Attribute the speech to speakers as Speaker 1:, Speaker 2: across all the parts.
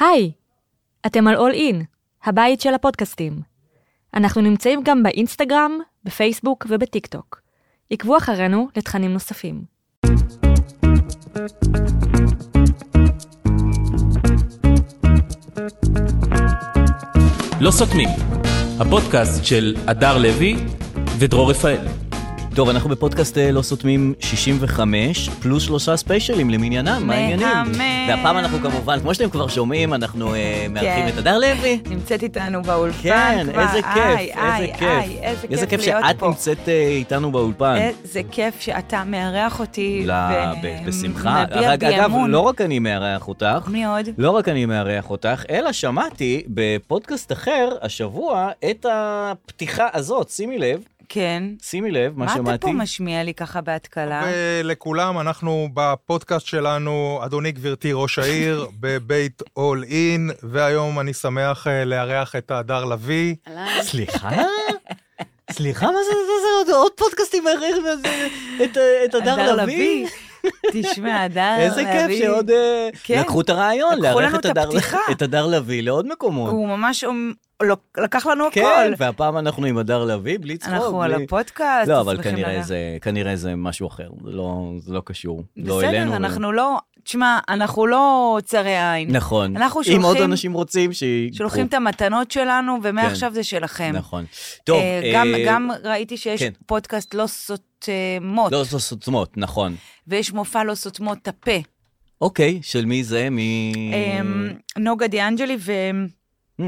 Speaker 1: היי, אתם על All In, הבית של הפודקאסטים. אנחנו נמצאים גם באינסטגרם, בפייסבוק ובטיקטוק. עקבו אחרינו לתכנים נוספים.
Speaker 2: לא סותמים, הפודקאסט של הדר לוי ודרור רפאל.
Speaker 3: טוב, אנחנו בפודקאסט אה, לא סותמים 65, פלוס שלושה ספיישלים למניינם, מה העניינים?
Speaker 4: מהמם.
Speaker 3: והפעם אנחנו כמובן, כמו שאתם כבר שומעים, אנחנו אה, מארחים
Speaker 4: כן.
Speaker 3: את הדר לוי.
Speaker 4: נמצאת איתנו באולפן
Speaker 3: כן,
Speaker 4: כבר.
Speaker 3: איזה
Speaker 4: איי,
Speaker 3: כיף,
Speaker 4: איי,
Speaker 3: איזה
Speaker 4: איי,
Speaker 3: כיף.
Speaker 4: איזה כיף
Speaker 3: איזה כיף
Speaker 4: להיות
Speaker 3: שאת
Speaker 4: פה.
Speaker 3: נמצאת אה, איתנו באולפן.
Speaker 4: איזה כיף שאתה מארח אותי.
Speaker 3: ל- ב-
Speaker 4: ו-
Speaker 3: בשמחה.
Speaker 4: מביע
Speaker 3: אג-
Speaker 4: בי
Speaker 3: אגב,
Speaker 4: אמון.
Speaker 3: לא רק אני מארח אותך.
Speaker 4: מי עוד?
Speaker 3: לא רק אני מארח אותך, אלא שמעתי בפודקאסט אחר השבוע את הפתיחה הזאת, שימי לב,
Speaker 4: כן.
Speaker 3: שימי לב, מה
Speaker 4: מה
Speaker 3: שמעתי. אה,
Speaker 4: אתה פה משמיע לי ככה בהתקלה?
Speaker 5: ולכולם, אה, אנחנו בפודקאסט שלנו, אדוני גברתי ראש העיר, בבית אול אין, והיום אני שמח אה, לארח את הדר לביא.
Speaker 3: סליחה? סליחה, מה זה, זה, זה עוד, עוד פודקאסטים מארחים את, את הדר לביא?
Speaker 4: תשמע, הדר לביא.
Speaker 3: איזה כיף שעוד אה,
Speaker 4: כן.
Speaker 3: לקחו את הרעיון,
Speaker 4: לקחו
Speaker 3: לארח
Speaker 4: לנו
Speaker 3: את
Speaker 4: את
Speaker 3: הדר-
Speaker 4: הפתיחה.
Speaker 3: את הדר לביא לעוד מקומות.
Speaker 4: הוא ממש אומ- לוק- לקח לנו
Speaker 3: כן,
Speaker 4: הכל.
Speaker 3: והפעם אנחנו עם הדר לביא, בלי צחוק.
Speaker 4: אנחנו
Speaker 3: בלי-
Speaker 4: על הפודקאסט,
Speaker 3: לא, אבל
Speaker 4: שמחים
Speaker 3: כנראה
Speaker 4: לארח.
Speaker 3: זה, כנראה זה משהו אחר, זה לא, זה לא קשור. לא אלינו.
Speaker 4: בסדר, אנחנו לא... תשמע, אנחנו לא צרי עין.
Speaker 3: נכון.
Speaker 4: אנחנו
Speaker 3: אם עוד
Speaker 4: שולחים-
Speaker 3: אנשים רוצים, שיקחו.
Speaker 4: שולחים את המתנות שלנו, ומעכשיו זה שלכם.
Speaker 3: נכון. טוב,
Speaker 4: אה, גם,
Speaker 3: אה,
Speaker 4: גם ראיתי שיש
Speaker 3: כן.
Speaker 4: פודקאסט לא סותמות,
Speaker 3: לא זו סותמות, נכון.
Speaker 4: ויש מופע לא סותמות את הפה.
Speaker 3: אוקיי, של מי זה? מי...
Speaker 4: אמ, נוגה דיאנג'לי ועוד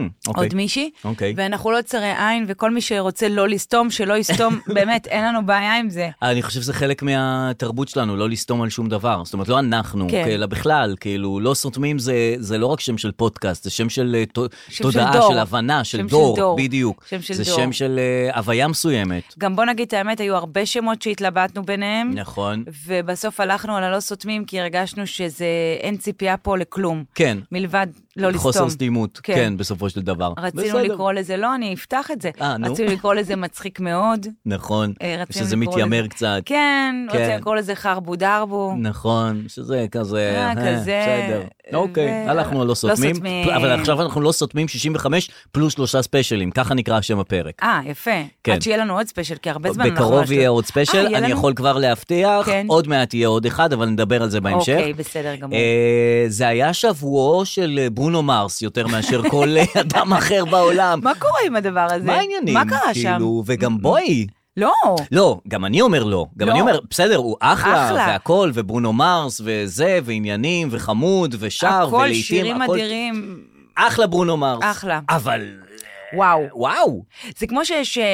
Speaker 3: אמ, אוקיי,
Speaker 4: מישהי.
Speaker 3: אוקיי.
Speaker 4: ואנחנו לא צרי עין, וכל מי שרוצה לא לסתום, שלא יסתום, באמת, אין לנו בעיה עם זה.
Speaker 3: אני חושב שזה חלק מהתרבות שלנו, לא לסתום על שום דבר. זאת אומרת, לא אנחנו,
Speaker 4: כן.
Speaker 3: אלא בכלל, כאילו, לא סותמים זה, זה לא רק שם של פודקאסט, זה שם של אה, ת-
Speaker 4: שם
Speaker 3: תודעה,
Speaker 4: של דור.
Speaker 3: של הבנה, של
Speaker 4: שם של
Speaker 3: דור,
Speaker 4: דור.
Speaker 3: בדיוק.
Speaker 4: שם של
Speaker 3: זה
Speaker 4: דור.
Speaker 3: שם של אה, הוויה מסוימת.
Speaker 4: גם בוא נגיד את האמת, היו הרבה שמות שהתלבטנו ביניהם,
Speaker 3: נכון.
Speaker 4: ובסוף הלכנו על הלא סותמים, כי הרגשנו שזה, אין ציפייה פה לכלום,
Speaker 3: כן,
Speaker 4: מלבד לא לסתום.
Speaker 3: חוסר סתימות,
Speaker 4: כן.
Speaker 3: כן, בסופו של דבר.
Speaker 4: רצינו
Speaker 3: בסדר.
Speaker 4: לקרוא לזה, לא, אני אפתח את זה.
Speaker 3: אה, נו.
Speaker 4: רצינו לקרוא לזה מצחיק מאוד.
Speaker 3: נכון,
Speaker 4: אה, רצינו
Speaker 3: שזה
Speaker 4: לקרוא
Speaker 3: מתיימר
Speaker 4: לזה-
Speaker 3: קצת.
Speaker 4: כן,
Speaker 3: כן.
Speaker 4: רצינו לקרוא לזה חרבו דרבו.
Speaker 3: נכון, שזה כזה,
Speaker 4: אה,
Speaker 3: אה,
Speaker 4: כזה,
Speaker 3: בסדר. אוקיי,
Speaker 4: ו-
Speaker 3: הלכנו על לא
Speaker 4: לא
Speaker 3: סותמים,
Speaker 4: סותמים.
Speaker 3: אבל עכשיו אנחנו לא סותמים 65 פלוס שלושה ספיישלים, ככה נקרא שם הפרק.
Speaker 4: אה, יפה.
Speaker 3: כן.
Speaker 4: עד שיהיה לנו עוד ספיישל, כי הרבה זמן אנחנו...
Speaker 3: בקרוב יהיה
Speaker 4: אשדוד.
Speaker 3: עוד
Speaker 4: אה,
Speaker 3: ספיישל,
Speaker 4: יהיה
Speaker 3: אני
Speaker 4: לנו?
Speaker 3: יכול כבר להבטיח,
Speaker 4: כן.
Speaker 3: עוד מעט יהיה עוד אחד, אבל נדבר על זה בהמשך.
Speaker 4: אוקיי, בסדר גמור.
Speaker 3: אה, זה היה שבועו של אה, ברונו מרס יותר מאשר כל אה, אדם אחר בעולם.
Speaker 4: מה קורה עם הדבר הזה?
Speaker 3: מה העניינים?
Speaker 4: מה קרה שם?
Speaker 3: כאילו, וגם בואי.
Speaker 4: לא,
Speaker 3: לא, גם אני אומר לא. גם
Speaker 4: לא.
Speaker 3: אני אומר, בסדר, הוא אחלה,
Speaker 4: אחלה.
Speaker 3: והכל, וברונו מרס, וזה, ועניינים, וחמוד, ושר,
Speaker 4: הכל
Speaker 3: ולעיתים,
Speaker 4: שירים
Speaker 3: הכל...
Speaker 4: אדירים,
Speaker 3: אחלה ברונו מרס.
Speaker 4: אחלה.
Speaker 3: אבל, אה,
Speaker 4: וואו.
Speaker 3: וואו.
Speaker 4: זה כמו שיש אה,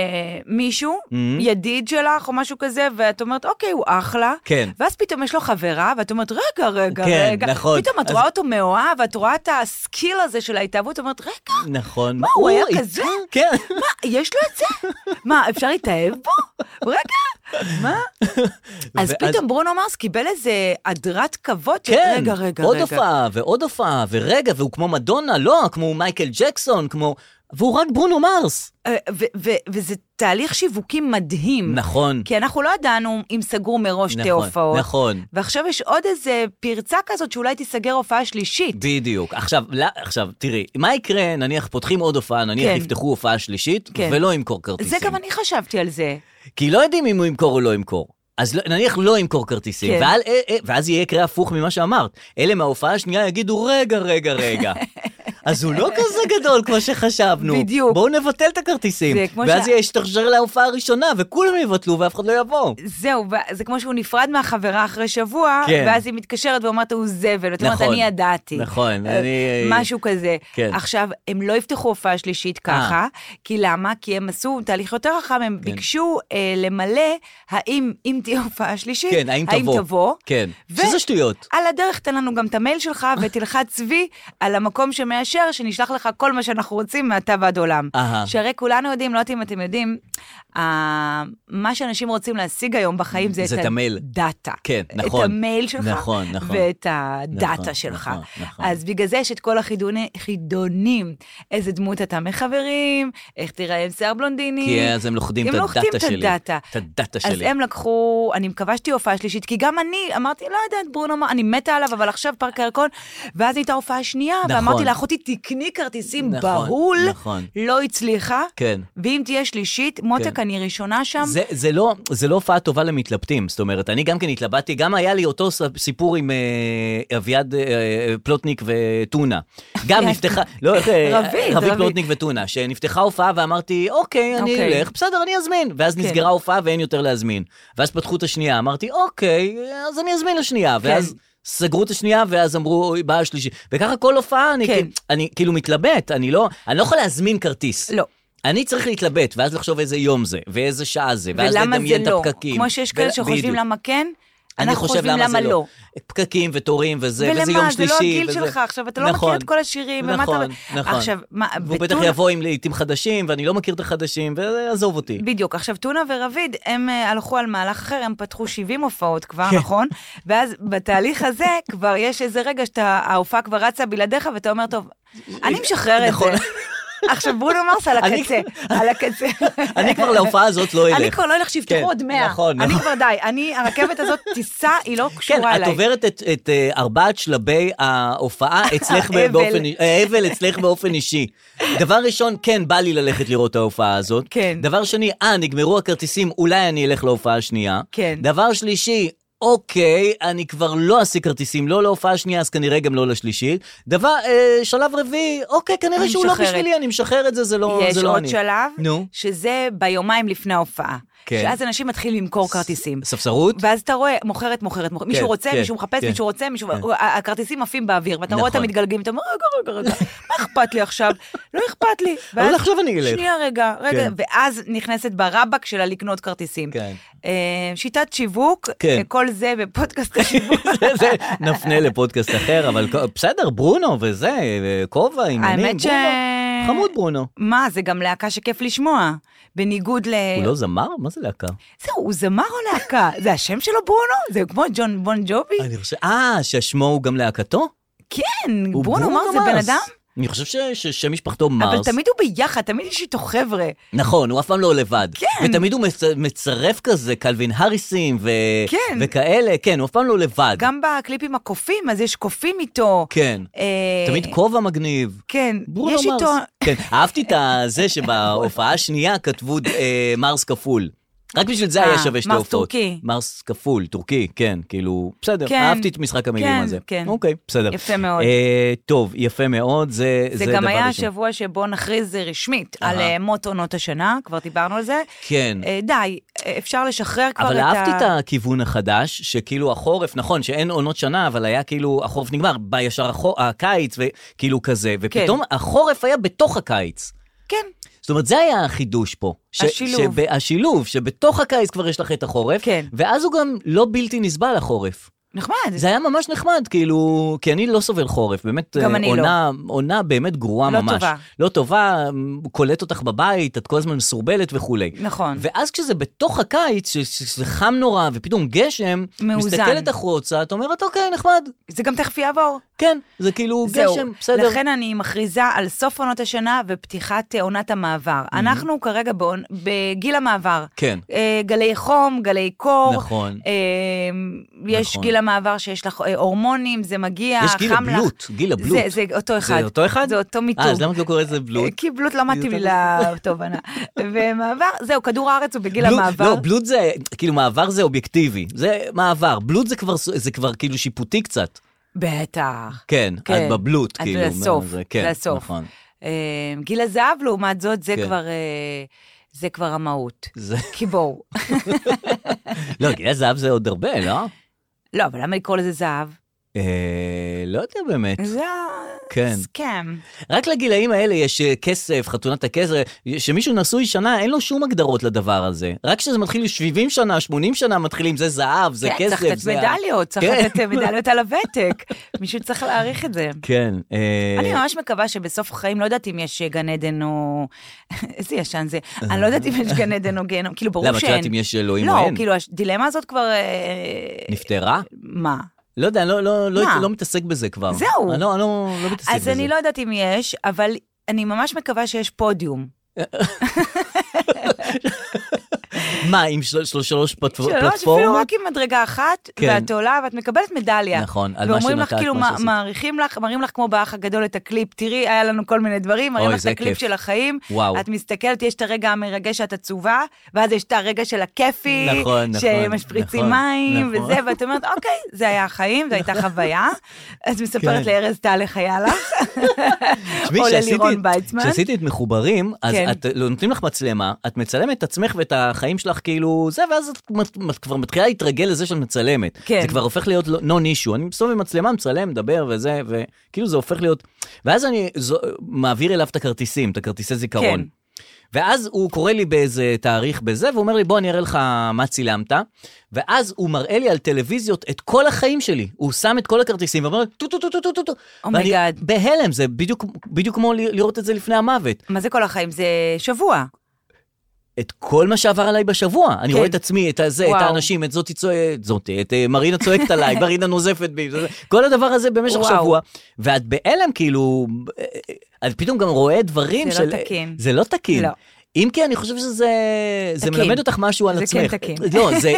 Speaker 4: מישהו,
Speaker 3: Mhm.
Speaker 4: ידיד שלך או משהו כזה, ואת אומרת, אוקיי, הוא אחלה.
Speaker 3: כן.
Speaker 4: ואז פתאום יש לו חברה, ואת אומרת, רגע, רגע,
Speaker 3: כן,
Speaker 4: רגע.
Speaker 3: נכון.
Speaker 4: פתאום את
Speaker 3: אז-
Speaker 4: רואה אותו מאוהב, ואת רואה את הסקיל הזה של ההתאהבות, אומרת, רגע,
Speaker 3: נכון.
Speaker 4: מה, הוא היה
Speaker 3: איתה?
Speaker 4: כזה?
Speaker 3: כן.
Speaker 4: מה, יש לו את זה? מה, אפשר להתאהב בו? רגע, מה? אז
Speaker 3: ואז-
Speaker 4: פתאום ברונו מרס קיבל איזה הדרת כבוד. של,
Speaker 3: כן,
Speaker 4: רגע, רגע,
Speaker 3: עוד
Speaker 4: רגע.
Speaker 3: הופעה ועוד הופעה, ורגע, והוא כמו מדונה, לא, כמו מייקל ג'קסון, כמו... והוא רק ברונו מרס.
Speaker 4: אה, ו- ו- וזה תהליך שיווקי מדהים.
Speaker 3: נכון,
Speaker 4: כי אנחנו לא ידענו אם סגרו מראש שתי
Speaker 3: נכון,
Speaker 4: הופעות.
Speaker 3: נכון.
Speaker 4: ועכשיו יש עוד איזה פרצה כזאת שאולי תיסגר הופעה שלישית.
Speaker 3: בדיוק. עכשיו, לא, עכשיו, תראי, מה יקרה, נניח פותחים עוד הופעה, נניח
Speaker 4: כן.
Speaker 3: יפתחו הופעה שלישית,
Speaker 4: כן.
Speaker 3: ולא ימכור כרטיסים.
Speaker 4: זה גם אני חשבתי על זה.
Speaker 3: כי לא יודעים אם הוא ימכור או לא ימכור. אז לא, נניח לא ימכור כרטיסים,
Speaker 4: כן.
Speaker 3: ועל, אה, אה, ואז יהיה יקרה הפוך ממה שאמרת. אלה מההופעה השנייה יגידו, רגע, רגע, רגע. אז הוא לא כזה גדול כמו שחשבנו.
Speaker 4: בדיוק.
Speaker 3: בואו נבטל את הכרטיסים.
Speaker 4: זה כמו
Speaker 3: ואז
Speaker 4: ש-
Speaker 3: יהיה ישתחזר להופעה הראשונה, וכולם יבטלו ואף אחד לא
Speaker 4: אה,
Speaker 3: יבוא.
Speaker 4: זהו, ו- זה כמו שהוא נפרד מהחברה אחרי שבוע,
Speaker 3: כן.
Speaker 4: ואז היא מתקשרת ואומרת, הוא זבל. את אומרת,
Speaker 3: נכון.
Speaker 4: אני ידעתי.
Speaker 3: נכון,
Speaker 4: אה,
Speaker 3: אני...
Speaker 4: משהו כזה.
Speaker 3: כן. אה.
Speaker 4: עכשיו, הם לא יפתחו הופעה שלישית ככה, כי למה? כי הם עשו תהליך יותר חכם,
Speaker 3: כן.
Speaker 4: הם ביקשו אה, למלא האם, אם תהיה הופעה שלישית,
Speaker 3: כן, האם תבוא. כן.
Speaker 4: ו-
Speaker 3: שזה שטויות.
Speaker 4: על הדרך תן לנו גם את המייל שלך ותלחץ וי על המקום שמאה מאשר שנשלח לך כל מה שאנחנו רוצים מעתה ועד עולם.
Speaker 3: אהה.
Speaker 4: שהרי כולנו יודעים, לא יודעת אם אתם יודעים, אה, מה שאנשים רוצים להשיג היום בחיים זה,
Speaker 3: זה את
Speaker 4: את
Speaker 3: המייל.
Speaker 4: הדאטה.
Speaker 3: כן, נכון.
Speaker 4: את המייל שלך.
Speaker 3: נכון, נכון.
Speaker 4: ואת הדאטה
Speaker 3: נכון,
Speaker 4: שלך.
Speaker 3: נכון, נכון.
Speaker 4: אז בגלל זה יש את כל החידוני- חידונים. איזה דמות אתה מחברים, איך תיראה עם שיער בלונדיני.
Speaker 3: כי אז הם לוכדים את
Speaker 4: הם לוכדים
Speaker 3: הדאטה
Speaker 4: את
Speaker 3: שלי.
Speaker 4: הדאטה.
Speaker 3: את הדאטה
Speaker 4: אז
Speaker 3: שלי.
Speaker 4: הם לקחו, אני מקווה שתהיה הופעה שלישית, כי גם אני אמרתי, לא יודעת, ברונו, מר- אני מתה עליו, אבל עכשיו פארק הירקון, ואז הייתה הופעה שנייה,
Speaker 3: נכון.
Speaker 4: ואמרתי לה, אחותי, תקני כרטיסים
Speaker 3: נכון,
Speaker 4: בהול,
Speaker 3: נכון.
Speaker 4: לא הצליחה,
Speaker 3: כן.
Speaker 4: ואם תהיה שלישית, מותק,
Speaker 3: כן.
Speaker 4: אני ראשונה שם.
Speaker 3: זה, זה, לא, זה לא הופעה טובה למתלבטים, זאת אומרת, אני גם כן התלבטתי, גם היה לי אותו ס- סיפור עם אה, אביעד אה, פלוטניק וטונה. גם נפתחה, לא, איך, אה,
Speaker 4: רביד,
Speaker 3: רביד
Speaker 4: רביד.
Speaker 3: פלוטניק וטונה, שנפתחה הופעה ואמרתי, אוקיי, אני
Speaker 4: אוקיי.
Speaker 3: אלך, בסדר, אני אזמין. ואז
Speaker 4: כן.
Speaker 3: נסגרה ההופעה ואין יותר להזמין. ואז פתחו את השנייה, אמרתי, אוקיי, אז אני אזמין לשנייה.
Speaker 4: כן.
Speaker 3: ואז... סגרו את השנייה, ואז אמרו, "אוי, באה השלישית. וככה כל הופעה, אני,
Speaker 4: כן.
Speaker 3: כן. אני כאילו מתלבט, אני לא, אני לא יכול להזמין כרטיס.
Speaker 4: לא.
Speaker 3: אני צריך להתלבט, ואז לחשוב איזה יום זה, ואיזה שעה זה, ואז
Speaker 4: ולמה זה
Speaker 3: לדמיין את
Speaker 4: לא?
Speaker 3: הפקקים.
Speaker 4: כמו שיש
Speaker 3: ול-
Speaker 4: כאלה שחושבים
Speaker 3: בדיוק.
Speaker 4: למה כן,
Speaker 3: אני
Speaker 4: אנחנו
Speaker 3: חושב
Speaker 4: חושבים למה
Speaker 3: זה
Speaker 4: לא.
Speaker 3: פקקים ותורים וזה,
Speaker 4: ולמה?
Speaker 3: וזה יום
Speaker 4: זה
Speaker 3: שלישי.
Speaker 4: לא הגיל
Speaker 3: וזה...
Speaker 4: שלך עכשיו, אתה לא מכיר
Speaker 3: נכון,
Speaker 4: את כל השירים, ומה אתה-
Speaker 3: נכון, נכון.
Speaker 4: עכשיו, מה,
Speaker 3: והוא בטח
Speaker 4: בטונה-
Speaker 3: יבוא עם לעיתים חדשים, ואני לא מכיר את החדשים, ועזוב אותי.
Speaker 4: בדיוק. עכשיו, טונה ורביד, הם אה, הלכו על מהלך אחר, הם פתחו 70 הופעות כבר,
Speaker 3: כן.
Speaker 4: נכון? ואז בתהליך הזה כבר יש איזה רגע שההופעה כבר רצה בלעדיך, ואתה אומר, טוב, אני משחרר את זה.
Speaker 3: נכון.
Speaker 4: עכשיו, ברונו מרס על
Speaker 3: אני-
Speaker 4: הקצה, על הקצה.
Speaker 3: אני כבר להופעה הזאת לא אלך.
Speaker 4: אני כבר לא אלך
Speaker 3: כן,
Speaker 4: שיפתחו עוד 100.
Speaker 3: נכון,
Speaker 4: אני
Speaker 3: נכון.
Speaker 4: כבר די, אני, הרכבת הזאת תיסע, היא לא
Speaker 3: כן,
Speaker 4: קשורה
Speaker 3: את
Speaker 4: אליי.
Speaker 3: עוברת את, את אה, ארבעת שלבי ההופעה אצלך
Speaker 4: האבל.
Speaker 3: באופן, האבל אצלך באופן אישי. דבר ראשון, כן, בא לי ללכת לראות את ההופעה הזאת.
Speaker 4: כן.
Speaker 3: דבר שני, אה, נגמרו הכרטיסים, אולי אני אלך להופעה השנייה.
Speaker 4: כן.
Speaker 3: דבר שלישי, אוקיי, אני כבר לא אשיג כרטיסים, לא להופעה השנייה, אז כנראה גם לא לשלישית. דבר, אה, שלב רביעי, אוקיי, כנראה
Speaker 4: אני
Speaker 3: שהוא לא
Speaker 4: משחררת.
Speaker 3: בשבילי, אני משחרר את זה, זה לא,
Speaker 4: יש
Speaker 3: זה לא
Speaker 4: עוד
Speaker 3: אני.
Speaker 4: שלב,
Speaker 3: נו.
Speaker 4: שזה ביומיים לפני ההופעה.
Speaker 3: כן.
Speaker 4: שאז אנשים מתחילים למכור כרטיסים.
Speaker 3: ספסרות?
Speaker 4: ואז אתה רואה, מוכרת, מוכרת, מוכרת. מישהו רוצה,
Speaker 3: כן,
Speaker 4: מישהו מחפש,
Speaker 3: כן.
Speaker 4: מישהו רוצה, מישהו... ה- הכרטיסים עפים באוויר, ואתה רואה אותם
Speaker 3: נכון.
Speaker 4: מתגלגלים, אתה אומר, "אה, רגע, רגע, רגע, מה אכפת לי עכשיו? לא אכפת לי.
Speaker 3: אבל
Speaker 4: ואז,
Speaker 3: עכשיו אני אלך.
Speaker 4: שנייה, רגע, רגע.
Speaker 3: כן.
Speaker 4: ואז נכנסת ברבק שלה לקנות כרטיסים.
Speaker 3: כן.
Speaker 4: אה, שיטת שיווק,
Speaker 3: כן.
Speaker 4: אה, כל זה בפודקאסט השיווק.
Speaker 3: זה- זה נפנה לפודקאסט אחר, אבל כ- בסדר, ברונו וזה, כובע, עניינים,
Speaker 4: האמת ש-
Speaker 3: ברונו. חמוד ברונו.
Speaker 4: מה, זה גם להקה שכיף לשמוע. בניגוד ל...
Speaker 3: הוא לא זמר? מה זה להקה?
Speaker 4: זהו, הוא זמר או להקה? זה השם שלו ברונו? זה כמו ג'ון בון ג'ובי?
Speaker 3: אני חושב... אה, ששמו הוא גם להקתו?
Speaker 4: כן,
Speaker 3: הוא
Speaker 4: ברונו מרס זה בן
Speaker 3: מרס.
Speaker 4: אדם?
Speaker 3: אני חושב ש- ששם משפחתו מרס.
Speaker 4: אבל תמיד הוא ביחד, תמיד יש איתו חבר'ה.
Speaker 3: נכון, הוא אף פעם לא לבד.
Speaker 4: כן.
Speaker 3: ותמיד הוא מצ- מצרף כזה קלווין האריסים ו...
Speaker 4: כן.
Speaker 3: וכאלה, כן, הוא אף פעם לא לבד.
Speaker 4: גם בקליפים הקופים, אז יש קופים איתו.
Speaker 3: כן.
Speaker 4: אה,
Speaker 3: תמיד כובע מגניב.
Speaker 4: כן,
Speaker 3: ברונו
Speaker 4: יש איתו...
Speaker 3: מרס. כן, אהבתי את זה שבהופעה השנייה כתבו אה, מרס כפול. רק בשביל זה היה
Speaker 4: אה,
Speaker 3: שווה שתי
Speaker 4: מרס
Speaker 3: הופעות.
Speaker 4: טורקי.
Speaker 3: מרס כפול, טורקי, כן, כאילו, בסדר,
Speaker 4: כן.
Speaker 3: אהבתי את משחק המילים
Speaker 4: כן,
Speaker 3: הזה.
Speaker 4: כן.
Speaker 3: אוקיי, בסדר.
Speaker 4: יפה מאוד.
Speaker 3: אה, טוב, יפה מאוד, זה דבר
Speaker 4: זה
Speaker 3: ראשון.
Speaker 4: גם היה השבוע שבו נכריז רשמית על
Speaker 3: אהה.
Speaker 4: אה, מות עונות השנה, כבר דיברנו על זה.
Speaker 3: כן.
Speaker 4: אה, די, אה, אפשר לשחרר כבר את ה...
Speaker 3: אבל אהבתי את הכיוון החדש, שכאילו החורף, נכון, שאין עונות שנה, אבל היה כאילו, החורף נגמר, בא ישר החו- הקיץ, וכאילו כזה, ופתאום החורף היה בתוך הקיץ.
Speaker 4: כן,
Speaker 3: זאת אומרת, זה היה החידוש פה. ש-
Speaker 4: השילוב.
Speaker 3: שב- השילוב, שבתוך הקיץ כבר יש לך את החורף,
Speaker 4: כן.
Speaker 3: ואז הוא גם לא בלתי נסבל, החורף.
Speaker 4: נחמד.
Speaker 3: זה היה ממש נחמד, כאילו, כי אני לא סובל חורף, באמת
Speaker 4: גם
Speaker 3: אה,
Speaker 4: אני
Speaker 3: עונה, עונה באמת גרועה
Speaker 4: לא
Speaker 3: ממש.
Speaker 4: טובה.
Speaker 3: לא טובה, מ, קולט אותך בבית, את כל הזמן מסורבלת וכולי.
Speaker 4: נכון.
Speaker 3: ואז כשזה בתוך הקיץ, ש- ש- שזה חם נורא, ופתאום גשם,
Speaker 4: מאוזן.
Speaker 3: מסתכלת החוצה, את אומרת, אוקיי, נחמד,
Speaker 4: זה גם תכף יעבור.
Speaker 3: כן, זה כאילו
Speaker 4: זהו,
Speaker 3: גשם, בסדר.
Speaker 4: לכן אני מכריזה על סוף עונות השנה ופתיחת אה, עונת המעבר. אנחנו כרגע בעונ- בגיל המעבר.
Speaker 3: כן.
Speaker 4: אה, גלי חום, גלי קור.
Speaker 3: נכון.
Speaker 4: אה, יש
Speaker 3: נכון.
Speaker 4: גיל המעבר שיש לך אה, הורמונים, זה מגיע,
Speaker 3: יש
Speaker 4: חם לך.
Speaker 3: גיל הבלוט, גיל הבלוט.
Speaker 4: זה, זה אותו אחד.
Speaker 3: זה אותו אחד?
Speaker 4: זה אותו מיתוג.
Speaker 3: אה, אז למה את לא קוראת לזה בלוט?
Speaker 4: כי בלוט לא מתאים לי לתובנה. ומעבר, זהו, כדור הארץ הוא בגיל
Speaker 3: בלוט-
Speaker 4: המעבר.
Speaker 3: לא, בלוט זה, כאילו מעבר זה אובייקטיבי, זה מעבר, בלוט זה כבר, זה כבר כאילו שיפוטי קצת.
Speaker 4: בטח.
Speaker 3: כן,
Speaker 4: כן.
Speaker 3: את בבלוט,
Speaker 4: את
Speaker 3: כאילו.
Speaker 4: לסוף,
Speaker 3: זה- כן,
Speaker 4: לסוף.
Speaker 3: נכון.
Speaker 4: אה, גיל הזהב, לעומת זאת, זה
Speaker 3: כן.
Speaker 4: כבר... אה, זה כבר המהות.
Speaker 3: זה,
Speaker 4: כי בואו.
Speaker 3: לא, גיל הזהב זה עוד הרבה, לא?
Speaker 4: לא, אבל למה לקרוא לזה זהב?
Speaker 3: אה, לא יודע באמת.
Speaker 4: זה
Speaker 3: כן.
Speaker 4: סכם.
Speaker 3: רק לגילאים האלה יש אה, כסף, חתונת הכסף, שמישהו נשוי שנה, אין לו שום הגדרות לדבר הזה. רק כשזה מתחיל 70 שנה, 80 שנה מתחילים, זה זהב, זה
Speaker 4: כן,
Speaker 3: כסף.
Speaker 4: צריך לתת
Speaker 3: זה ה-
Speaker 4: מדליות, צריך
Speaker 3: כן.
Speaker 4: לתת אה, מדליות על הוותק. מישהו צריך להעריך את זה.
Speaker 3: כן. אה,
Speaker 4: אני ממש מקווה שבסוף החיים, לא יודעת אם יש גן עדן או... איזה ישן זה. אני לא יודעת אם יש גן עדן או גיהנום, כאילו, ברור
Speaker 3: למה, את
Speaker 4: שאין.
Speaker 3: יודעת אם יש אלוהים או
Speaker 4: לא,
Speaker 3: אין?
Speaker 4: כאילו, הדילמה הזאת כבר... אה,
Speaker 3: נפטרה?
Speaker 4: מה?
Speaker 3: לא יודע, אני לא- לא- לא
Speaker 4: מה?
Speaker 3: לא מתעסק בזה כבר.
Speaker 4: זהו.
Speaker 3: אני לא- אני לא לא מתעסק
Speaker 4: אז
Speaker 3: בזה.
Speaker 4: אני לא יודעת אם יש, אבל אני ממש מקווה שיש פודיום.
Speaker 3: מה, עם של- של- שלוש פלטפ-
Speaker 4: שלוש, אפילו
Speaker 3: פלטפורמות?
Speaker 4: רק עם מדרגה אחת,
Speaker 3: כן.
Speaker 4: ואת עולה ואת מקבלת מדליה.
Speaker 3: נכון, על מה
Speaker 4: ואומרים לך,
Speaker 3: שנתת,
Speaker 4: כאילו,
Speaker 3: מה
Speaker 4: מה-
Speaker 3: שעשית.
Speaker 4: מעריכים לך, מראים לך כמו באח הגדול את הקליפ, תראי, היה לנו כל מיני דברים, מראים
Speaker 3: אוי,
Speaker 4: לך את
Speaker 3: זה
Speaker 4: הקליפ
Speaker 3: כיף.
Speaker 4: של החיים,
Speaker 3: וואו.
Speaker 4: את מסתכלת, יש את הרגע המרגש שאת עצובה, ואז יש את הרגע של הכיפי,
Speaker 3: נכון, נכון,
Speaker 4: שמשפריצים
Speaker 3: נכון,
Speaker 4: מים
Speaker 3: נכון.
Speaker 4: וזה, ואת אומרת, אוקיי, זה היה החיים, זו הייתה חוויה. אז
Speaker 3: כן.
Speaker 4: מספרת לארז טל איך היה לך,
Speaker 3: תשמעי,
Speaker 4: או
Speaker 3: כשעשיתי-
Speaker 4: ללירון ויצמן.
Speaker 3: כשעשיתי את מחוברים, אז
Speaker 4: כן.
Speaker 3: את, לא, נותנים לך מצלמה, את מצלמת את עצמך ואת החיים שלך כאילו זה, ואז את, מת- מת- כבר מתחילה להתרגל לזה שאת מצלמת.
Speaker 4: כן.
Speaker 3: זה כבר הופך להיות נון אישו. אני מסתובב עם מצלמה, מצלם, מדבר וזה, וכאילו זה הופך להיות... ואז אני זו, מעביר אליו את הכרטיסים, את הכרטיסי זיכרון.
Speaker 4: כן.
Speaker 3: ואז הוא קורא לי באיזה תאריך בזה, והוא אומר לי, בוא, אני אראה לך מה צילמת. ואז הוא מראה לי על טלוויזיות את כל החיים שלי. הוא שם את כל הכרטיסים ואומר, טו טו טו טו טו טו טו. ואני
Speaker 4: אומייגאד.
Speaker 3: בהלם, זה בדיוק, בדיוק כמו ל- לראות את זה לפני המוות.
Speaker 4: מה זה כל החיים? זה שבוע.
Speaker 3: את כל מה שעבר עליי בשבוע. אני
Speaker 4: כן.
Speaker 3: רואה את עצמי, את הזה, את
Speaker 4: וואו.
Speaker 3: האנשים, את זאתי צועקת, זאתי, את אה, מרינה צועקת עליי, מרינה נוזפת בי, זה- כל הדבר הזה במשך
Speaker 4: וואו.
Speaker 3: שבוע. ואת בהלם, כאילו, אה, אה, את פתאום גם רואה דברים
Speaker 4: זה
Speaker 3: של...
Speaker 4: לא תקין.
Speaker 3: זה לא תקין.
Speaker 4: לא.
Speaker 3: אם כי אני חושב שזה זה
Speaker 4: תקין.
Speaker 3: מלמד אותך משהו על
Speaker 4: זה כן
Speaker 3: עצמך.
Speaker 4: תקין.
Speaker 3: לא, זה...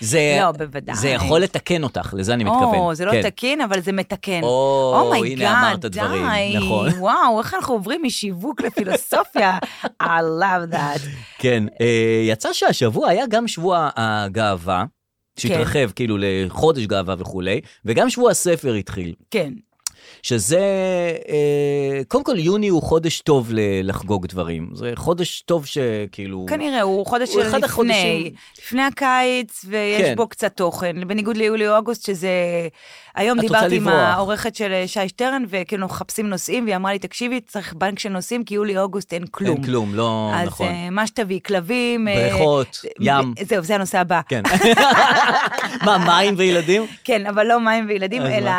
Speaker 3: זה,
Speaker 4: לא, בוודאי.
Speaker 3: זה יכול לתקן אותך, לזה אני מתכוון.
Speaker 4: או, זה לא
Speaker 3: כן.
Speaker 4: תקין, אבל זה מתקן.
Speaker 3: או,
Speaker 4: אומייגאד,
Speaker 3: הנה אמרת דברים,
Speaker 4: די,
Speaker 3: נכון.
Speaker 4: וואו, איך אנחנו עוברים משיווק לפילוסופיה. I love that.
Speaker 3: כן, אה, יצא שהשבוע היה גם שבוע הגאווה,
Speaker 4: כן.
Speaker 3: שהתרחב כאילו לחודש גאווה וכולי, וגם שבוע הספר התחיל,
Speaker 4: כן.
Speaker 3: שזה, אה, קודם כל יוני הוא חודש טוב ל- לחגוג דברים, זה חודש טוב שכאילו...
Speaker 4: כנראה, הוא חודש
Speaker 3: הוא
Speaker 4: של
Speaker 3: אחד החודשים-
Speaker 4: לפני, לפני הקיץ, ויש
Speaker 3: כן.
Speaker 4: בו קצת תוכן, בניגוד ליולי-אוגוסט, שזה... היום
Speaker 3: את רוצה
Speaker 4: דיברתי עם
Speaker 3: לברוח.
Speaker 4: העורכת של אה, שי שטרן, וכאילו מחפשים נושאים, והיא אמרה לי, תקשיבי, צריך בנק של נושאים, כי יולי-אוגוסט אין כלום.
Speaker 3: אין כלום, לא
Speaker 4: אז
Speaker 3: נכון.
Speaker 4: אה, מה שתביאי, כלבים... אה,
Speaker 3: בריכות, ים,
Speaker 4: זהו, זה הנושא הבא.
Speaker 3: כן. מה, מים וילדים?
Speaker 4: כן, אבל לא מים וילדים,
Speaker 3: אז
Speaker 4: אלא...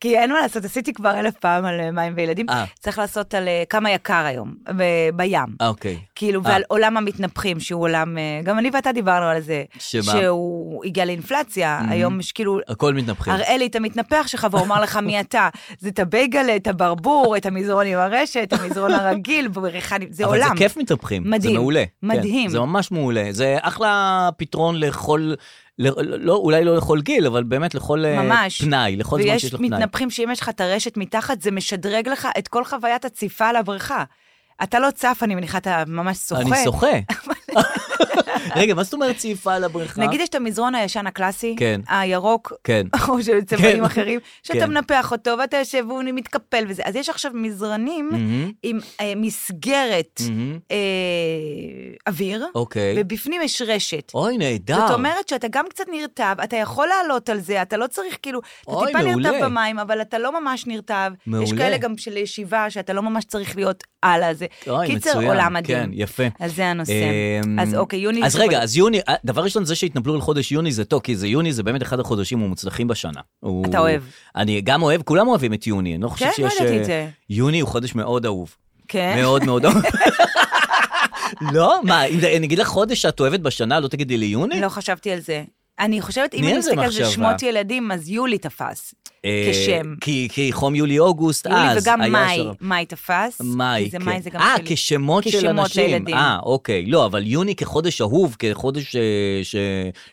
Speaker 4: כי אין מה לעשות, עשיתי כבר אלף פעם על אה, מים וילדים.
Speaker 3: אה.
Speaker 4: צריך לעשות על אה, כמה יקר היום, ב- בים.
Speaker 3: אה, אוקיי.
Speaker 4: כאילו,
Speaker 3: אה.
Speaker 4: ועל עולם המתנפחים, שהוא עולם... אה, גם אני ואתה דיברנו על זה.
Speaker 3: שמה? Mm-hmm. אה,
Speaker 4: שהוא הגיע לאינפלציה, היום יש כאילו...
Speaker 3: הכל מתנפחים.
Speaker 4: הראה לי את המתנפח שלך ואומר לך מי אתה. זה את הבייגלה, את הברבור, את המזרון עם הרשת, את המזרון הרגיל, בריחה... נ- זה עולם.
Speaker 3: אבל זה כיף מתהפכים,
Speaker 4: מדהים.
Speaker 3: זה מעולה. כן,
Speaker 4: מדהים.
Speaker 3: זה ממש מעולה, זה אחלה פתרון לכל, ל- לא, אולי לא לכל גיל, אבל באמת לכל אה,
Speaker 4: ממש.
Speaker 3: פנאי, לכל זמן שיש
Speaker 4: ויש
Speaker 3: לך פנאי.
Speaker 4: מתנפחים שאם יש לך את הרשת מתחת, זה משדרג לך את כל חוויית הציפה על הבריכה. אתה לא צף, אני מניחה, אתה ממש שוחה.
Speaker 3: אני שוחה. רגע, מה זאת אומרת צעיפה על הבריכה?
Speaker 4: נגיד יש את המזרון הישן הקלאסי,
Speaker 3: כן.
Speaker 4: הירוק,
Speaker 3: כן.
Speaker 4: או של צבעים
Speaker 3: כן.
Speaker 4: אחרים, שאתה
Speaker 3: כן.
Speaker 4: מנפח אותו ואתה יושב והוא מתקפל וזה. אז יש עכשיו מזרנים
Speaker 3: מהמם.
Speaker 4: עם אה, מסגרת
Speaker 3: מהמם.
Speaker 4: אה, אוויר,
Speaker 3: אוקיי.
Speaker 4: ובפנים יש רשת.
Speaker 3: אוי, נהדר.
Speaker 4: זאת אומרת שאתה גם קצת נרטב, אתה יכול לעלות על זה, אתה לא צריך כאילו, אתה
Speaker 3: אוי,
Speaker 4: טיפה נרטב
Speaker 3: מעולה.
Speaker 4: במים, אבל אתה לא ממש נרטב. יש
Speaker 3: מעולה.
Speaker 4: כאלה גם של ישיבה, שאתה לא ממש צריך להיות על הזה.
Speaker 3: אוי,
Speaker 4: קיצר,
Speaker 3: מצוין,
Speaker 4: עולם מדהים.
Speaker 3: כן, יפה.
Speaker 4: אז זה הנושא.
Speaker 3: אמ,
Speaker 4: אז אוקיי, יוני...
Speaker 3: אז
Speaker 4: זה
Speaker 3: רגע,
Speaker 4: בד-
Speaker 3: אז יוני, אה, דבר ראשון זה שהתנפלו על חודש יוני זה טוב, כי זה יוני זה באמת אחד החודשים המוצלחים בשנה. הוא-
Speaker 4: אתה אוהב.
Speaker 3: אני גם אוהב, כולם אוהבים את יוני, אני לא חושב
Speaker 4: כן,
Speaker 3: שיש...
Speaker 4: לא ידעתי
Speaker 3: אה,
Speaker 4: את זה.
Speaker 3: יוני הוא חודש מאוד אהוב.
Speaker 4: כן?
Speaker 3: מאוד מאוד אהוב. לא? מה, אם זה- אני אגיד לך חודש שאת אוהבת בשנה, לא תגידי לי יוני?
Speaker 4: לא חשבתי על זה. אני חושבת, אם
Speaker 3: תני
Speaker 4: אני
Speaker 3: על זה
Speaker 4: מסתכלת על זה
Speaker 3: מחשבה.
Speaker 4: שמות ילדים, אז יולי תפס.
Speaker 3: אה,
Speaker 4: כשם.
Speaker 3: כי כי חום יולי-אוגוסט, אז.
Speaker 4: יולי וגם
Speaker 3: היה
Speaker 4: מאי,
Speaker 3: שם-
Speaker 4: מאי תפס.
Speaker 3: מאי,
Speaker 4: כי זה
Speaker 3: כן.
Speaker 4: מאי זה גם
Speaker 3: אה,
Speaker 4: שלי.
Speaker 3: כשמות של
Speaker 4: כשמות
Speaker 3: אנשים.
Speaker 4: לילדים.
Speaker 3: אה, אוקיי. לא, אבל יוני כחודש אהוב, כחודש אה, ש-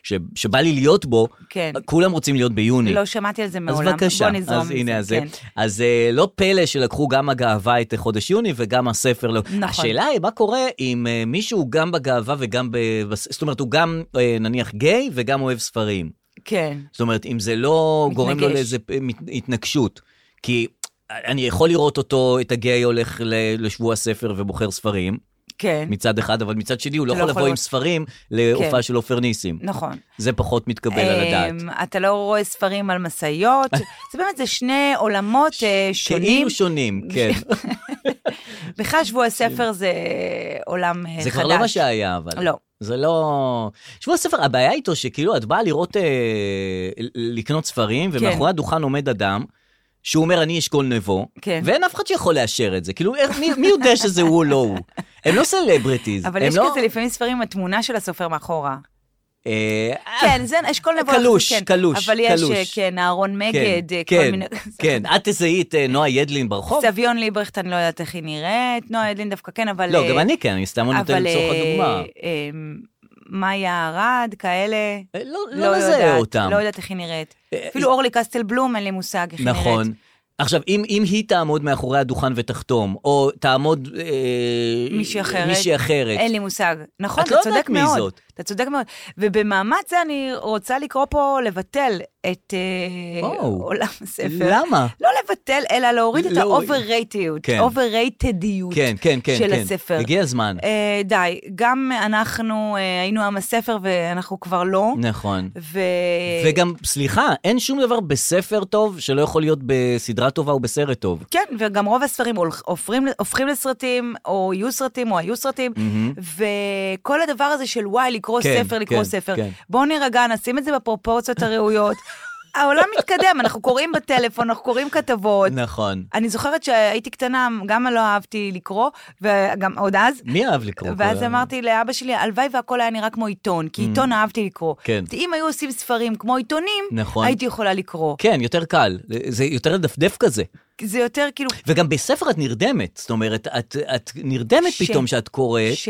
Speaker 3: ש- שבא לי להיות בו,
Speaker 4: כן.
Speaker 3: כולם רוצים להיות ביוני.
Speaker 4: לא שמעתי על זה
Speaker 3: אז
Speaker 4: מעולם.
Speaker 3: בבקשה,
Speaker 4: בוא נזרום
Speaker 3: אז
Speaker 4: עם
Speaker 3: הנה, אז,
Speaker 4: זה. כן.
Speaker 3: אז אה, לא פלא שלקחו גם הגאווה את חודש יוני וגם הספר. לא.
Speaker 4: נכון.
Speaker 3: השאלה היא, מה קורה אם אה, מישהו גם בגאווה וגם ב... בס- זאת אומרת, הוא גם אה, נניח גיי וגם אוהב ספרים.
Speaker 4: כן.
Speaker 3: זאת אומרת, אם זה לא
Speaker 4: מתנגש.
Speaker 3: גורם לו לאיזה אה, מת- התנגשות. כי אני יכול לראות אותו, את הגיי הולך ל- לשבוע הספר ובוחר ספרים,
Speaker 4: כן.
Speaker 3: מצד אחד, אבל מצד שני הוא לא יכול לבוא עם ספרים
Speaker 4: כן.
Speaker 3: להופעה של עופר ניסים.
Speaker 4: נכון.
Speaker 3: זה פחות מתקבל על הדעת.
Speaker 4: אמ, אתה לא רואה ספרים על משאיות, זה באמת, זה שני עולמות אה, שונים.
Speaker 3: כאילו שונים, כן.
Speaker 4: בכלל שבוע הספר זה עולם אה, חדש.
Speaker 3: כאילו. זה כבר לא מה שהיה, אבל.
Speaker 4: לא.
Speaker 3: זה לא... שבוע הספר, הבעיה איתו שכאילו את באה לראות, אה, ל- לקנות ספרים,
Speaker 4: כן.
Speaker 3: ומאחורי הדוכן עומד אדם, שהוא אומר, אני אשכול נבו,
Speaker 4: כן.
Speaker 3: ואין אף אחד שיכול לאשר את זה. כאילו, איך- מי, מי יודע שזה הוא או לא הוא? הם לא סלבריטיז.
Speaker 4: אבל
Speaker 3: הם
Speaker 4: יש
Speaker 3: לא...
Speaker 4: כזה לפעמים ספרים עם התמונה של הסופר מאחורה.
Speaker 3: אה,
Speaker 4: כן, זה אשכול נבו.
Speaker 3: קלוש,
Speaker 4: כן.
Speaker 3: קלוש,
Speaker 4: אבל יש,
Speaker 3: קלוש.
Speaker 4: אה, כן, אהרון
Speaker 3: כן,
Speaker 4: מגד, אה, כל
Speaker 3: כן,
Speaker 4: מיני...
Speaker 3: כן. את תזהי את אה, נועה ידלין ברחוב?
Speaker 4: סביון ליברכט, אני לא יודעת איך היא נראית, נועה ידלין דווקא כן, אבל...
Speaker 3: לא,
Speaker 4: אה,
Speaker 3: גם אני כן, אני סתם נותן
Speaker 4: אבל,
Speaker 3: לצורך
Speaker 4: אה,
Speaker 3: הדוגמה.
Speaker 4: אה, מאיה ארד, כאלה.
Speaker 3: אה, לא-
Speaker 4: לא
Speaker 3: לא נזהה
Speaker 4: יודעת,
Speaker 3: אותם.
Speaker 4: לא יודעת איך היא נראית.
Speaker 3: אה,
Speaker 4: אפילו אורלי קסטל בלום, אין לי מושג איך היא נראית.
Speaker 3: נכון. עכשיו, אם, אם היא תעמוד מאחורי הדוכן ותחתום, או תעמוד... אה,
Speaker 4: מישהי אחרת.
Speaker 3: מישהי אחרת.
Speaker 4: אין לי מושג. נכון,
Speaker 3: את
Speaker 4: אתה
Speaker 3: לא
Speaker 4: צודק
Speaker 3: יודעת מי
Speaker 4: מאוד.
Speaker 3: זאת.
Speaker 4: אתה צודק מאוד. ובמעמד זה אני רוצה לקרוא פה לבטל את אה,
Speaker 3: וואו.
Speaker 4: עולם הספר.
Speaker 3: למה?
Speaker 4: לא לבטל, אלא להוריד את
Speaker 3: להוריד.
Speaker 4: האובררייטיות,
Speaker 3: כן.
Speaker 4: אובררייטדיות
Speaker 3: כן, כן, כן.
Speaker 4: של
Speaker 3: כן.
Speaker 4: הספר.
Speaker 3: הגיע הזמן.
Speaker 4: אה, די, גם אנחנו אה, היינו עם הספר ואנחנו כבר לא.
Speaker 3: נכון.
Speaker 4: ו... אה,
Speaker 3: וגם, סליחה, אין שום דבר בספר טוב שלא יכול להיות בסדרה טובה או בסרט טוב.
Speaker 4: כן, וגם רוב הספרים הולכ- הופכים, הופכים לסרטים, או יהיו סרטים, או היו סרטים, mm-hmm. וכל הדבר הזה של וואי, לקרוא
Speaker 3: כן,
Speaker 4: ספר, לקרוא
Speaker 3: כן,
Speaker 4: ספר.
Speaker 3: כן.
Speaker 4: בואו נירגע, נשים את זה בפרופורציות הראויות. העולם מתקדם, אנחנו קוראים בטלפון, אנחנו קוראים כתבות.
Speaker 3: נכון. אני...
Speaker 4: אני זוכרת שהייתי קטנה, גם לא אהבתי לקרוא, וגם עוד אז.
Speaker 3: מי אהב לקרוא?
Speaker 4: ואז
Speaker 3: כל ה-
Speaker 4: אמרתי לאבא שלי, הלוואי והכל היה נראה כמו עיתון, כי עיתון אהבתי לקרוא.
Speaker 3: כן.
Speaker 4: אם היו עושים ספרים כמו עיתונים,
Speaker 3: נכון.
Speaker 4: הייתי יכולה לקרוא.
Speaker 3: כן, יותר קל. זה יותר לדפדף כזה.
Speaker 4: זה יותר כאילו,
Speaker 3: וגם בספר את נרדמת. זאת אומרת, את, את נרדמת
Speaker 4: ש-
Speaker 3: ש... פתאום שאת קוראת.
Speaker 4: ש...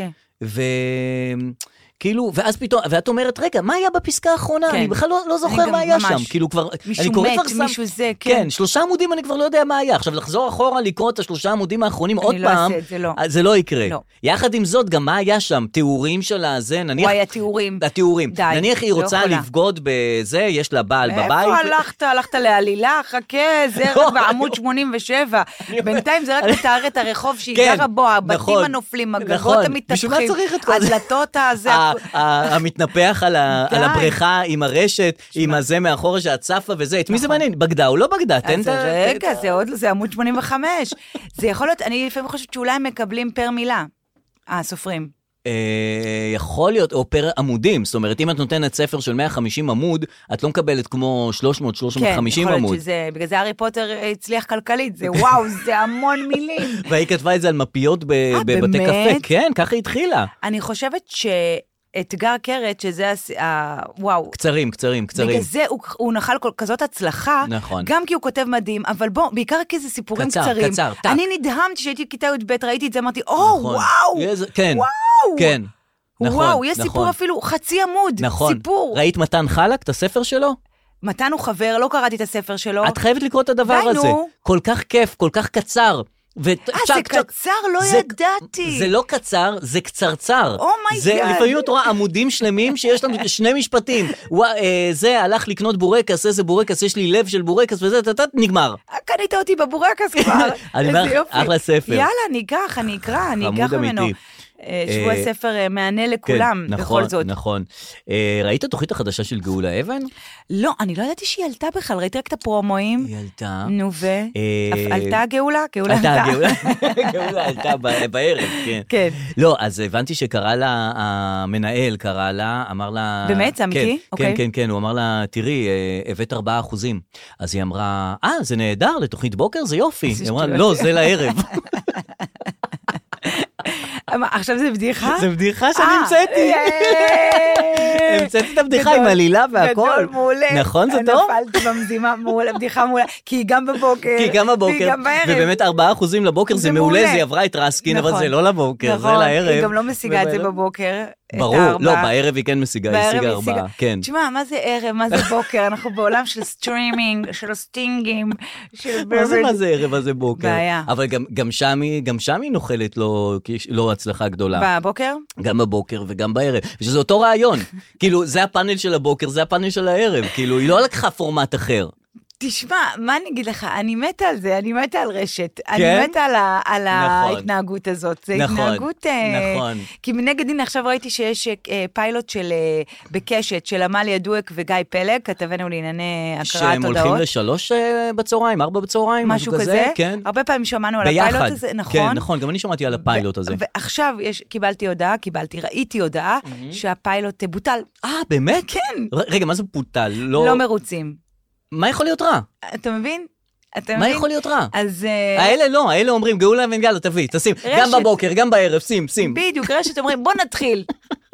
Speaker 3: וכאילו, ואז פתאום, ואת אומרת, רגע, מה היה בפסקה האחרונה?
Speaker 4: כן.
Speaker 3: כן. אני בכלל לא, לא
Speaker 4: אני
Speaker 3: זוכר
Speaker 4: גם
Speaker 3: מה היה
Speaker 4: ממש.
Speaker 3: שם. כאילו כבר,
Speaker 4: מישהו
Speaker 3: אני קורא
Speaker 4: מת,
Speaker 3: כבר סתם.
Speaker 4: מישהו זה, כן.
Speaker 3: כן, שלושה עמודים אני כבר לא יודע מה היה. עכשיו, לחזור אחורה, לקרוא את השלושה עמודים האחרונים עוד
Speaker 4: לא
Speaker 3: פעם,
Speaker 4: אעשה את זה, לא.
Speaker 3: אז זה לא יקרה.
Speaker 4: לא.
Speaker 3: יחד עם זאת, גם מה היה שם? תיאורים של הזה, נניח...
Speaker 4: וואי, התיאורים.
Speaker 3: התיאורים.
Speaker 4: די,
Speaker 3: נניח היא
Speaker 4: לא
Speaker 3: רוצה
Speaker 4: יכולה.
Speaker 3: לבגוד בזה, יש לה בעל בבית.
Speaker 4: איפה הלכת? הלכת לעלילה? חכה, זה
Speaker 3: לא,
Speaker 4: רק בעמוד
Speaker 3: אני-
Speaker 4: 87. בינתיים זה רק מתאר את הרחוב שהיא
Speaker 3: כן,
Speaker 4: גרה בו, הבתים
Speaker 3: נכון,
Speaker 4: הנופלים,
Speaker 3: נכון.
Speaker 4: הגגות
Speaker 3: בשביל מה
Speaker 4: המתהפכים,
Speaker 3: צריך את כל זה? אה,
Speaker 4: הדלתות הזה,
Speaker 3: ה-
Speaker 4: הכו-
Speaker 3: ה- המתנפח על ה-
Speaker 4: די.
Speaker 3: על הבריכה עם הרשת, עם הזה מאחורה שאת צפה וזה, את מי זה מעניין? בגדה או לא בגדה? תן את
Speaker 4: נכון. אז
Speaker 3: ה...
Speaker 4: רגע, זה עוד, זה עמוד 85. זה יכול להיות, אני לפעמים חושבת שאולי הם מקבלים פר מילה, הסופרים.
Speaker 3: אה, יכול להיות, או פר עמודים, זאת אומרת, אם את נותנת ספר של 150 עמוד, את לא מקבלת כמו 300-350
Speaker 4: כן, יכול להיות
Speaker 3: עמוד.
Speaker 4: שזה, בגלל זה הארי פוטר אה, הצליח כלכלית, זה וואו, זה המון מילים.
Speaker 3: והיא כתבה את זה על מפיות ב- בבתי
Speaker 4: אה, באמת?
Speaker 3: קפה. כן, ככה היא התחילה.
Speaker 4: אני חושבת שאתגר קרת, שזה, הס- ה- וואו,
Speaker 3: קצרים, קצרים, קצרים.
Speaker 4: בגלל זה הוא, הוא נחל כל, כזאת הצלחה,
Speaker 3: נכון.
Speaker 4: גם כי הוא כותב מדהים, אבל בוא, בעיקר כי זה סיפורים
Speaker 3: קצר,
Speaker 4: קצרים.
Speaker 3: קצר, טק.
Speaker 4: אני נדהמתי שהייתי בכיתה י"ב, ראיתי את זה, אמרתי, או,
Speaker 3: נכון.
Speaker 4: וואו,
Speaker 3: איזה- כן,
Speaker 4: וואו,
Speaker 3: כן. נכון,
Speaker 4: וואו, יש סיפור
Speaker 3: נכון,
Speaker 4: אפילו חצי עמוד,
Speaker 3: נכון.
Speaker 4: סיפור.
Speaker 3: ראית מתן חלק, את הספר שלו?
Speaker 4: מתן הוא חבר, לא קראתי את הספר שלו.
Speaker 3: את חייבת לקרוא את הדבר
Speaker 4: די,
Speaker 3: הזה.
Speaker 4: נו.
Speaker 3: כל כך כיף, כל כך קצר. ו-
Speaker 4: אה,
Speaker 3: צ'ק,
Speaker 4: זה
Speaker 3: צ'ק.
Speaker 4: קצר, לא
Speaker 3: זה-
Speaker 4: ידעתי. Oh
Speaker 3: זה לא קצר, זה קצרצר.
Speaker 4: אומייגאד.
Speaker 3: זה לפעמים את רואה עמודים שלמים שיש להם שני משפטים. ווא, אה, זה הלך לקנות בורקס, איזה בורקס, יש לי לב של בורקס וזה, טטט, נגמר.
Speaker 4: אה, קנית אותי בבורקס כבר.
Speaker 3: אני אומר לך,
Speaker 4: איזה יופי.
Speaker 3: אחלה ספר.
Speaker 4: יאללה, אני אקח, אני אקרא, אני
Speaker 3: חמוד
Speaker 4: אקח ממנו.
Speaker 3: אמיתי.
Speaker 4: אה, שבוע
Speaker 3: אה,
Speaker 4: ספר אה, מהנה לכולם,
Speaker 3: כן, נכון,
Speaker 4: בכל זאת.
Speaker 3: נכון. אה, ראית התוכנית החדשה של גאולה אבן?
Speaker 4: לא, אני לא ידעתי שהיא עלתה בכלל, ראיתי רק את הפרומואים.
Speaker 3: היא עלתה.
Speaker 4: נו ו?
Speaker 3: אה,
Speaker 4: עלתה גאולה? גאולה
Speaker 3: עלתה,
Speaker 4: עלתה.
Speaker 3: גאולה- גאולה עלתה ב- בערב, כן.
Speaker 4: כן.
Speaker 3: לא, אז הבנתי שקרא לה, המנהל קרא לה, אמר לה...
Speaker 4: באמת? זה אמיתי?
Speaker 3: כן, כן,
Speaker 4: אוקיי.
Speaker 3: כן, כן, הוא אמר לה, תראי, אה, הבאת 4 אחוזים. אז היא אמרה, אה, זה נהדר, לתוכנית בוקר זה יופי.
Speaker 4: זה
Speaker 3: היא אמרה,
Speaker 4: שטויות.
Speaker 3: לא, זה לערב.
Speaker 4: מה, עכשיו זה בדיחה?
Speaker 3: זו בדיחה שאני
Speaker 4: אה,
Speaker 3: המצאתי.
Speaker 4: יאי.
Speaker 3: המצאתי את הבדיחה
Speaker 4: גדול.
Speaker 3: עם עלילה והכל.
Speaker 4: גדול, מעולה.
Speaker 3: נכון, זה טוב?
Speaker 4: נפלת במזימה, מעולה, בדיחה מעולה. כי היא גם בבוקר.
Speaker 3: כי גם
Speaker 4: והיא
Speaker 3: הבוקר,
Speaker 4: גם בערב.
Speaker 3: ובאמת 4 אחוזים לבוקר
Speaker 4: זה
Speaker 3: זה מעולה,
Speaker 4: מעולה.
Speaker 3: זה עברה את רסקין, אבל
Speaker 4: נכון.
Speaker 3: זה לא לבוקר, זה
Speaker 4: נכון,
Speaker 3: לערב.
Speaker 4: היא גם לא משיגה את זה
Speaker 3: ובערב-
Speaker 4: בבוקר. את
Speaker 3: ברור, לא,
Speaker 4: הארבעה.
Speaker 3: בערב היא כן משיגה, היא
Speaker 4: בערב
Speaker 3: השיגה
Speaker 4: היא השיגה.
Speaker 3: ארבעה, כן.
Speaker 4: תשמע, מה זה ערב, מה זה בוקר? אנחנו בעולם של סטרימינג, של סטינגים, של...
Speaker 3: מה זה
Speaker 4: באמת-
Speaker 3: מה זה ערב, מה זה בוקר?
Speaker 4: בעיה.
Speaker 3: אבל גם, גם, שם היא, גם שם היא נוחלת לא, לא הצלחה גדולה.
Speaker 4: בבוקר?
Speaker 3: גם בבוקר וגם בערב. שזה אותו רעיון. כאילו, זה הפאנל של הבוקר, זה הפאנל של הערב. כאילו, היא לא לקחה פורמט אחר.
Speaker 4: תשמע, מה אני אגיד לך? אני מתה על זה, אני מתה על רשת.
Speaker 3: כן?
Speaker 4: אני מתה על, ה, על
Speaker 3: נכון.
Speaker 4: ההתנהגות הזאת. זה
Speaker 3: נכון,
Speaker 4: התנהגות... אה,
Speaker 3: נכון.
Speaker 4: כי מנגד, הנה, עכשיו ראיתי שיש אה, פיילוט של... אה, בקשת, של עמליה דואק וגיא פלג, כתבנו לענייני הקראת
Speaker 3: שהם הולכים
Speaker 4: הודעות.
Speaker 3: לשלוש אה, בצהריים, ארבע בצהריים,
Speaker 4: משהו כזה.
Speaker 3: כן.
Speaker 4: הרבה פעמים שמענו על
Speaker 3: ביחד.
Speaker 4: הפיילוט הזה, נכון?
Speaker 3: כן, נכון, גם אני שמעתי על הפיילוט הזה.
Speaker 4: ועכשיו יש, קיבלתי הודעה, קיבלתי, ראיתי הודעה, שהפיילוט אה, בוטל.
Speaker 3: אה, באמת?
Speaker 4: כן,
Speaker 3: ר- רגע, מה זה בוטל? לא...
Speaker 4: לא מרוצים.
Speaker 3: מה יכול להיות רע?
Speaker 4: אתה מבין? אתה
Speaker 3: מה
Speaker 4: מבין?
Speaker 3: יכול להיות רע?
Speaker 4: אז... אה,
Speaker 3: האלה לא, האלה אומרים, גאולה אבנגלו, תביא, תשים. גם
Speaker 4: רשת.
Speaker 3: בבוקר, גם בערב, שים, שים.
Speaker 4: בדיוק, רשת אומרים, בוא נתחיל.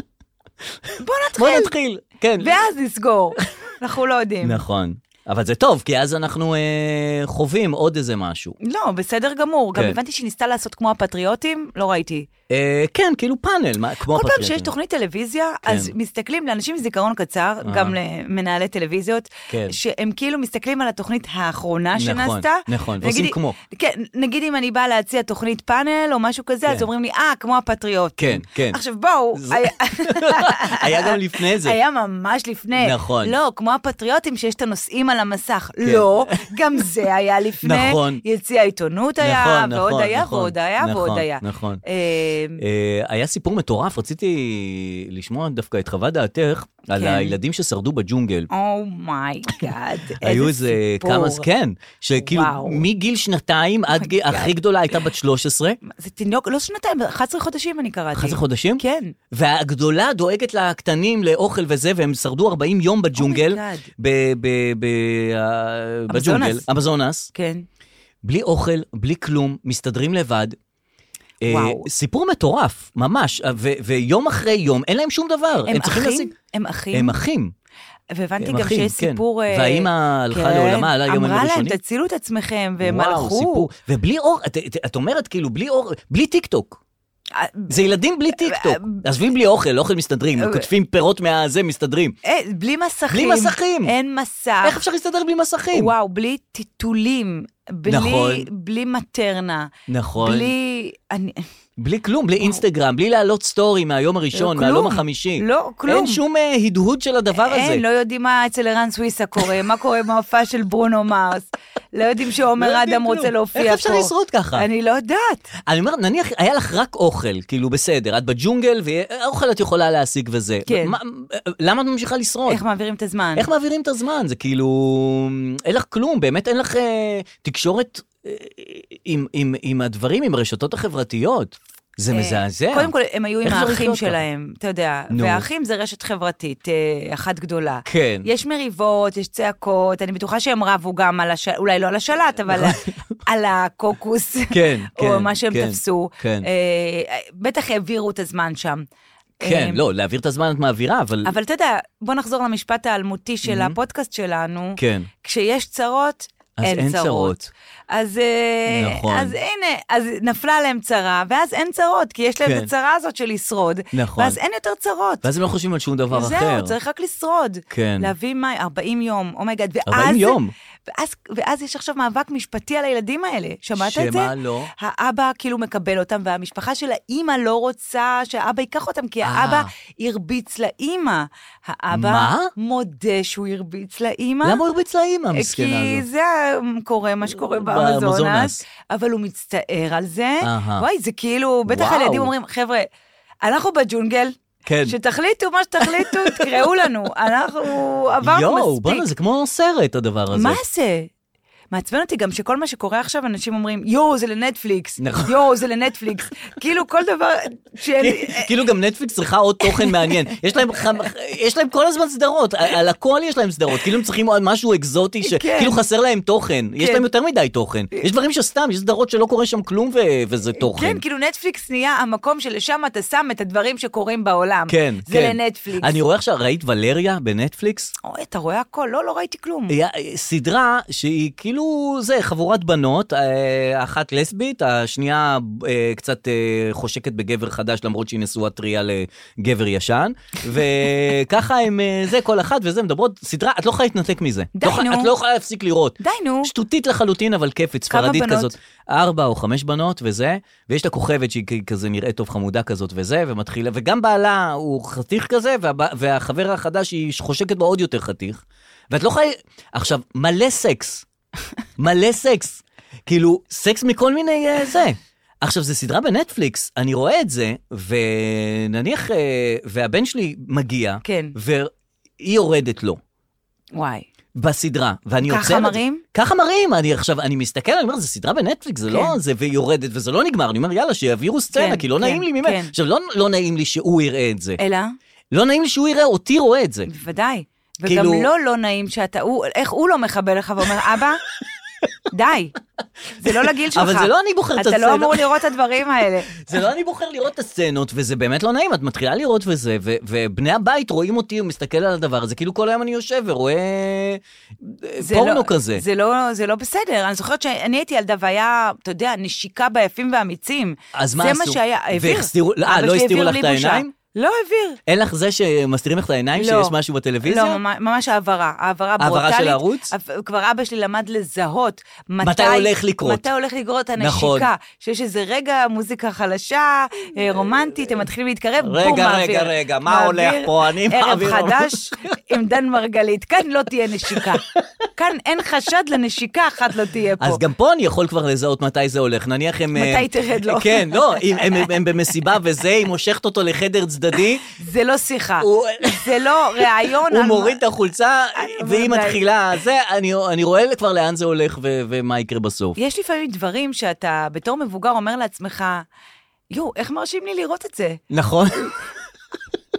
Speaker 4: בוא
Speaker 3: בוא
Speaker 4: נתחיל,
Speaker 3: נתחיל. כן.
Speaker 4: ואז נסגור. אנחנו לא יודעים.
Speaker 3: נכון. אבל זה טוב, כי אז אנחנו אה, חווים עוד איזה משהו.
Speaker 4: לא, בסדר גמור. גם
Speaker 3: כן.
Speaker 4: הבנתי שהיא ניסתה לעשות כמו הפטריוטים, לא ראיתי.
Speaker 3: אה, כן, כאילו פאנל, מה, כמו
Speaker 4: כל פעם
Speaker 3: הפטריוטים. כן.
Speaker 4: שיש תוכנית טלוויזיה, אז מסתכלים לאנשים עם זיכרון קצר, גם למנהלי טלוויזיות,
Speaker 3: כן.
Speaker 4: שהם כאילו מסתכלים על התוכנית האחרונה
Speaker 3: נכון,
Speaker 4: שנעשתה.
Speaker 3: נכון,
Speaker 4: נגיד-
Speaker 3: ועושים כמו.
Speaker 4: כן, נגיד אם אני באה להציע תוכנית פאנל או משהו כזה, אז אומרים לי, אה, כמו הפטריוט.
Speaker 3: כן, כן.
Speaker 4: עכשיו בואו,
Speaker 3: זה-
Speaker 4: היה-
Speaker 3: היה גם לפני זה.
Speaker 4: היה ממש לפני.
Speaker 3: נכון. כן.
Speaker 4: לא, כמו הפטריוטים שיש את הנושאים על המסך. לא, גם זה היה לפני.
Speaker 3: נכון.
Speaker 4: יציע העיתונות היה,
Speaker 3: נכון,
Speaker 4: ועוד
Speaker 3: נכון,
Speaker 4: היה,
Speaker 3: נכון,
Speaker 4: ועוד היה, ועוד
Speaker 3: נכון,
Speaker 4: היה.
Speaker 3: נכון.
Speaker 4: אה,
Speaker 3: אה, היה סיפור מטורף, רציתי לשמוע דווקא את חוות דעתך על
Speaker 4: כן.
Speaker 3: הילדים ששרדו בג'ונגל.
Speaker 4: oh אומייגאד,
Speaker 3: היו איזה כמה, כן, שכאילו
Speaker 4: אה, וואו. Oh
Speaker 3: מגיל שנתיים עד גיל, הכי גדולה הייתה בת 13,
Speaker 4: זה תינוק, לא שנתיים, 11 חודשים אני קראתי.
Speaker 3: 11 חודשים,
Speaker 4: כן.
Speaker 3: והגדולה דואגת לקטנים לאוכל וזה, והם שרדו 40 יום בג'ונגל,
Speaker 4: אומייגאד.
Speaker 3: ב- ב- ב- ה- בג'ונגל, אמזונס,
Speaker 4: כן.
Speaker 3: בלי אוכל, בלי כלום, מסתדרים לבד. אה,
Speaker 4: וואו.
Speaker 3: סיפור מטורף, ממש, אה, ו- ויום אחרי יום, אין להם שום דבר.
Speaker 4: הם
Speaker 3: צריכים
Speaker 4: אחים?
Speaker 3: להשיג-
Speaker 4: הם אחים?
Speaker 3: הם אחים.
Speaker 4: והבנתי
Speaker 3: הם
Speaker 4: גם
Speaker 3: אחים,
Speaker 4: שיש
Speaker 3: כן.
Speaker 4: סיפור... אה,
Speaker 3: והאימא הלכה
Speaker 4: כן,
Speaker 3: לעולמה, עלה יום
Speaker 4: אמרה
Speaker 3: הראשונים.
Speaker 4: להם, תצילו את עצמכם, והם
Speaker 3: וואו,
Speaker 4: הלכו.
Speaker 3: סיפור. ובלי אור, את, את, את אומרת כאילו, בלי אור, בלי טיקטוק.
Speaker 4: אה,
Speaker 3: זה ילדים בלי טיקטוק. עזבי בלי אוכל, אוכל מסתדרים, כותבים פירות מהזה, מסתדרים.
Speaker 4: אה, בלי מסכים.
Speaker 3: בלי מסכים.
Speaker 4: אין מסך.
Speaker 3: כן. איך אפשר להסתדר בלי מסכים?
Speaker 4: וואו, בלי טיטולים. בלי-
Speaker 3: נכון.
Speaker 4: בלי מטרנה.
Speaker 3: נכון.
Speaker 4: בלי... אני-
Speaker 3: בלי כלום, בלי אינסטגרם, בלי להעלות סטורי מהיום הראשון,
Speaker 4: אה, כלום.
Speaker 3: מהיום החמישי.
Speaker 4: לא, כלום.
Speaker 3: אין שום אה, הדהוד של הדבר הזה.
Speaker 4: אין, לא יודעים מה אצל ערן סוויסה קורה, מה קורה עם ההופעה של ברונו מרס. לא יודעים
Speaker 3: לא
Speaker 4: שעומר
Speaker 3: יודעים
Speaker 4: אדם רוצה
Speaker 3: כלום.
Speaker 4: להופיע פה.
Speaker 3: איך אפשר לשרוד ככה? נכון.
Speaker 4: אני לא יודעת.
Speaker 3: אני אומר, נניח, היה לך רק אוכל, כאילו, בסדר, את בג'ונגל, ואוכל את יכולה להשיג וזה.
Speaker 4: כן.
Speaker 3: מה- אה, למה את ממשיכה לשרוד?
Speaker 4: איך מעבירים את הזמן.
Speaker 3: איך מעבירים את הזמן? זה כאילו, אין לך כלום, באמת אין לך אה, תקשורת אה, עם, עם, עם הדברים, עם הרשתות החברתיות. זה מזעזע.
Speaker 4: אה, קודם כל, הם היו עם
Speaker 3: איך זה
Speaker 4: האחים
Speaker 3: לחיות ככה?
Speaker 4: שלהם, אתה יודע.
Speaker 3: נו.
Speaker 4: והאחים זה רשת חברתית אה, אחת גדולה.
Speaker 3: כן.
Speaker 4: יש מריבות, יש צעקות, אני בטוחה שהם רבו גם על השלט, אולי לא על השלט, אבל על הקוקוס.
Speaker 3: נכון. כן,
Speaker 4: או
Speaker 3: כן,
Speaker 4: מה שהם
Speaker 3: כן,
Speaker 4: תפסו.
Speaker 3: כן.
Speaker 4: אה, בטח העבירו את הזמן שם.
Speaker 3: כן,
Speaker 4: אה,
Speaker 3: לא, להעביר את הזמן את מעבירה, אבל... Mm-hmm.
Speaker 4: אבל אתה יודע, בוא נחזור למשפט האלמותי של הפודקאסט שלנו.
Speaker 3: כן.
Speaker 4: כשיש צרות,
Speaker 3: אז
Speaker 4: אין
Speaker 3: אין
Speaker 4: צרות.
Speaker 3: צרות.
Speaker 4: אז, אה,
Speaker 3: נכון.
Speaker 4: אז הנה, אז נפלה להם צרה, ואז אין צרות, כי יש להם
Speaker 3: כן.
Speaker 4: את הצרה הזאת של לשרוד.
Speaker 3: נכון.
Speaker 4: ואז אין יותר צרות.
Speaker 3: ואז הם לא חושבים על שום דבר
Speaker 4: זהו,
Speaker 3: אחר.
Speaker 4: צריך רק לשרוד.
Speaker 3: כן.
Speaker 4: להביא מים, 40 יום, אומייגאד. ואז...
Speaker 3: 40 יום.
Speaker 4: ואז, ואז יש עכשיו מאבק משפטי על הילדים האלה. שמעת את זה?
Speaker 3: שמה לא?
Speaker 4: האבא כאילו מקבל אותם, והמשפחה של האימא לא רוצה שהאבא ייקח אותם,
Speaker 3: אה.
Speaker 4: כי האבא הרביץ לאימא. האבא
Speaker 3: מה?
Speaker 4: מודה שהוא הרביץ לאימא.
Speaker 3: למה הוא הרביץ לאימא המסכנה
Speaker 4: אה, כי
Speaker 3: הזאת?
Speaker 4: זה קורה מה שקורה
Speaker 3: באמזונס.
Speaker 4: באמזונס, אבל הוא מצטער על זה.
Speaker 3: אהה.
Speaker 4: וואי, זה כאילו, בטח
Speaker 3: וואו.
Speaker 4: הילדים אומרים, חבר'ה, אנחנו בג'ונגל,
Speaker 3: כן.
Speaker 4: שתחליטו מה שתחליטו, תקראו לנו, אנחנו עברנו
Speaker 3: יואו,
Speaker 4: מספיק.
Speaker 3: בוא'נה, זה כמו סרט הדבר הזה.
Speaker 4: מה זה? מעצבן אותי גם שכל מה שקורה עכשיו, אנשים אומרים, יואו, זה לנטפליקס,
Speaker 3: נכון.
Speaker 4: יואו, זה לנטפליקס. כאילו כל דבר, של- אה,
Speaker 3: כאילו גם נטפליקס צריכה עוד תוכן מעניין. יש להם, חמ... יש להם כל הזמן סדרות, על- על הכל יש להם סדרות. כאילו הם צריכים עוד משהו אקזוטי, ש...
Speaker 4: כן.
Speaker 3: כאילו חסר להם תוכן. יש
Speaker 4: כן.
Speaker 3: להם יותר מדי תוכן. יש דברים שסתם, יש סדרות שלא קורה שם כלום ו... וזה תוכן.
Speaker 4: כן, כאילו נטפליקס נהיה המקום שלשם אתה שם את הדברים שקורים בעולם.
Speaker 3: כן,
Speaker 4: זה
Speaker 3: כן.
Speaker 4: לנטפליקס.
Speaker 3: אני רואה עכשיו, ראית ולריה בנטפליקס?
Speaker 4: אוי, אתה רואה הכל? לא, לא ראיתי כלום.
Speaker 3: היא סדרה שהיא כאילו, זה, חבורת בנות, אה, אחת לסבית, השנייה אה, קצת אה, חושקת בגבר חדש, למרות שהיא נשואה טריה לגבר ישן, וככה הם, אה, זה, כל אחת וזה, מדברות, סדרה, את לא יכולה להתנתק מזה.
Speaker 4: די,
Speaker 3: לא, יכולה-
Speaker 4: נו.
Speaker 3: את לא יכולה להפסיק לראות.
Speaker 4: די, נו.
Speaker 3: שטותית לחלוטין, אבל כיפית,
Speaker 4: כמה
Speaker 3: ספרדית
Speaker 4: בנות?
Speaker 3: כזאת. ארבע או חמש בנות וזה, ויש לה כוכבת שהיא כ- כזה נראית טוב חמודה כזאת וזה, ומתחילה, וגם בעלה הוא חתיך כזה, והב- והחבר החדש היא חושקת בו עוד יותר חתיך. ואת לא חייבת... עכשיו, מלא סקס. מלא סקס. כאילו, סקס מכל מיני אה, זה. עכשיו, זו סדרה בנטפליקס, אני רואה את זה, ונניח, אה, והבן שלי מגיע,
Speaker 4: כן.
Speaker 3: והיא יורדת לו
Speaker 4: וואי.
Speaker 3: בסדרה, ואני
Speaker 4: ככה
Speaker 3: עוצר... את זה.
Speaker 4: מראים?
Speaker 3: ככה מראים, אני עכשיו, אני מסתכל, אני אומר, זו סדרה בנטפליקס, זה לא
Speaker 4: כן.
Speaker 3: זה, והיא יורדת, וזה לא נגמר, אני אומר, יאללה, שיעבירו סצנה,
Speaker 4: כן,
Speaker 3: כי לא
Speaker 4: כן,
Speaker 3: נעים לי ממנו.
Speaker 4: כן. אה.
Speaker 3: עכשיו, לא, לא נעים לי שהוא יראה את זה.
Speaker 4: אלא?
Speaker 3: לא נעים לי שהוא יראה, אותי רואה את זה.
Speaker 4: בוודאי. וגם
Speaker 3: כאילו-
Speaker 4: לו לא נעים שאתה, הוא- איך הוא לא מחבל לך ואומר, אבא, די, זה לא לגיל שלך.
Speaker 3: אבל זה לא אני בוחר את
Speaker 4: אתה לא
Speaker 3: הסצנה.
Speaker 4: אמור לראות את הדברים האלה.
Speaker 3: זה לא אני בוחר לראות את הסצנות, וזה באמת לא נעים, את מתחילה לראות וזה, ו- ובני הבית רואים אותי ומסתכל על הדבר הזה, כאילו כל היום אני יושב ורואה אה,
Speaker 4: זה
Speaker 3: פורנו
Speaker 4: לא-
Speaker 3: כזה.
Speaker 4: זה לא, זה לא בסדר. אני זוכרת שאני הייתי ילדה והיה, אתה יודע, נשיקה ביפים והאמיצים.
Speaker 3: אז מה
Speaker 4: זה
Speaker 3: עשו?
Speaker 4: מה שהיה, העביר.
Speaker 3: והחסירו- לא, אה,
Speaker 4: אבא
Speaker 3: לא
Speaker 4: שלי
Speaker 3: הסתירו
Speaker 4: העביר
Speaker 3: לך
Speaker 4: לי
Speaker 3: את
Speaker 4: בושה.
Speaker 3: העיניים?
Speaker 4: לא העביר.
Speaker 3: אין לך זה שמסתירים לך את העיניים
Speaker 4: לא.
Speaker 3: שיש משהו בטלוויזיה?
Speaker 4: לא, ממש- ממש העברה, העברה
Speaker 3: העברה
Speaker 4: ברוטלית.
Speaker 3: של הערוץ?
Speaker 4: אב- כבר אבא שלי למד לזהות מתי...
Speaker 3: מתי הולך לקרות.
Speaker 4: מתי הולך לקרות הנשיקה.
Speaker 3: נכון.
Speaker 4: שיש איזה רגע, מוזיקה חלשה, אה, רומנטית, הם מתחילים להתקרב,
Speaker 3: רגע,
Speaker 4: בום,
Speaker 3: רגע,
Speaker 4: מעביר.
Speaker 3: רגע, מה הולך
Speaker 4: מעביר,
Speaker 3: פה? אני מעביר.
Speaker 4: ערב חדש עם דן מרגלית, כאן לא תהיה נשיקה. כאן אין חשד לנשיקה אחת לא תהיה פה.
Speaker 3: אז גם פה אני יכול כבר לזהות מתי זה הולך, נניח הם...
Speaker 4: מתי
Speaker 3: אה,
Speaker 4: תרד לו.
Speaker 3: כן, לא, אם הם- הם- הם במסיבה וזה, היא מושכת אותו לחדר צדדי,
Speaker 4: זה לא שיחה,
Speaker 3: הוא-
Speaker 4: זה לא ראיון.
Speaker 3: הוא
Speaker 4: על-
Speaker 3: מוריד את החולצה,
Speaker 4: אני-
Speaker 3: והיא
Speaker 4: ודאי.
Speaker 3: מתחילה, זה, אני- אני רואה כבר לאן זה הולך ו- ומה יקרה בסוף.
Speaker 4: יש לפעמים דברים שאתה בתור מבוגר אומר לעצמך, יואו, איך מרשים לי לראות את זה?
Speaker 3: נכון.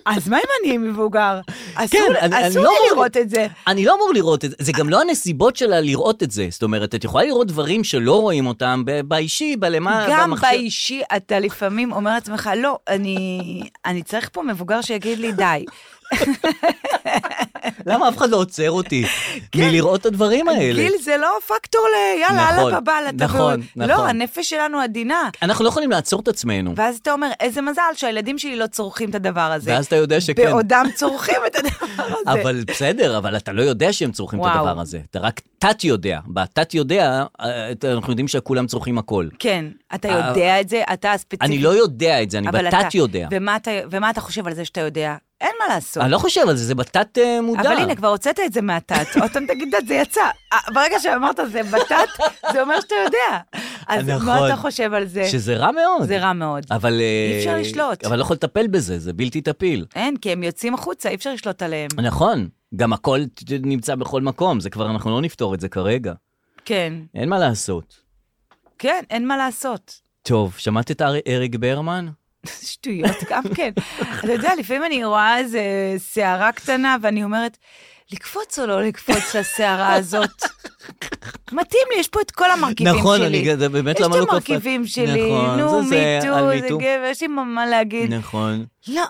Speaker 4: אז מה אם אני מבוגר? אסור
Speaker 3: כן, אני- אני
Speaker 4: אסור
Speaker 3: לא
Speaker 4: לי
Speaker 3: אמור-
Speaker 4: לראות את זה.
Speaker 3: אני לא אמור לראות את זה, זה גם לא הנסיבות שלה לראות את זה. זאת אומרת, את יכולה לראות דברים שלא רואים אותם ב- באישי, בלמעלה,
Speaker 4: גם
Speaker 3: אה, במחשב.
Speaker 4: באישי אתה לפעמים אומר לעצמך, לא, אני אני צריך פה מבוגר שיגיד לי די.
Speaker 3: למה אף אחד לא עוצר אותי מלראות את הדברים האלה?
Speaker 4: כן. גיל זה לא פקטור ל... יאללה,
Speaker 3: נכון,
Speaker 4: אללה בבעל, אתה
Speaker 3: נכון,
Speaker 4: בעוד.
Speaker 3: נכון.
Speaker 4: לא, הנפש שלנו עדינה.
Speaker 3: אנחנו לא יכולים לעצור את עצמנו.
Speaker 4: ואז אתה אומר, איזה מזל שהילדים שלי לא צורכים את הדבר הזה.
Speaker 3: ואז אתה יודע שכן.
Speaker 4: בעודם צורכים את הדבר הזה.
Speaker 3: אבל בסדר, אבל אתה לא יודע שהם צורכים את
Speaker 4: וואו.
Speaker 3: הדבר הזה. אתה רק תת-יודע. בתת-יודע, אה, אנחנו יודעים שכולם צורכים הכל.
Speaker 4: כן, אתה
Speaker 3: אה,
Speaker 4: יודע את זה, אתה הספציפי.
Speaker 3: אני לא יודע את זה, אני
Speaker 4: אבל אתה-
Speaker 3: בתת-יודע.
Speaker 4: ומה אתה- ומה אתה חושב על זה שאתה יודע? אין מה לעשות.
Speaker 3: אני לא חושב על זה, אה, זה בתת-מודע.
Speaker 4: אבל הנה, כבר הוצאת את זה מהתת. עוד פעם תגיד את זה יצא. אה, ברגע שאמרת זה בתת, זה אומר שאתה יודע. אז
Speaker 3: נכון.
Speaker 4: מה אתה חושב על זה?
Speaker 3: שזה רע מאוד.
Speaker 4: זה רע מאוד.
Speaker 3: אבל...
Speaker 4: אי אפשר
Speaker 3: אה,
Speaker 4: לשלוט.
Speaker 3: אבל לא יכול לטפל בזה, זה בלתי טפיל.
Speaker 4: אין, כי הם יוצאים החוצה, אי אפשר לשלוט עליהם.
Speaker 3: נכון, גם הכל ת- נמצא בכל מקום, זה כבר, אנחנו לא נפתור את זה כרגע.
Speaker 4: כן,
Speaker 3: אין מה לעשות.
Speaker 4: כן, אין מה לעשות.
Speaker 3: טוב, שמעת את אר- אריק ברמן?
Speaker 4: שטויות, גם כן. אתה יודע, לפעמים אני רואה איזה שערה קטנה, ואני אומרת, לקפוץ או לא לקפוץ לשערה הזאת? מתאים לי, יש פה את כל המרכיבים
Speaker 3: נכון,
Speaker 4: שלי.
Speaker 3: אני זה באמת
Speaker 4: יש
Speaker 3: למה
Speaker 4: את
Speaker 3: לא קפץ.
Speaker 4: המרכיבים שלי,
Speaker 3: נכון,
Speaker 4: נו,
Speaker 3: זה זה, על
Speaker 4: מיטו,
Speaker 3: Me
Speaker 4: זה
Speaker 3: Too.
Speaker 4: גבר, יש לי מה להגיד.
Speaker 3: נכון,
Speaker 4: לא,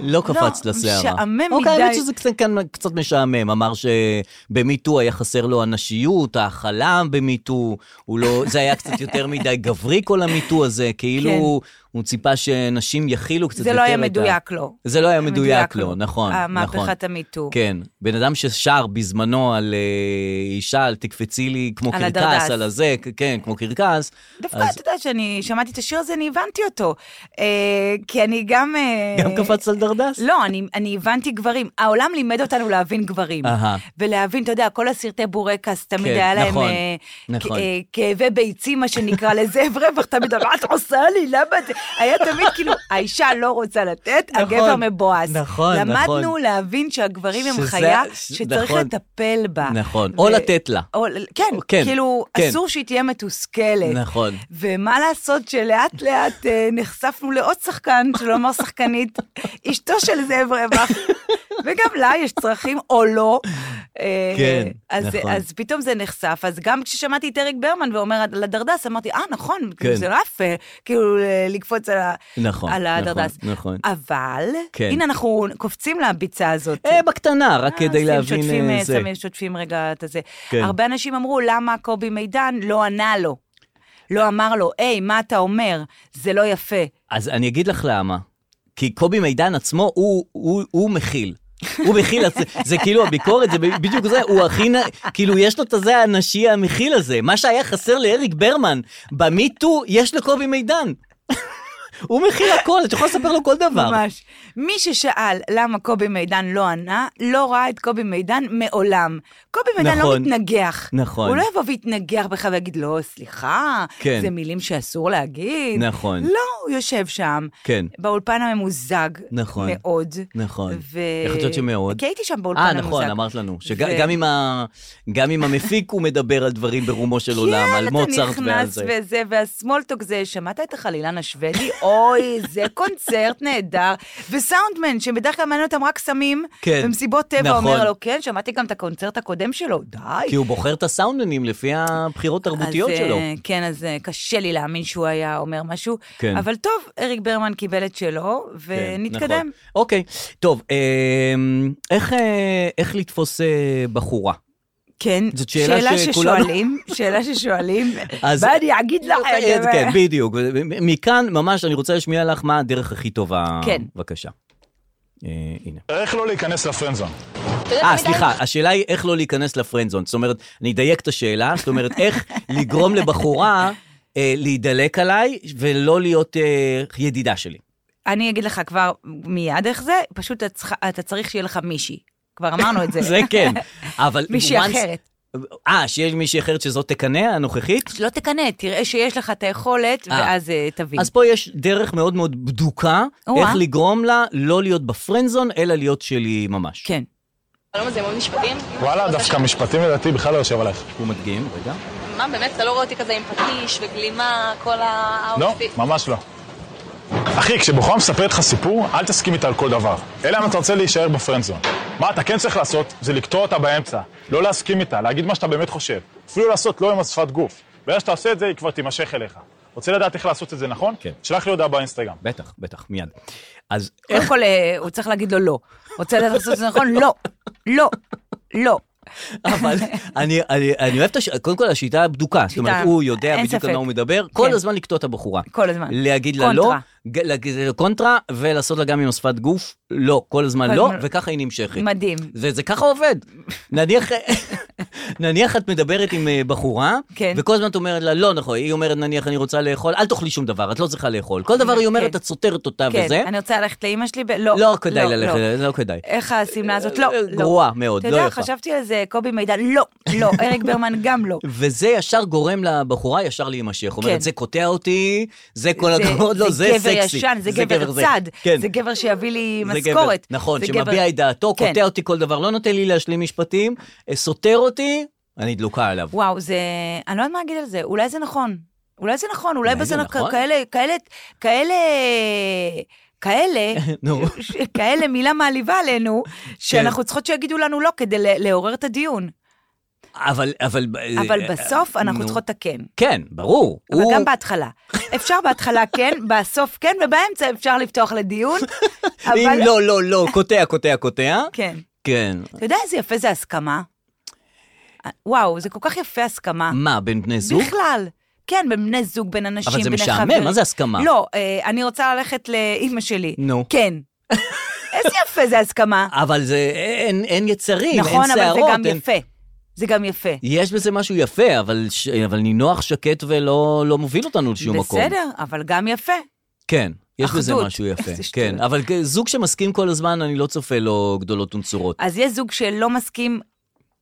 Speaker 3: לא קפץ
Speaker 4: לא,
Speaker 3: לשערה.
Speaker 4: משעמם
Speaker 3: אוקיי,
Speaker 4: מדי.
Speaker 3: האמת שזה קצת, כאן קצת משעמם. אמר שבמיטו היה חסר לו הנשיות, ההכלה במיטו, הוא לא, זה היה קצת יותר מדי גברי כל המיטו הזה, כאילו
Speaker 4: כן.
Speaker 3: הוא ציפה שנשים יכילו קצת
Speaker 4: זה
Speaker 3: יותר
Speaker 4: לא היה
Speaker 3: את ה-
Speaker 4: מדויק לו.
Speaker 3: זה לא היה מדויק לו, נכון,
Speaker 4: אה,
Speaker 3: נכון.
Speaker 4: מהפכת המיטו.
Speaker 3: כן, בן אדם ששר בזמנו על אה, אישה, על תקפצי לי כמו
Speaker 4: על
Speaker 3: קרקס,
Speaker 4: הדרדס.
Speaker 3: על הזה, כ- כן, כמו קרקס.
Speaker 4: דווקא,
Speaker 3: אז-
Speaker 4: אתה יודע, כשאני שמעתי את השיר הזה, אני הבנתי אותו. אה, כי אני גם... אה,
Speaker 3: גם קפץ על דרדס?
Speaker 4: לא, אני, אני הבנתי גברים. העולם לימד אותנו להבין גברים.
Speaker 3: אהה.
Speaker 4: ולהבין, אתה יודע, כל הסרטי בורקס, תמיד
Speaker 3: כן,
Speaker 4: היה להם
Speaker 3: נכון,
Speaker 4: אה,
Speaker 3: נכון.
Speaker 4: כ- אה, כאבי ביצים, מה שנקרא, לזאב רווח, תמיד, מה את עושה לי? למה את... היה תמיד כאילו, האישה לא רוצה לתת,
Speaker 3: נכון,
Speaker 4: הגבר מבואס.
Speaker 3: נכון, נכון.
Speaker 4: למדנו להבין שהגברים הם
Speaker 3: שזה-
Speaker 4: חיה
Speaker 3: ש-
Speaker 4: שצריך
Speaker 3: נכון.
Speaker 4: לטפל בה.
Speaker 3: נכון, או לתת לה.
Speaker 4: או, כן,
Speaker 3: כן,
Speaker 4: כן, כאילו,
Speaker 3: כן.
Speaker 4: אסור שהיא תהיה מתוסכלת.
Speaker 3: נכון.
Speaker 4: ומה לעשות שלאט לאט אה, נחשפנו לעוד שחקן, שלא אמר שחקנית, אשתו של זאב רווח, וגם לה יש צרכים, או לא. אה,
Speaker 3: כן,
Speaker 4: אז,
Speaker 3: נכון.
Speaker 4: אז פתאום זה נחשף, אז גם כששמעתי את אריק ברמן ואומר על הדרדס, אמרתי, אה, נכון,
Speaker 3: כן.
Speaker 4: כאילו, זה לא יפה, כאילו, אה, לקפוץ על, ה-
Speaker 3: נכון,
Speaker 4: על הדרדס.
Speaker 3: נכון, נכון.
Speaker 4: אבל,
Speaker 3: כן.
Speaker 4: הנה, אנחנו קופצים לביצה הזאת.
Speaker 3: אה, בקטנה, רק
Speaker 4: אה,
Speaker 3: כדי
Speaker 4: שים
Speaker 3: להבין
Speaker 4: שוטפים,
Speaker 3: אה,
Speaker 4: אה,
Speaker 3: זה.
Speaker 4: שמים- שוטפים רגע את הזה.
Speaker 3: כן.
Speaker 4: הרבה אנשים אמרו, למה קובי מידן לא ענה לו? לא אמר לו, היי, מה אתה אומר? זה לא יפה.
Speaker 3: אז אני אגיד לך למה. כי קובי מידן עצמו, הוא- הוא הוא מכיל. הוא מכיל, אז זה- זה כאילו הביקורת, זה בדיוק זה, הוא הכי, נ- כאילו יש לו את הזה הנשי המכיל הזה. מה שהיה חסר לאריק ברמן, במיטו יש לקובי מידן. הוא מכיר הכל, את יכולה לספר לו כל דבר.
Speaker 4: ממש. מי ששאל למה קובי מידן לא ענה, לא ראה את קובי מידן מעולם. קובי מידן לא
Speaker 3: נכון.
Speaker 4: מתנגח.
Speaker 3: נכון.
Speaker 4: הוא לא יבוא ויתנגח בך ויגיד, לא, סליחה,
Speaker 3: כן.
Speaker 4: זה מילים שאסור להגיד.
Speaker 3: נכון.
Speaker 4: לא, הוא יושב שם.
Speaker 3: כן.
Speaker 4: באולפן הממוזג.
Speaker 3: נכון.
Speaker 4: מאוד.
Speaker 3: נכון.
Speaker 4: ו...
Speaker 3: איך את חושבת שמאוד?
Speaker 4: כי הייתי שם באולפן
Speaker 3: אה,
Speaker 4: הממוזג.
Speaker 3: נכון, אמרת לנו.
Speaker 4: ו-
Speaker 3: שגם עם ה- גם עם המפיק הוא מדבר על דברים ברומו של עולם, על מוצרט
Speaker 4: כן, אתה
Speaker 3: ועל
Speaker 4: נכנס
Speaker 3: זה.
Speaker 4: וזה, והסמולטוק זה, שמעת את החלילן השוודי? אוי, זה קונצרט נהדר. וסאונדמן, שבדרך כלל מעניין אותם רק סמים,
Speaker 3: כן,
Speaker 4: ומסיבות טבע,
Speaker 3: נכון.
Speaker 4: אומר לו, כן, שמעתי גם את הקונצרט הקודם שלו, די.
Speaker 3: כי הוא בוחר את הסאונדנים לפי הבחירות התרבותיות
Speaker 4: אז,
Speaker 3: שלו.
Speaker 4: אה, כן, אז אה, קשה לי להאמין שהוא היה אומר משהו.
Speaker 3: כן.
Speaker 4: אבל טוב, אריק ברמן קיבל את שלו,
Speaker 3: כן,
Speaker 4: ונתקדם.
Speaker 3: נכון. אוקיי, טוב, אמ, איך, אה, איך לתפוס אה, בחורה?
Speaker 4: כן,
Speaker 3: זאת שאלה שכולנו-
Speaker 4: ששואלים, שאלה ששואלים,
Speaker 3: אז-
Speaker 4: ואני אגיד לך,
Speaker 3: אה,
Speaker 4: אבל-
Speaker 3: כן, בדיוק. מכאן ממש אני רוצה להשמיע לך מה הדרך הכי טובה.
Speaker 4: כן.
Speaker 3: בבקשה. אה, הנה.
Speaker 6: איך לא להיכנס לפרנזון?
Speaker 3: אה, סליחה, השאלה היא איך לא להיכנס לפרנדזון. זאת אומרת, אני אדייק את השאלה, זאת אומרת, איך לגרום לבחורה אה, להידלק עליי ולא להיות אה, ידידה שלי.
Speaker 4: אני אגיד לך כבר מיד איך זה, פשוט אתה צריך- אתה צריך שיהיה לך מישהי. כבר אמרנו את זה.
Speaker 3: זה כן. אבל...
Speaker 4: מישהי
Speaker 3: once-
Speaker 4: אחרת.
Speaker 3: אה, שיש מישהי אחרת שזאת תקנא, הנוכחית?
Speaker 4: שלא תקנא, תראה שיש לך את היכולת,
Speaker 3: אה.
Speaker 4: ואז אה, תבין.
Speaker 3: אז פה יש דרך מאוד מאוד בדוקה,
Speaker 4: או-אה.
Speaker 3: איך לגרום לה לא להיות בפרנדזון, אלא להיות שלי ממש.
Speaker 4: כן.
Speaker 7: למה זה המון משפטים?
Speaker 6: וואלה, דווקא משפטים לדעתי בכלל לא יושב עלייך.
Speaker 3: הוא מדגים, רגע.
Speaker 7: מה, באמת? אתה לא רואה אותי כזה עם פטיש וגלימה, כל
Speaker 6: לא,
Speaker 7: האאוטפיט?
Speaker 6: ממש לא. אחי, כשבחורה מספרת לך סיפור, אל תסכים איתה על כל דבר. אלא אם אתה רוצה להישאר בפרנדזון. מה אתה כן צריך לעשות, זה לקטוע אותה באמצע. לא להסכים איתה, להגיד מה שאתה באמת חושב. אפילו לעשות לא עם השפת גוף. ברגע שאתה עושה את זה, היא כבר תימשך אליך. רוצה לדעת איך לעשות את זה נכון?
Speaker 3: כן.
Speaker 6: שלח לי הודעה באינסטגרם.
Speaker 3: בטח, בטח, מיד. אז
Speaker 4: קודם כל, אה, הוא צריך להגיד לו לא. רוצה לדעת לעשות את זה נכון? לא. לא. לא.
Speaker 3: אבל אני, אני, אני אוהב את הש... קודם כל השיטה הבדוקה, זאת אומרת, הוא יודע
Speaker 4: אין
Speaker 3: בדיוק על
Speaker 4: ספק.
Speaker 3: מה הוא מדבר, כל
Speaker 4: כן.
Speaker 3: הזמן לקטוע את הבחורה.
Speaker 4: כל הזמן.
Speaker 3: להגיד לה
Speaker 4: קונטרה.
Speaker 3: לא, ג- להגיד לה קונטרה, ולעשות לה גם עם השפת גוף, לא, כל הזמן
Speaker 4: כל
Speaker 3: לא,
Speaker 4: הזמן.
Speaker 3: וככה היא נמשכת.
Speaker 4: מדהים.
Speaker 3: וזה ככה עובד. נניח, נניח את מדברת עם אה, בחורה,
Speaker 4: כן.
Speaker 3: וכל הזמן את אומרת לה, לא נכון, היא אומרת, נניח אני רוצה לאכול, אל תאכלי שום דבר, את לא צריכה לאכול. כל דבר היא אומרת,
Speaker 4: כן.
Speaker 3: את סותרת אותה
Speaker 4: כן,
Speaker 3: וזה.
Speaker 4: אני רוצה ללכת לאימא שלי ב... לא.
Speaker 3: לא כדאי
Speaker 4: לא,
Speaker 3: ללכת,
Speaker 4: לא.
Speaker 3: לא כדאי.
Speaker 4: איך השמלה הזאת? לא. לא.
Speaker 3: גרועה מאוד,
Speaker 4: אתה
Speaker 3: לא
Speaker 4: יודע,
Speaker 3: יפה.
Speaker 4: חשבתי על זה, קובי מידן, לא. לא. אריק ברמן גם לא.
Speaker 3: וזה ישר גורם לבחורה ישר להימשך. אומרת,
Speaker 4: כן.
Speaker 3: זה קוטע אותי, זה כל
Speaker 4: זה-
Speaker 3: הכבוד, לא, זה סקסי.
Speaker 4: זה גבר ישן, זה גבר
Speaker 3: זה.
Speaker 4: צד,
Speaker 3: כן.
Speaker 4: זה גבר שיביא לי
Speaker 3: זה גבר,
Speaker 4: משכורת.
Speaker 3: נכון,
Speaker 4: זה גבר-
Speaker 3: שמביע את דעתו,
Speaker 4: כן.
Speaker 3: קוטע אותי כל דבר, לא נותן לי להשלים משפטים, אה, סותר אותי, אני דלוקה עליו.
Speaker 4: וואו, זה... אני לא יודעת מה להגיד על זה, אולי זה נכון. אולי זה נכון, אולי
Speaker 3: אולי זה
Speaker 4: בזה
Speaker 3: נכון.
Speaker 4: נכון? כאלה, כאלה, כאלה, כאלה,
Speaker 3: נו. כן.
Speaker 4: ש- כאלה מילה מעליבה עלינו, שאנחנו צריכות שיגידו לנו לא כדי ל- לעורר את הדיון.
Speaker 3: אבל, אבל...
Speaker 4: אבל בסוף
Speaker 3: אה,
Speaker 4: אנחנו
Speaker 3: נו.
Speaker 4: צריכות את הכן.
Speaker 3: כן, ברור.
Speaker 4: אבל
Speaker 3: הוא-
Speaker 4: גם בהתחלה. אפשר בהתחלה כן, בסוף כן, ובאמצע אפשר לפתוח לדיון.
Speaker 3: אם
Speaker 4: אבל-
Speaker 3: לא, לא, לא, קוטע, קוטע, קוטע.
Speaker 4: כן.
Speaker 3: כן.
Speaker 4: אתה יודע איזה יפה זה הסכמה? וואו, זה כל כך יפה הסכמה.
Speaker 3: מה, בין בני זוג?
Speaker 4: בכלל. כן, בין בני זוג, בין אנשים,
Speaker 3: אבל זה
Speaker 4: בין
Speaker 3: משעמם,
Speaker 4: חברים.
Speaker 3: מה זה הסכמה?
Speaker 4: לא, אה, אני רוצה ללכת לאימא שלי.
Speaker 3: נו.
Speaker 4: כן. איזה יפה זה הסכמה.
Speaker 3: אבל זה, אין, אין יצרים,
Speaker 4: נכון,
Speaker 3: אין
Speaker 4: אבל זה
Speaker 3: שערות.
Speaker 4: גם
Speaker 3: אין-
Speaker 4: יפה. זה גם יפה.
Speaker 3: יש בזה משהו יפה, אבל, ש... אבל נינוח שקט ולא לא מוביל אותנו לשום מקום.
Speaker 4: בסדר, אבל גם יפה.
Speaker 3: כן, יש בזה
Speaker 4: אחדות.
Speaker 3: משהו יפה.
Speaker 4: איזה שטויות.
Speaker 3: כן, אבל כ- זוג שמסכים כל הזמן, אני לא צופה לו גדולות ונצורות.
Speaker 4: אז יש זוג שלא מסכים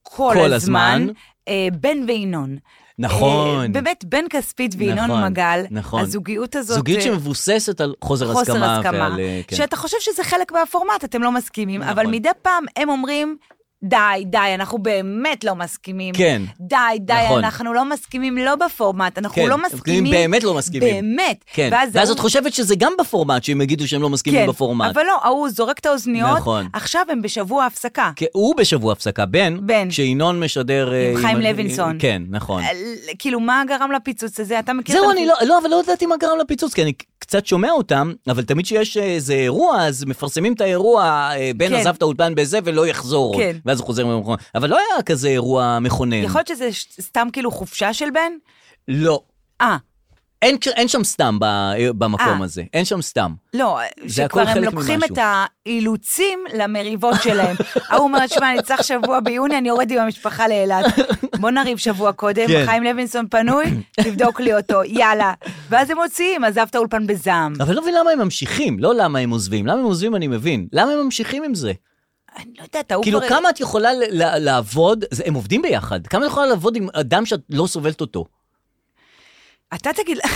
Speaker 4: כל,
Speaker 3: כל הזמן.
Speaker 4: הזמן. אה, בן וינון.
Speaker 3: נכון.
Speaker 4: אה, באמת, בן כספית וינון
Speaker 3: נכון,
Speaker 4: מגל.
Speaker 3: נכון.
Speaker 4: הזוגיות הזאת...
Speaker 3: זוגיות
Speaker 4: אה,
Speaker 3: שמבוססת על חוסר הסכמה.
Speaker 4: חוסר הסכמה,
Speaker 3: ועל, אה, כן.
Speaker 4: שאתה חושב שזה חלק מהפורמט, אתם לא מסכימים,
Speaker 3: נכון.
Speaker 4: אבל מדי פעם הם אומרים, די, די, אנחנו באמת לא מסכימים.
Speaker 3: כן.
Speaker 4: די, די,
Speaker 3: נכון.
Speaker 4: אנחנו לא מסכימים לא בפורמט, אנחנו
Speaker 3: כן,
Speaker 4: לא
Speaker 3: הם
Speaker 4: מסכימים.
Speaker 3: באמת לא מסכימים.
Speaker 4: באמת.
Speaker 3: כן,
Speaker 4: ואז
Speaker 3: ואז
Speaker 4: ההוא-
Speaker 3: את חושבת שזה גם בפורמט, שהם יגידו שהם לא מסכימים
Speaker 4: כן,
Speaker 3: בפורמט.
Speaker 4: אבל לא, ההוא זורק את האוזניות,
Speaker 3: נכון.
Speaker 4: עכשיו הם בשבוע הפסקה.
Speaker 3: כי הוא בשבוע הפסקה, בן,
Speaker 4: בן.
Speaker 3: כשינון משדר... אה,
Speaker 4: עם חיים לוינסון. כן,
Speaker 3: כן, נכון.
Speaker 4: אל- כאילו, מה גרם לפיצוץ הזה? אתה מכיר את
Speaker 3: זהו,
Speaker 4: המפיק-
Speaker 3: אני לא, לא, אבל לא ידעתי מה גרם לפיצוץ, כי אני קצת שומע אותם, אבל תמיד שיש איזה אירוע, אז מפרסמים את האירוע, אה, בן
Speaker 4: כן.
Speaker 3: עזב את האולפן בזה ולא יחזור עוד.
Speaker 4: כן.
Speaker 3: ואז הוא חוזר מהמכונן. אבל לא היה כזה אירוע מכונן.
Speaker 4: יכול להיות שזה ש- סתם כאילו חופשה של בן?
Speaker 3: לא.
Speaker 4: אה,
Speaker 3: אין, אין שם סתם ב- במקום
Speaker 4: אה.
Speaker 3: הזה, אין שם סתם.
Speaker 4: לא,
Speaker 3: זה הכל
Speaker 4: שכבר הם
Speaker 3: חלק
Speaker 4: לוקחים
Speaker 3: ממשהו.
Speaker 4: את האילוצים למריבות שלהם. ההוא אומר, שמע, אני צריך שבוע ביוני, אני יורד עם המשפחה לאילת. בוא נריב שבוע קודם,
Speaker 3: כן.
Speaker 4: חיים לוינסון פנוי, תבדוק לי אותו, יאללה. ואז הם מוציאים, עזב את האולפן בזעם.
Speaker 3: אבל אני לא מבין למה הם ממשיכים, לא למה הם עוזבים. למה הם עוזבים אני מבין. למה הם ממשיכים עם זה?
Speaker 4: אני לא יודעת, ההוא
Speaker 3: כאילו,
Speaker 4: כבר...
Speaker 3: כמה את יכולה ל- ל- לעבוד, זה- הם עובדים ביחד, כמה את יכולה לעבוד עם אדם שאת לא סובלת אותו?
Speaker 4: אתה תגיד...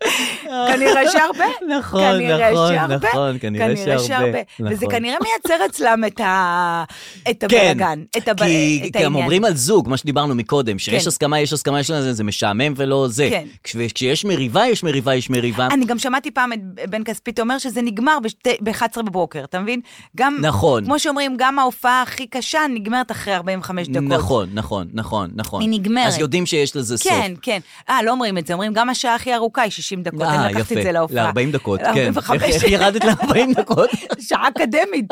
Speaker 4: כנראה שהרבה.
Speaker 3: נכון,
Speaker 4: כנראה
Speaker 3: נכון,
Speaker 4: שהרבה,
Speaker 3: נכון, כנראה שהרבה,
Speaker 4: וזה
Speaker 3: נכון. כן.
Speaker 4: כנראה מייצר אצלם את ה... את הבלאגן, את הב-
Speaker 3: כי,
Speaker 4: את
Speaker 3: כי הם
Speaker 4: העניין.
Speaker 3: אומרים על זוג, מה שדיברנו מקודם, שיש
Speaker 4: כן.
Speaker 3: הסכמה, יש הסכמה, יש לזה, זה משעמם ולא זה.
Speaker 4: כן.
Speaker 3: כש, כשיש מריבה, יש מריבה, יש מריבה.
Speaker 4: אני גם שמעתי פעם את בן כספית אומר שזה נגמר ב-11 בבוקר, אתה מבין? גם,
Speaker 3: נכון.
Speaker 4: כמו שאומרים, גם ההופעה הכי קשה נגמרת אחרי 45 דקות.
Speaker 3: נכון, נכון, נכון, נכון.
Speaker 4: היא נגמרת.
Speaker 3: אז יודעים שיש לזה סוף.
Speaker 4: כן, כן. אה, לא אומרים את זה, אומרים גם השעה הכי ארוכה היא 60 דקות,
Speaker 3: אה,
Speaker 4: אני אוקיי, לקחתי
Speaker 3: יפה,
Speaker 4: את זה להופעה.
Speaker 3: ל-40 דקות, כן.
Speaker 4: ל-45.
Speaker 3: איך- איך ירדת ל-40 דקות?
Speaker 4: שעה אקדמית.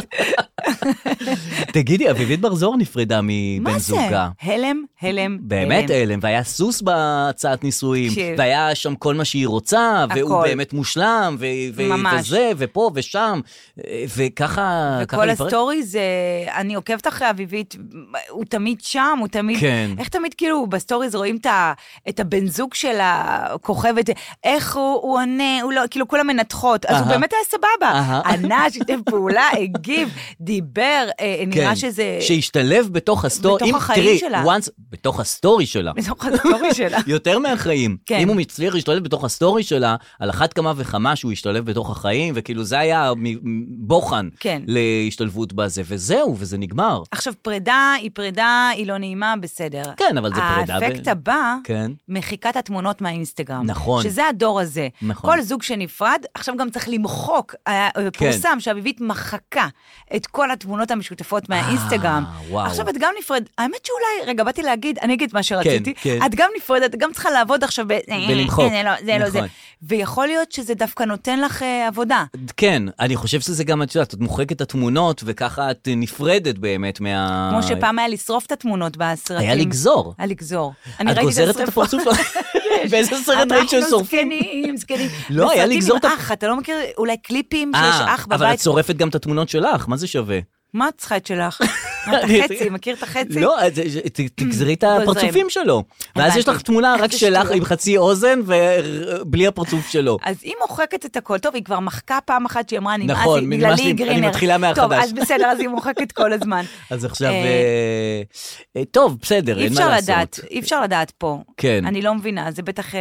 Speaker 3: תגידי, אביבית בר זוהר נפרדה מבן
Speaker 4: מה זה?
Speaker 3: זוגה.
Speaker 4: הלם, הלם,
Speaker 3: באמת
Speaker 4: הלם.
Speaker 3: הלם, והיה סוס בהצעת נישואים,
Speaker 4: תקשיב.
Speaker 3: והיה שם כל מה שהיא רוצה, והוא
Speaker 4: הכל.
Speaker 3: באמת מושלם, ו- ו-
Speaker 4: ממש.
Speaker 3: וזה, ופה ושם, אה, וככה... ככה
Speaker 4: וכל
Speaker 3: להיפרד.
Speaker 4: הסטורי זה, אני עוקבת אחרי אביבית, הוא תמיד שם, הוא תמיד,
Speaker 3: כן.
Speaker 4: איך תמיד כאילו בסטוריז רואים את, ה, את הבן זוג של הכוכבת, איך הוא, הוא עונה, הוא לא, כאילו כולם מנתחות, אז הוא
Speaker 3: אהה.
Speaker 4: באמת היה סבבה,
Speaker 3: אהה.
Speaker 4: ענה, שיתף פעולה, הגיב, דיבר, אה, נראה
Speaker 3: כן,
Speaker 4: שזה,
Speaker 3: שהשתלב בתוך הסטורי,
Speaker 4: בתוך
Speaker 3: אם-
Speaker 4: החיים
Speaker 3: תראי,
Speaker 4: שלה.
Speaker 3: once- בתוך הסטורי שלה.
Speaker 4: בתוך הסטורי שלה.
Speaker 3: יותר מהחיים.
Speaker 4: כן.
Speaker 3: אם הוא מצליח להשתלב בתוך הסטורי שלה, על אחת כמה וכמה שהוא השתלב בתוך החיים, וכאילו זה היה מ- מ- בוחן
Speaker 4: כן.
Speaker 3: להשתלבות בזה, וזהו, וזה נגמר.
Speaker 4: עכשיו, פרידה היא פרידה, היא לא נעימה, בסדר.
Speaker 3: כן, אבל זה פרידה ב-
Speaker 4: האפקט הבא,
Speaker 3: כן.
Speaker 4: מחיקת התמונות מהאינסטגרם.
Speaker 3: נכון.
Speaker 4: שזה הדור הזה.
Speaker 3: נכון.
Speaker 4: כל זוג שנפרד, עכשיו גם צריך למחוק. היה-
Speaker 3: כן.
Speaker 4: פורסם שאביבית מחקה את כל התמונות המשותפות מהאינסטגרם.
Speaker 3: אה, וואו.
Speaker 4: עכשיו את גם נפרדת, האמת שאולי, רגע, באתי להגיד, אני אגיד את מה שרציתי.
Speaker 3: כן.
Speaker 4: את גם נפרדת, גם צריכה לעבוד עכשיו ב...
Speaker 3: ולמחוק.
Speaker 4: זה לא, זה לא זה.
Speaker 3: נכון.
Speaker 4: ויכול להיות שזה דווקא נותן לך אה, עבודה.
Speaker 3: כן, אני חושב שזה גם, את יודעת, את מוחקת את התמונות, וככה את נפרדת באמת מה...
Speaker 4: כמו שפעם היה לשרוף את התמונות בסרטים.
Speaker 3: היה לגזור.
Speaker 4: היה לגזור. אני
Speaker 3: את
Speaker 4: ראיתי
Speaker 3: גוזרת את
Speaker 4: השרפה.
Speaker 3: הפרצוף שלך. באיזה סרט ראית שהם
Speaker 4: אנחנו
Speaker 3: שורפים?
Speaker 4: זקנים, זקנים.
Speaker 3: לא, היה
Speaker 4: בסרטים
Speaker 3: לגזור
Speaker 4: עם
Speaker 3: את ה-
Speaker 4: אח, אתה לא מכיר אולי קליפים שיש
Speaker 3: אה,
Speaker 4: אח
Speaker 3: אבל את
Speaker 4: בבית?
Speaker 3: שורפת גם את התמונות שלך, מה זה שווה?
Speaker 4: מה את צריכה את שלך? מה, את
Speaker 3: אני-
Speaker 4: החצי, מכיר את החצי?
Speaker 3: לא, אז, אה, ת- תגזרי את
Speaker 4: גוזרים.
Speaker 3: הפרצופים שלו. ואז
Speaker 4: הבנתי.
Speaker 3: יש לך תמונה רק
Speaker 4: זה
Speaker 3: שלך
Speaker 4: שטויות.
Speaker 3: עם חצי אוזן ובלי הפרצוף שלו.
Speaker 4: אז היא מוחקת את הכל, טוב, היא כבר מחקה פעם אחת שהיא אמרה, נמאס
Speaker 3: נכון,
Speaker 4: לי,
Speaker 3: נמאס
Speaker 4: בגללי
Speaker 3: לי,
Speaker 4: היא
Speaker 3: אני
Speaker 4: גרינר.
Speaker 3: מתחילה מהחדש.
Speaker 4: טוב, אז בסדר, אז היא מוחקת כל הזמן.
Speaker 3: אז עכשיו,
Speaker 4: אה,
Speaker 3: אה, אה, טוב, בסדר,
Speaker 4: אי
Speaker 3: אין מה
Speaker 4: אפשר
Speaker 3: לעשות.
Speaker 4: לדעת, אי אפשר לדעת פה.
Speaker 3: כן.
Speaker 4: אני לא מבינה, זה בטח... אה,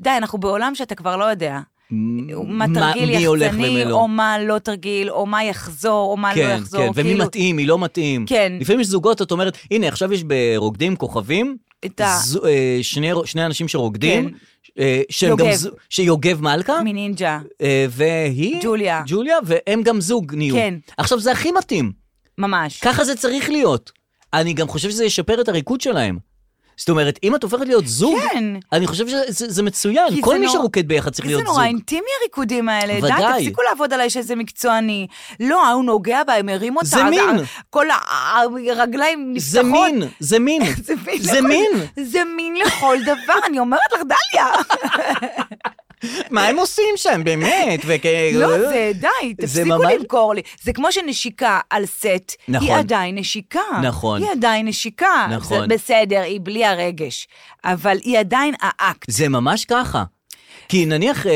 Speaker 4: די, אנחנו בעולם שאתה כבר לא יודע. מה
Speaker 3: מה-
Speaker 4: תרגיל
Speaker 3: מי הולך
Speaker 4: יחצני,
Speaker 3: ומי לא.
Speaker 4: או מה לא תרגיל, או מה יחזור, או מה לא
Speaker 3: כן,
Speaker 4: יחזור.
Speaker 3: כן, ומי
Speaker 4: כאילו-
Speaker 3: מתאים, מי לא מתאים.
Speaker 4: כן.
Speaker 3: לפעמים יש זוגות, את אומרת, הנה, עכשיו יש ברוקדים כוכבים,
Speaker 4: את ה-
Speaker 3: זו- אה, שני רו- שני אנשים שרוקדים,
Speaker 4: כן.
Speaker 3: אה, שהם גם
Speaker 4: יוגב.
Speaker 3: זו- שיוגב מלכה,
Speaker 4: מנינג'ה.
Speaker 3: אה, והיא,
Speaker 4: ג'וליה.
Speaker 3: ג'וליה, והם גם זוג נהיו.
Speaker 4: כן.
Speaker 3: עכשיו, זה הכי מתאים.
Speaker 4: ממש.
Speaker 3: ככה זה צריך להיות. אני גם חושב שזה ישפר את הריקוד שלהם. זאת אומרת, אם את הופכת להיות זוג,
Speaker 4: כן.
Speaker 3: אני חושב שזה זה מצוין.
Speaker 4: כי
Speaker 3: כל
Speaker 4: זה
Speaker 3: מי
Speaker 4: נורא-
Speaker 3: שרוקד ביחד צריך
Speaker 4: כי זה
Speaker 3: להיות
Speaker 4: נורא
Speaker 3: זוג.
Speaker 4: אינטימי הריקודים האלה, די,
Speaker 3: ודאי.
Speaker 4: תפסיקו לעבוד עליי שזה מקצועני. לא, ההוא נוגע בה, הם מרים אותה.
Speaker 3: זה
Speaker 4: אז
Speaker 3: מין.
Speaker 4: ה- כל ה- ה- הרגליים נפתחות.
Speaker 3: זה מין, זה מין.
Speaker 4: זה מין.
Speaker 3: זה
Speaker 4: לכל-
Speaker 3: מין.
Speaker 4: זה מין לכל דבר, אני אומרת לך, דליה.
Speaker 3: מה הם עושים שם, באמת? וכ-
Speaker 4: לא, זה די,
Speaker 3: אה, זה
Speaker 4: תפסיקו
Speaker 3: ממש-
Speaker 4: למכור לי. זה כמו שנשיקה על סט,
Speaker 3: נכון.
Speaker 4: היא עדיין נשיקה.
Speaker 3: נכון.
Speaker 4: היא עדיין נשיקה.
Speaker 3: נכון.
Speaker 4: זה בסדר, היא בלי הרגש. אבל היא עדיין האקט.
Speaker 3: זה ממש ככה. כי נניח, אה,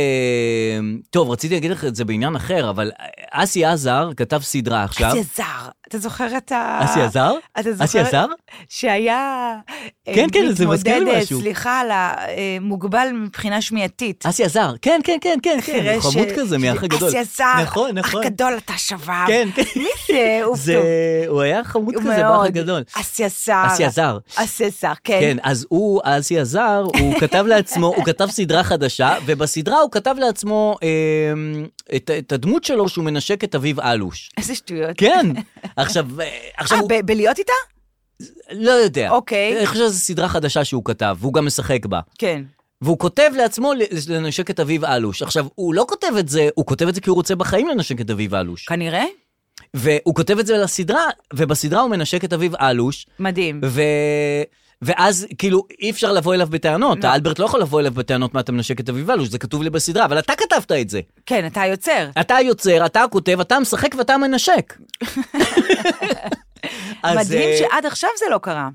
Speaker 3: טוב, רציתי להגיד לך את זה בעניין אחר, אבל אה, אסי עזר כתב סדרה עכשיו.
Speaker 4: אסי עזר, אתה זוכר את ה...
Speaker 3: אסי עזר?
Speaker 4: אתה זוכר?
Speaker 3: אסי עזר?
Speaker 4: שהיה... אה,
Speaker 3: כן, כן, זה מזכיר לי
Speaker 4: מתמודדת,
Speaker 3: משהו.
Speaker 4: סליחה, על ה- אה, מוגבל מבחינה שמיעתית.
Speaker 3: אסי עזר, כן, כן, כן, כן, כן,
Speaker 4: חירש,
Speaker 3: הוא חמוד
Speaker 4: אה,
Speaker 3: כזה מאח הגדול.
Speaker 4: אסי עזר,
Speaker 3: נכון, נכון.
Speaker 4: אח גדול אתה שבר.
Speaker 3: כן, כן.
Speaker 4: מי זה? הוא
Speaker 3: זה,
Speaker 4: טוב.
Speaker 3: הוא היה חמוד
Speaker 4: הוא
Speaker 3: כזה באח
Speaker 4: מאוד.
Speaker 3: הגדול.
Speaker 4: אסי עזר.
Speaker 3: אסי עזר.
Speaker 4: אסי עזר,
Speaker 3: כן,
Speaker 4: כן.
Speaker 3: אז הוא, אסי עזר, הוא כתב לעצמו, הוא כתב סדרה חדשה, ובסדרה הוא כתב לעצמו אה, את, את הדמות שלו שהוא מנשק את אביב אלוש.
Speaker 4: איזה שטויות.
Speaker 3: כן, עכשיו, אה, עכשיו
Speaker 4: אה,
Speaker 3: הוא,
Speaker 4: ב- בלהיות איתה?
Speaker 3: לא יודע.
Speaker 4: אוקיי.
Speaker 3: אני חושב שזו סדרה חדשה שהוא כתב, והוא גם משחק בה.
Speaker 4: כן.
Speaker 3: והוא כותב לעצמו ל- לנשק את אביב אלוש. עכשיו, הוא לא כותב את זה, הוא כותב את זה כי הוא רוצה בחיים לנשק את אביב אלוש.
Speaker 4: כנראה.
Speaker 3: והוא כותב את זה לסדרה, ובסדרה הוא מנשק את אביו אלוש,
Speaker 4: מדהים.
Speaker 3: ו... ואז כאילו אי אפשר לבוא אליו בטענות, האלברט לא יכול לבוא אליו בטענות מה אתה מנשק את אביו אלוש, זה כתוב לי בסדרה, אבל אתה כתבת את זה.
Speaker 4: כן, אתה היוצר.
Speaker 3: אתה היוצר, אתה הכותב, אתה משחק ואתה מנשק. אז,
Speaker 4: מדהים
Speaker 3: אה,
Speaker 4: שעד עכשיו זה לא קרה.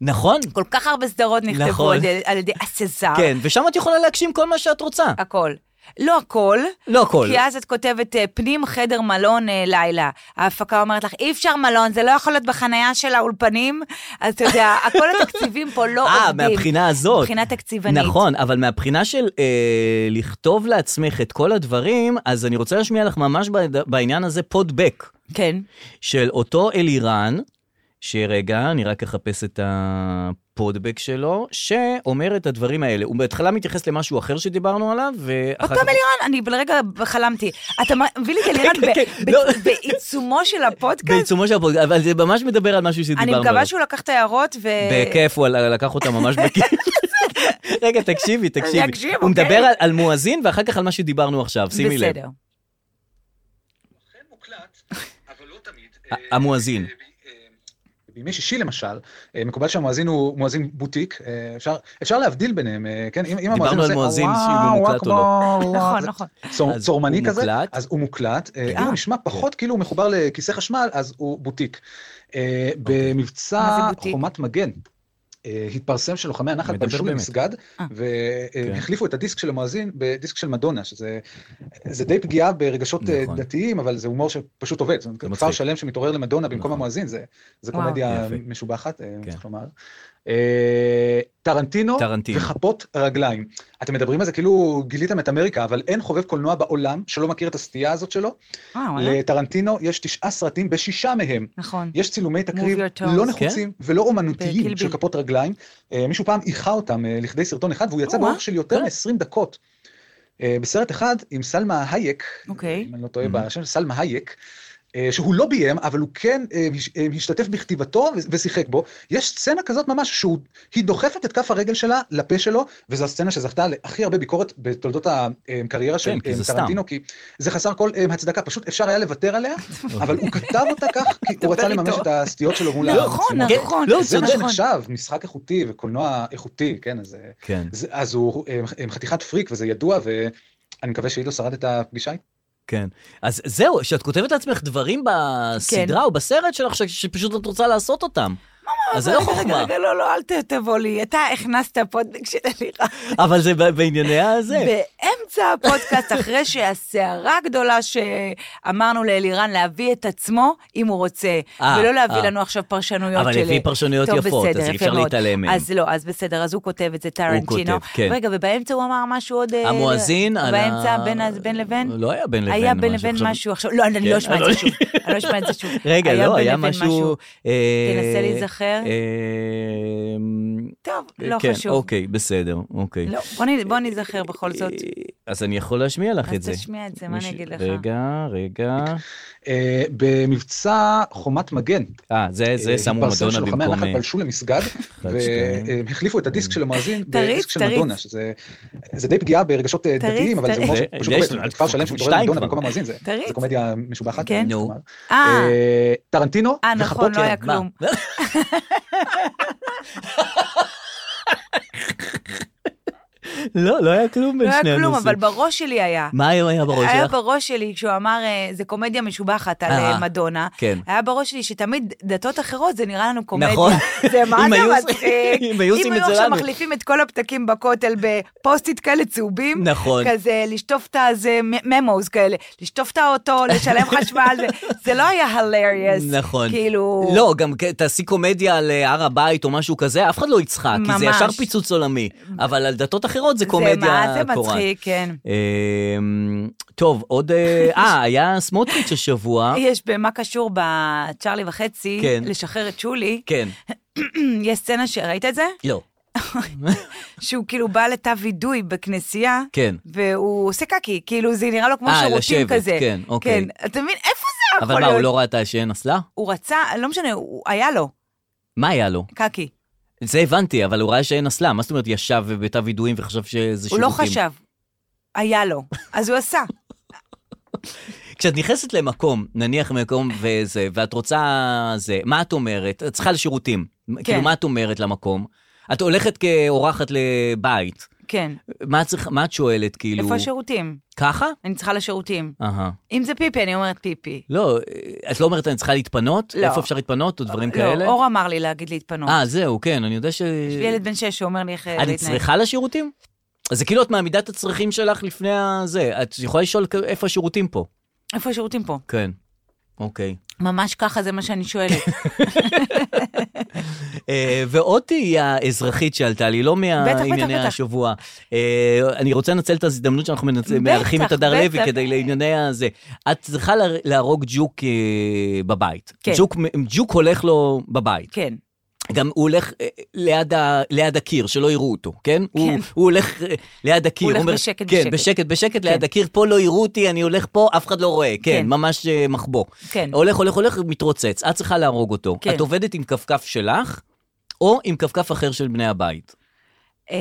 Speaker 3: נכון,
Speaker 4: כל כך הרבה סדרות נכתבו
Speaker 3: נכון.
Speaker 4: על ידי- על ידי הסזר.
Speaker 3: כן, ושם את יכולה להגשים כל מה שאת רוצה.
Speaker 4: הכל. לא הכל.
Speaker 3: לא הכל.
Speaker 4: כי אז את כותבת אה, פנים, חדר, מלון, אה, לילה. ההפקה אומרת לך, אי אפשר מלון, זה לא יכול להיות בחנייה של האולפנים. אז אתה יודע, כל התקציבים פה לא
Speaker 3: אה,
Speaker 4: עובדים.
Speaker 3: מהבחינה הזאת.
Speaker 4: מבחינה תקציבנית.
Speaker 3: נכון, אבל מהבחינה של אה, לכתוב לעצמך את כל הדברים, אז אני רוצה להשמיע לך ממש בעד- בעניין הזה פודבק
Speaker 4: כן.
Speaker 3: של אותו אלירן, שרגע, אני רק אחפש את הפודבק שלו, שאומר את הדברים האלה. הוא בהתחלה מתייחס למשהו אחר שדיברנו עליו, ואחר
Speaker 4: אותו מלירן, אני לרגע חלמתי. אתה מביא לי את אלירן
Speaker 3: כן,
Speaker 4: ב-
Speaker 3: כן,
Speaker 4: ב-
Speaker 3: לא.
Speaker 4: בעיצומו של הפודקאסט?
Speaker 3: בעיצומו של הפודקאסט, אבל זה ממש מדבר על משהו שדיברנו
Speaker 4: כן. אני
Speaker 3: עליו.
Speaker 4: מקווה שהוא אה, לקח את ההערות ו...
Speaker 3: בכיף, הוא ל- לקח אותה ממש בכיף. רגע, תקשיבי,
Speaker 4: אני
Speaker 3: תקשיבי.
Speaker 4: אקשיב,
Speaker 3: הוא
Speaker 4: אוקיי.
Speaker 3: מדבר על- על מואזין ואחר כך על מה שדיברנו עכשיו, שימי לב.
Speaker 4: בסדר.
Speaker 8: אכן מוקלט, אבל לא תמיד. אה,
Speaker 3: המואזין.
Speaker 8: אה, אה, בימי שישי למשל, אה, מקובל שהמואזין הוא מואזין בוטיק, אה, אפשר, אפשר להבדיל ביניהם, אה, כן? אם, אם
Speaker 3: דיברנו
Speaker 8: המואזין
Speaker 3: על
Speaker 8: עושה,
Speaker 3: מואזין,
Speaker 8: "אה,
Speaker 3: שהוא
Speaker 8: וואו,
Speaker 3: מוקלט או לא."
Speaker 8: וואו, וואו,
Speaker 4: נכון,
Speaker 8: זה-
Speaker 4: נכון.
Speaker 8: צור-
Speaker 3: אז
Speaker 8: צורמני
Speaker 3: הוא
Speaker 8: כזה,
Speaker 3: מוקלט?
Speaker 8: אז הוא מוקלט. אה,
Speaker 3: כן.
Speaker 8: אם הוא נשמע פחות כאילו הוא מחובר לכיסא חשמל, אז הוא בוטיק. אה,
Speaker 3: אוקיי.
Speaker 4: מה זה
Speaker 8: במבצע
Speaker 4: בוטיק?
Speaker 8: חומת מגן. אה, התפרסם שלוחמי הנחל
Speaker 3: מדבר
Speaker 8: פלשו
Speaker 3: באמת. כן.
Speaker 8: למסגד,
Speaker 4: אה.
Speaker 8: והחליפו את הדיסק של המואזין בדיסק של מדונה, שזה זה די פגיעה ברגשות אה,
Speaker 3: נכון.
Speaker 8: דתיים, אבל זה הומור שפשוט עובד. זאת אומרת,
Speaker 3: זה
Speaker 8: כפר
Speaker 3: מצחיק.
Speaker 8: שלם שמתעורר למדונה במקום
Speaker 3: נכון.
Speaker 8: המואזין, זה- זה
Speaker 4: וואו.
Speaker 8: קומדיה
Speaker 3: יפה.
Speaker 8: משובחת, אה,
Speaker 3: כן.
Speaker 8: צריך לומר. אה, טרנטינו
Speaker 3: טרנטינו.
Speaker 8: וכפות רגליים. אתם מדברים על זה כאילו גיליתם את אמריקה, אבל אין חובב קולנוע בעולם שלא מכיר את הסטייה הזאת שלו.
Speaker 4: אה, וואלה.
Speaker 8: לטרנטינו יש תשעה סרטים, בשישה מהם
Speaker 4: נכון.
Speaker 8: יש צילומי תקריב
Speaker 4: your toes.
Speaker 8: לא נחוצים
Speaker 3: כן?
Speaker 8: ולא
Speaker 4: בקיל
Speaker 8: אומנותיים של
Speaker 4: ביל.
Speaker 8: כפות רגליים. אה, מישהו פעם איחה אותם אה, לכדי סרטון אחד, והוא יצא
Speaker 4: או-אה,
Speaker 8: באורך של יותר
Speaker 3: כן.
Speaker 8: מ-20 דקות. אה, בסרט אחד עם סלמה הייק,
Speaker 4: אוקיי.
Speaker 8: אם אני לא
Speaker 3: Mm-hmm.
Speaker 8: טועה בשם, סלמה הייק, אה, שהוא לא ביים, אבל הוא כן אה, הש- אה, השתתף בכתיבתו ו- ושיחק בו. יש סצנה כזאת ממש, שהיא דוחפת את כף הרגל שלה לפה שלו, וזו הסצנה שזכתה להכי הרבה ביקורת בתולדות הקריירה של
Speaker 3: כן, כי
Speaker 8: אה,
Speaker 3: זה סתם.
Speaker 8: טרנטינו, כי זה חסר כל אה, הצדקה, פשוט אפשר היה לוותר עליה,
Speaker 3: אוקיי,
Speaker 8: אבל הוא כתב אותה כך, כי הוא רצה
Speaker 4: דבר
Speaker 8: לממש
Speaker 4: איתו.
Speaker 8: את הסטיות שלו מול
Speaker 4: נכון,
Speaker 8: המצלמה.
Speaker 3: כן,
Speaker 4: נכון.
Speaker 3: לא, הוא
Speaker 8: זה מה
Speaker 3: צודק.
Speaker 8: שנחשב, משחק איכותי וקולנוע איכותי, כן, אז... אה,
Speaker 3: כן,
Speaker 8: זה- אז הוא אה, אה, חתיכת פריק וזה ידוע, ואני מקווה שעידו שרד את הפגישה איתו.
Speaker 3: כן. אז זהו, שאת כותבת לעצמך דברים
Speaker 4: כן.
Speaker 3: בסדרה או בסרט שלך ש- שפשוט את רוצה לעשות אותם. אז זה לא
Speaker 4: רגע, רגע,
Speaker 3: חוכמה,
Speaker 4: רגע, לא, לא, אל ת- תבוא לי. אתה הכנסת פודקאסט של אלירן.
Speaker 3: אבל זה ב- בענייני הזה.
Speaker 4: באמצע הפודקאסט, אחרי שהסערה הגדולה שאמרנו לאלירן להביא את עצמו, אם הוא רוצה,
Speaker 3: אה,
Speaker 4: ולא להביא
Speaker 3: אה.
Speaker 4: לנו עכשיו פרשנויות של...
Speaker 3: אבל הביא פרשנויות
Speaker 4: טוב,
Speaker 3: יפות,
Speaker 4: בסדר,
Speaker 3: אז אי
Speaker 4: יפה
Speaker 3: אפשר
Speaker 4: מאוד.
Speaker 3: להתעלם מהן.
Speaker 4: אז לא, אז בסדר, אז הוא כותב את זה, טרנטינו.
Speaker 3: כותב, כן.
Speaker 4: רגע, ובאמצע הוא אמר משהו עוד... אה,
Speaker 3: המואזין על ה-
Speaker 4: באמצע, בין ה- בין לבין?
Speaker 3: לא היה בין לבין
Speaker 4: היה בין
Speaker 3: משהו,
Speaker 4: לבין
Speaker 3: עכשיו- כן,
Speaker 4: משהו עכשיו, לא, אני לא אשמע את
Speaker 3: אבל-
Speaker 4: זה שוב. אני לא אשמע את זה שוב.
Speaker 3: רגע, לא,
Speaker 4: בין
Speaker 3: היה
Speaker 4: לבין
Speaker 3: משהו... אה,
Speaker 4: תנסה להיזכר.
Speaker 3: אה,
Speaker 4: טוב, לא
Speaker 3: כן,
Speaker 4: חשוב.
Speaker 3: אוקיי, בסדר, אוקיי.
Speaker 4: לא, בוא נ- בוא נזכר בכל זאת.
Speaker 3: אה, אז אני יכול להשמיע לך את
Speaker 4: אז
Speaker 3: זה.
Speaker 4: תשמיע את זה, מה אני
Speaker 3: מישהו-
Speaker 4: אגיד לך?
Speaker 3: רגע, רגע.
Speaker 8: אה, במבצע חומת מגן,
Speaker 3: אה, זה זה
Speaker 8: אה,
Speaker 3: שמו
Speaker 8: התפרסם
Speaker 3: מדונה
Speaker 8: שלוחמי
Speaker 3: במקום...
Speaker 8: הנחל
Speaker 3: אה, כן.
Speaker 8: פלשו למסגד,
Speaker 3: שתיים.
Speaker 8: והחליפו את הדיסק של המואזין
Speaker 4: תריץ,
Speaker 8: בדיסק של
Speaker 4: תריץ.
Speaker 8: מדונה, שזה זה די פגיעה ברגשות אה,
Speaker 4: תריץ,
Speaker 8: דתיים, אבל זה
Speaker 4: תריץ.
Speaker 8: הומור
Speaker 3: זה-
Speaker 8: שפשוט
Speaker 3: אה, יש
Speaker 8: עובד.
Speaker 3: לנו-
Speaker 8: כפר שלם שמתעורר
Speaker 3: שתיים
Speaker 8: למדונה
Speaker 3: כבר.
Speaker 8: במקום המואזין, זה
Speaker 4: תריץ.
Speaker 8: זה קומדיה משובחת.
Speaker 4: כן.
Speaker 8: צריך
Speaker 3: נו.
Speaker 8: לומר.
Speaker 4: אה,
Speaker 8: אה, טרנטינו
Speaker 4: אה, נכון,
Speaker 8: וחפות
Speaker 4: לא היה
Speaker 8: יד.
Speaker 4: כלום.
Speaker 3: לא, לא היה כלום בין
Speaker 4: לא היה
Speaker 3: שנינו.
Speaker 4: כלום,
Speaker 3: זה-
Speaker 4: אבל בראש שלי היה.
Speaker 3: מה היום היה בראש
Speaker 4: היה
Speaker 3: שלך?
Speaker 4: בראש שלי, כשהוא אמר, אה, זה קומדיה משובחת על
Speaker 3: אה,
Speaker 4: אה, מדונה,
Speaker 3: כן.
Speaker 4: היה בראש שלי שתמיד דתות אחרות זה נראה לנו קומדיה.
Speaker 3: נכון.
Speaker 4: זה מה
Speaker 3: אם
Speaker 4: זה
Speaker 3: היו-
Speaker 4: מצחיק.
Speaker 3: אם היו עושים את זה
Speaker 4: עכשיו
Speaker 3: לנו.
Speaker 4: מחליפים את כל הפתקים בכותל בפוסט-איט כאלה צהובים,
Speaker 3: נכון.
Speaker 4: כזה לשטוף את הזה, ממוס כאלה, לשטוף את האוטו, לשלם חשמל, זה- זה לא היה הלריאס.
Speaker 3: נכון.
Speaker 4: כאילו...
Speaker 3: לא, גם כ- תעשי קומדיה על אה, הר הבית או משהו כזה, אף אחד לא יצחק, כי זה
Speaker 4: ממש.
Speaker 3: ישר פיצוץ עולמי. אבל על דתות אחרות זה קומדיה
Speaker 4: מה זה
Speaker 3: קורעת.
Speaker 4: מצחיק, כן.
Speaker 3: אמ, טוב, עוד... אה, אה, היה סמוטריץ' השבוע.
Speaker 4: יש במה קשור בצ'ארלי וחצי,
Speaker 3: כן.
Speaker 4: לשחרר את שולי,
Speaker 3: כן.
Speaker 4: יש סצנה שראית את זה?
Speaker 3: לא.
Speaker 4: שהוא כאילו בא לתא וידוי בכנסייה,
Speaker 3: כן.
Speaker 4: והוא עושה קקי, כאילו זה נראה לו כמו
Speaker 3: אה,
Speaker 4: שירותים
Speaker 3: לשבת,
Speaker 4: כזה.
Speaker 3: כן, אוקיי.
Speaker 4: כן, אתה מבין, איפה זה יכול
Speaker 3: אבל מה,
Speaker 4: להיות?
Speaker 3: הוא לא ראה את השן אסלה?
Speaker 4: הוא רצה, לא משנה, הוא היה לו
Speaker 3: מה היה לו?
Speaker 4: קקי.
Speaker 3: זה הבנתי, אבל הוא ראה שאין אסלה. מה זאת אומרת ישב בביתה וידועים וחשב שזה
Speaker 4: הוא
Speaker 3: שירותים?
Speaker 4: לא חשב, היה לו, אז הוא עשה.
Speaker 3: כשאת נכנסת למקום, נניח מקום וזה, ואת רוצה זה, מה את אומרת? את צריכה לשירותים.
Speaker 4: כן.
Speaker 3: כאילו, מה את אומרת למקום? את הולכת כאורחת לבית.
Speaker 4: כן.
Speaker 3: מה את, צריכה, מה את שואלת, כאילו?
Speaker 4: איפה השירותים?
Speaker 3: ככה?
Speaker 4: אני צריכה לשירותים.
Speaker 3: אהה.
Speaker 4: אם זה פיפי, אני אומרת פיפי.
Speaker 3: לא, את לא אומרת אני צריכה להתפנות?
Speaker 4: לא.
Speaker 3: איפה אפשר להתפנות או דברים
Speaker 4: לא,
Speaker 3: כאלה?
Speaker 4: אור אמר לי להגיד להתפנות.
Speaker 3: אה, זהו, כן, אני יודע ש...
Speaker 4: יש לי ילד בן שש שאומר לי איך אה, להתנהג.
Speaker 3: אני צריכה לשירותים? אז זה כאילו את מעמידה את הצרכים שלך לפני הזה. את יכולה לשאול כ- איפה השירותים פה.
Speaker 4: איפה השירותים פה?
Speaker 3: כן. אוקיי.
Speaker 4: ממש ככה, זה מה שאני שואלת.
Speaker 3: אה, ועוד תהייה אזרחית שעלתה לי, לא
Speaker 4: בטח,
Speaker 3: מענייני
Speaker 4: בטח.
Speaker 3: השבוע. אה, אני רוצה לנצל את ההזדמנות שאנחנו מנצ-
Speaker 4: בטח,
Speaker 3: מארחים את הדר
Speaker 4: בטח.
Speaker 3: לוי כדי לענייני הזה. את צריכה לה- להרוג ג'וק אה, בבית.
Speaker 4: כן.
Speaker 3: ג'וק- ג'וק הולך לו בבית.
Speaker 4: כן.
Speaker 3: גם הוא הולך אה, ליד, ה, ליד הקיר, שלא יראו אותו, כן? כן. הוא, הוא הולך אה, ליד הקיר.
Speaker 4: הוא הולך
Speaker 3: אומר,
Speaker 4: בשקט,
Speaker 3: כן,
Speaker 4: בשקט.
Speaker 3: בשקט, בשקט, ליד הקיר, פה לא יראו אותי, אני הולך פה, אף אחד לא רואה. כן,
Speaker 4: כן.
Speaker 3: ממש אה, מחבוא.
Speaker 4: כן.
Speaker 3: הולך, הולך, הולך, מתרוצץ. את צריכה להרוג אותו.
Speaker 4: כן.
Speaker 3: את עובדת עם כפכף שלך, או עם כפכף אחר של בני הבית.
Speaker 4: אמ,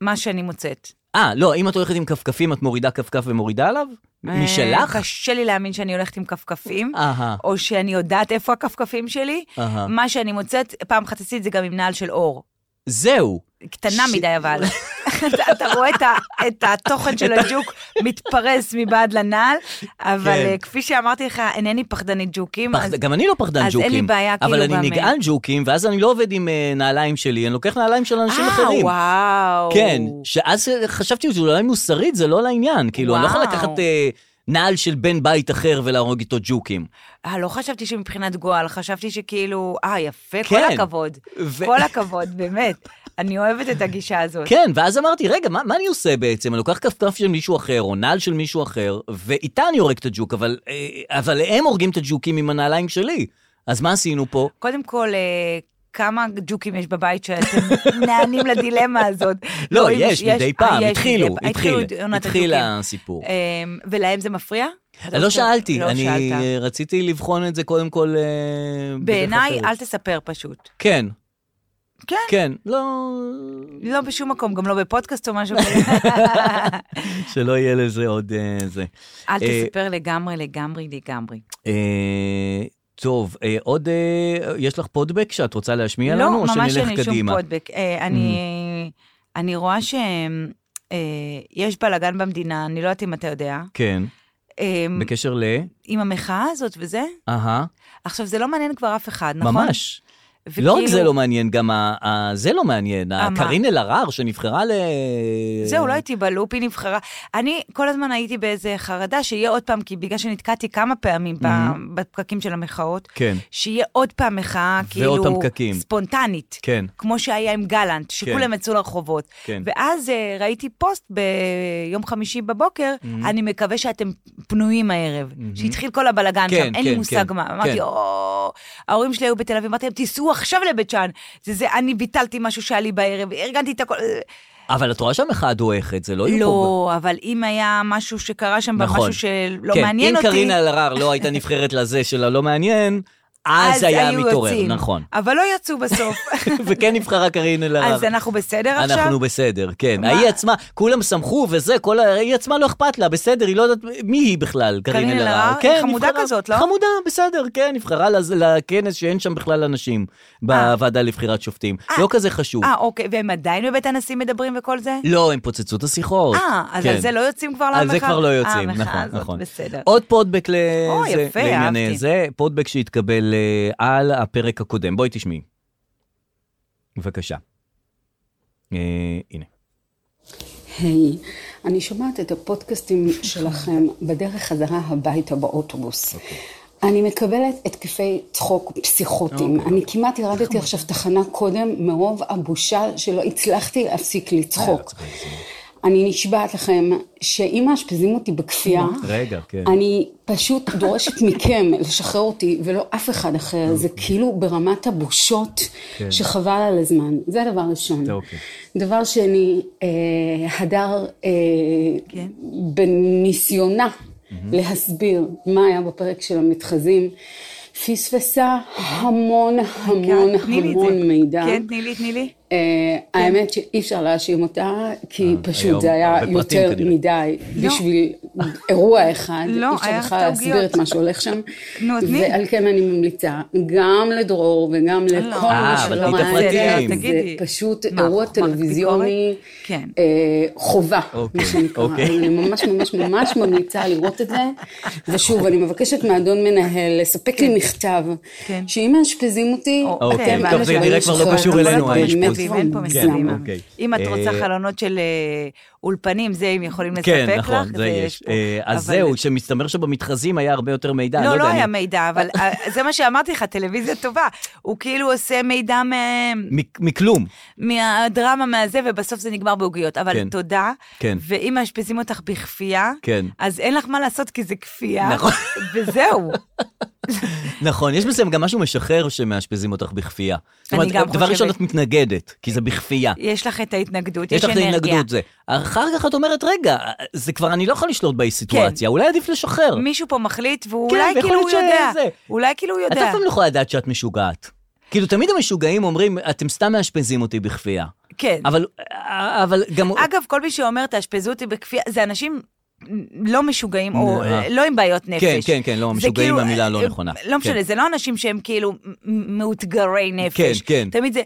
Speaker 4: מה שאני מוצאת.
Speaker 3: אה, לא, אם את הולכת עם כפכפים, את מורידה כפכף ומורידה עליו? משלך?
Speaker 4: אה, קשה לי להאמין שאני הולכת עם כפכפים,
Speaker 3: אהה,
Speaker 4: או שאני יודעת איפה הכפכפים שלי.
Speaker 3: אהה.
Speaker 4: מה שאני מוצאת, פעם אחת עשיתי את זה גם עם נעל של אור.
Speaker 3: זהו.
Speaker 4: קטנה
Speaker 3: ש-
Speaker 4: מדי אבל. אתה- אתה רואה את ה- את התוכן של הג'וק מתפרס מבעד לנעל, אבל
Speaker 3: כן.
Speaker 4: אה, כפי שאמרתי לך, אינני פחדנית ג'וקים.
Speaker 3: פחד...
Speaker 4: אז-
Speaker 3: גם אני לא פחדן
Speaker 4: אז
Speaker 3: ג'וקים.
Speaker 4: אין לי בעיה,
Speaker 3: אבל
Speaker 4: כאילו,
Speaker 3: אני
Speaker 4: גם-
Speaker 3: נגעל ג'וקים, ואז אני לא עובד עם אה, נעליים שלי, אני לוקח נעליים של אנשים אחרים.
Speaker 4: אה, וואו.
Speaker 3: כן, שאז חשבתי שאולי מוסרית זה לא לעניין, כאילו, אני לא יכול
Speaker 4: וואו.
Speaker 3: לקחת אה, נעל של בן בית אחר ולהרוג איתו ג'וקים.
Speaker 4: אה, לא חשבתי שמבחינת גועל, חשבתי שכאילו, אה, יפה,
Speaker 3: כן.
Speaker 4: כל הכבוד.
Speaker 3: ו-
Speaker 4: כל הכבוד, באמת. אני אוהבת את הגישה הזאת.
Speaker 3: כן, ואז אמרתי, רגע, מה, מה אני עושה בעצם? אני לוקח כפכף של מישהו אחר, או נעל של מישהו אחר, ואיתה אני הורג את הג'וק, אבל, אה, אבל הם הורגים את הג'וקים עם הנעליים שלי. אז מה עשינו פה?
Speaker 4: קודם כל, אה, כמה ג'וקים יש בבית שאתם נענים לדילמה הזאת?
Speaker 3: לא,
Speaker 4: אם
Speaker 3: יש, מדי פעם,
Speaker 4: אה, יש
Speaker 3: התחילו,
Speaker 4: מדי פעם.
Speaker 3: התחיל,
Speaker 4: את עונת
Speaker 3: התחיל
Speaker 4: הג'וקים.
Speaker 3: הסיפור.
Speaker 4: אמ, ולהם זה מפריע? אתה
Speaker 3: לא
Speaker 4: חושב?
Speaker 3: שאלתי,
Speaker 4: לא
Speaker 3: אני
Speaker 4: שאלת.
Speaker 3: אה, רציתי לבחון את זה קודם כל... אה, בדרך
Speaker 4: בעיניי,
Speaker 3: אחרת.
Speaker 4: אל תספר פשוט.
Speaker 3: כן.
Speaker 4: כן.
Speaker 3: כן, לא...
Speaker 4: לא בשום מקום, גם לא בפודקאסט או משהו כזה.
Speaker 3: שלא יהיה לזה עוד אה, זה.
Speaker 4: אל
Speaker 3: אה,
Speaker 4: תספר לגמרי, לגמרי, לגמרי.
Speaker 3: אה, טוב, אה, עוד... אה, יש לך פודבק שאת רוצה להשמיע
Speaker 4: לא,
Speaker 3: לנו, או
Speaker 4: ממש אין
Speaker 3: שנלך
Speaker 4: לי שום
Speaker 3: קדימה? Mm-hmm.
Speaker 4: פודבק. אה, אני, אני רואה שיש בלאגן במדינה, אני לא יודעת אם אתה יודע,
Speaker 3: כן,
Speaker 4: אה,
Speaker 3: בקשר ל...
Speaker 4: עם המחאה הזאת וזה.
Speaker 3: אהה,
Speaker 4: עכשיו, זה לא מעניין כבר אף אחד, נכון?
Speaker 3: ממש.
Speaker 4: וכאילו,
Speaker 3: לא רק זה לא מעניין, גם ה- ה- זה לא מעניין.
Speaker 4: אה, מה?
Speaker 3: קארין אלהרר שנבחרה ל...
Speaker 4: זהו, לא הייתי בלופ, היא נבחרה. אני כל הזמן הייתי באיזה חרדה שיהיה עוד פעם, כי בגלל שנתקעתי כמה פעמים ב- בפקקים של המחאות,
Speaker 3: Mhm. כן.
Speaker 4: שיהיה עוד פעם מחאה,
Speaker 3: ועוד פעם
Speaker 4: כאילו,
Speaker 3: פקקים.
Speaker 4: ספונטנית.
Speaker 3: כן.
Speaker 4: כמו שהיה עם גלנט, שכולם יצאו לרחובות.
Speaker 3: כן.
Speaker 4: ואז אה, ראיתי פוסט ביום חמישי בבוקר,
Speaker 3: Mhm.
Speaker 4: אני מקווה שאתם פנויים הערב. שהתחיל כל הבלגן
Speaker 3: כן,
Speaker 4: שם, אין לי
Speaker 3: כן,
Speaker 4: מושג
Speaker 3: כן,
Speaker 4: מה. אמרתי,
Speaker 3: כן.
Speaker 4: או... ההורים שלי היו בתל אביב, אמרתי להם, תיסעו עכשיו לבית שאן. זה זה, אני ביטלתי משהו שהיה לי בערב, ארגנתי את הכל.
Speaker 3: אבל את רואה שהמחאה דועכת, זה לא... יהיו פה-
Speaker 4: לא, אבל אם היה משהו שקרה שם,
Speaker 3: נכון.
Speaker 4: משהו שלא
Speaker 3: כן,
Speaker 4: מעניין אותי...
Speaker 3: אם קארין אלהרר לא הייתה נבחרת לזה של הלא מעניין, אז
Speaker 4: אז
Speaker 3: היה
Speaker 4: היו
Speaker 3: מתעורר,
Speaker 4: יוצאים.
Speaker 3: נכון.
Speaker 4: אבל לא יצאו בסוף.
Speaker 3: וכן נבחרה קארין אלהרר.
Speaker 4: אז אנחנו בסדר עכשיו?
Speaker 3: אנחנו בסדר, כן. ההיא עצמה, כולם שמחו וזה, כל ה- היא עצמה לא אכפת לה, בסדר, היא לא יודעת מי היא בכלל, קארין
Speaker 4: קארין אלהרר,
Speaker 3: אלהרר.
Speaker 4: היא
Speaker 3: כן,
Speaker 4: חמודה
Speaker 3: נבחרה-
Speaker 4: כזאת, לא?
Speaker 3: חמודה, בסדר, כן, נבחרה לז- לכנס שאין שם בכלל אנשים, בוועדה לבחירת שופטים. לא כזה חשוב.
Speaker 4: אה, אוקיי, והם עדיין בבית הנשיא מדברים וכל זה?
Speaker 3: לא, הם פוצצו את השיחות.
Speaker 4: אה, אז על
Speaker 3: כן.
Speaker 4: זה לא יוצאים כבר למחאה?
Speaker 3: על זה כבר לא יוצאים,
Speaker 4: אה, המחאה
Speaker 3: נכון,
Speaker 4: הזאת,
Speaker 3: נכון.
Speaker 4: בסדר.
Speaker 3: עוד פודבק
Speaker 4: או,
Speaker 3: לזה,
Speaker 4: יפה,
Speaker 3: לענייני
Speaker 4: אהבתי.
Speaker 3: זה, פודבק שהתקבל אה, על הפרק הקודם. בואי תשמעי. בבקשה. אה, הנה.
Speaker 9: היי, אני שומעת את הפודקאסטים שלכם בדרך חזרה הביתה באוטובוס. אני מקבלת התקפי צחוק פסיכוטיים. אני כמעט ירדתי עכשיו תחנה קודם מרוב הבושה שלא הצלחתי להפסיק
Speaker 3: אה, לא
Speaker 9: לצחוק. אני נשבעת לכם שאם מאשפזים אותי בכפייה,
Speaker 3: רגע, כן.
Speaker 9: אני פשוט דורשת מכם לשחרר אותי ולא אף אחד אחר,
Speaker 3: אוקיי.
Speaker 9: זה כאילו ברמת הבושות שחבל על הזמן, זה דבר ראשון.
Speaker 3: כן. אוקיי.
Speaker 9: דבר שני, אה, הדר אה,
Speaker 4: כן.
Speaker 9: בניסיונה להסביר מה היה בפרק של המתחזים, פספסה המון המון
Speaker 4: כן, אוקיי, תני לי את זה.
Speaker 9: המון מידע.
Speaker 4: כן, תני לי, תני לי.
Speaker 9: אה, האמת שאי אפשר להאשים אותה, כי
Speaker 3: אה, היום
Speaker 9: פשוט זה היה
Speaker 3: הרבה פרטים
Speaker 9: יותר
Speaker 3: כנראה.
Speaker 9: מדי בשביל אירוע אחד,
Speaker 4: לא,
Speaker 9: אי
Speaker 4: היה
Speaker 9: אפשר בכלל
Speaker 4: הפתעה
Speaker 9: להסביר
Speaker 4: עוגיות.
Speaker 9: את מה שהולך שם.
Speaker 4: נו, אז תני.
Speaker 9: ועל כן אני ממליצה גם לדרור וגם לכל
Speaker 4: אה,
Speaker 9: מי
Speaker 4: אבל
Speaker 9: שלא
Speaker 4: תני את
Speaker 9: ראה את זה,
Speaker 3: הפרטים.
Speaker 4: תגידי.
Speaker 9: זה פשוט
Speaker 4: מה,
Speaker 9: אירוע
Speaker 4: חוכמת ביקורת?
Speaker 9: טלוויזיוני
Speaker 4: כן.
Speaker 9: אה, חובה,
Speaker 3: אוקיי,
Speaker 9: מה שנקרא.
Speaker 3: אוקיי.
Speaker 9: אז אני ממש ממש ממש ממליצה לראות את זה. ושוב, אני מבקשת מאדון מנהל לספק לי מכתב,
Speaker 4: כן.
Speaker 9: שאם מאשפזים אותי,
Speaker 4: אוקיי,
Speaker 9: אתם...
Speaker 4: טוב, זה
Speaker 3: נראה כבר לא קשור אלינו,
Speaker 9: באמת
Speaker 3: האשפוז. כן.
Speaker 4: מסביב, אין פה
Speaker 9: מוגזם.
Speaker 3: מסביב.
Speaker 4: מסביב.
Speaker 3: אוקיי.
Speaker 4: אם את רוצה
Speaker 3: אה,
Speaker 4: חלונות של אה, אולפנים, זה הם יכולים לספק לך.
Speaker 3: כן, נכון, זה יש.
Speaker 4: פה.
Speaker 3: אה, אז
Speaker 4: אבל-
Speaker 3: זהו, שמסתבר שבמתחזים היה הרבה יותר מידע.
Speaker 4: לא,
Speaker 3: יודע,
Speaker 4: לא
Speaker 3: אני-
Speaker 4: היה מידע, אבל אה, זה מה שאמרתי לך, טלוויזיה טובה. הוא כאילו עושה מידע מ-
Speaker 3: מ- מכלום.
Speaker 4: מהדרמה מהזה, ובסוף זה נגמר בעוגיות.
Speaker 3: כן.
Speaker 4: אבל תודה.
Speaker 3: כן.
Speaker 4: ואם מאשפזים אותך בכפייה,
Speaker 3: כן.
Speaker 4: אז אין לך מה לעשות, כי זה כפייה.
Speaker 3: נכון.
Speaker 4: וזהו.
Speaker 3: נכון, יש בזה גם משהו משחרר שמאשפזים אותך בכפייה. זאת
Speaker 4: אני
Speaker 3: אומרת,
Speaker 4: גם
Speaker 3: דבר ראשון,
Speaker 4: חושבת-
Speaker 3: את מתנגדת, כי זה בכפייה.
Speaker 4: יש לך את ההתנגדות, יש
Speaker 3: יש לך את
Speaker 4: אנרגיה.
Speaker 3: ההתנגדות זה. אחר כך את אומרת, רגע, זה כבר אני לא יכול לשלוט
Speaker 4: כן.
Speaker 3: בסיטואציה, אולי עדיף לשחרר.
Speaker 4: מישהו פה מחליט, והוא
Speaker 3: כן,
Speaker 4: אולי
Speaker 3: ויכול
Speaker 4: כאילו הוא
Speaker 3: להיות
Speaker 4: יודע.
Speaker 3: שזה.
Speaker 4: אולי כאילו הוא
Speaker 3: את
Speaker 4: יודע.
Speaker 3: אף פעם לא יכולה לדעת שאת משוגעת. כאילו, תמיד המשוגעים אומרים, אתם סתם מאשפזים אותי בכפייה.
Speaker 4: כן.
Speaker 3: אבל, אה, אבל גם...
Speaker 4: אגב, כל מי שאומר תאשפזו אותי בכפייה, זה אנשים לא משוגעים, או
Speaker 3: אה.
Speaker 4: אה, לא עם בעיות נפש.
Speaker 3: כן, כן, כן, לא,
Speaker 4: זה
Speaker 3: משוגעים
Speaker 4: כאילו,
Speaker 3: המילה
Speaker 4: אה,
Speaker 3: לא נכונה.
Speaker 4: לא משנה,
Speaker 3: כן.
Speaker 4: זה לא אנשים שהם כאילו מ- מאותגרי נפש.
Speaker 3: כן, כן.
Speaker 4: תמיד זה...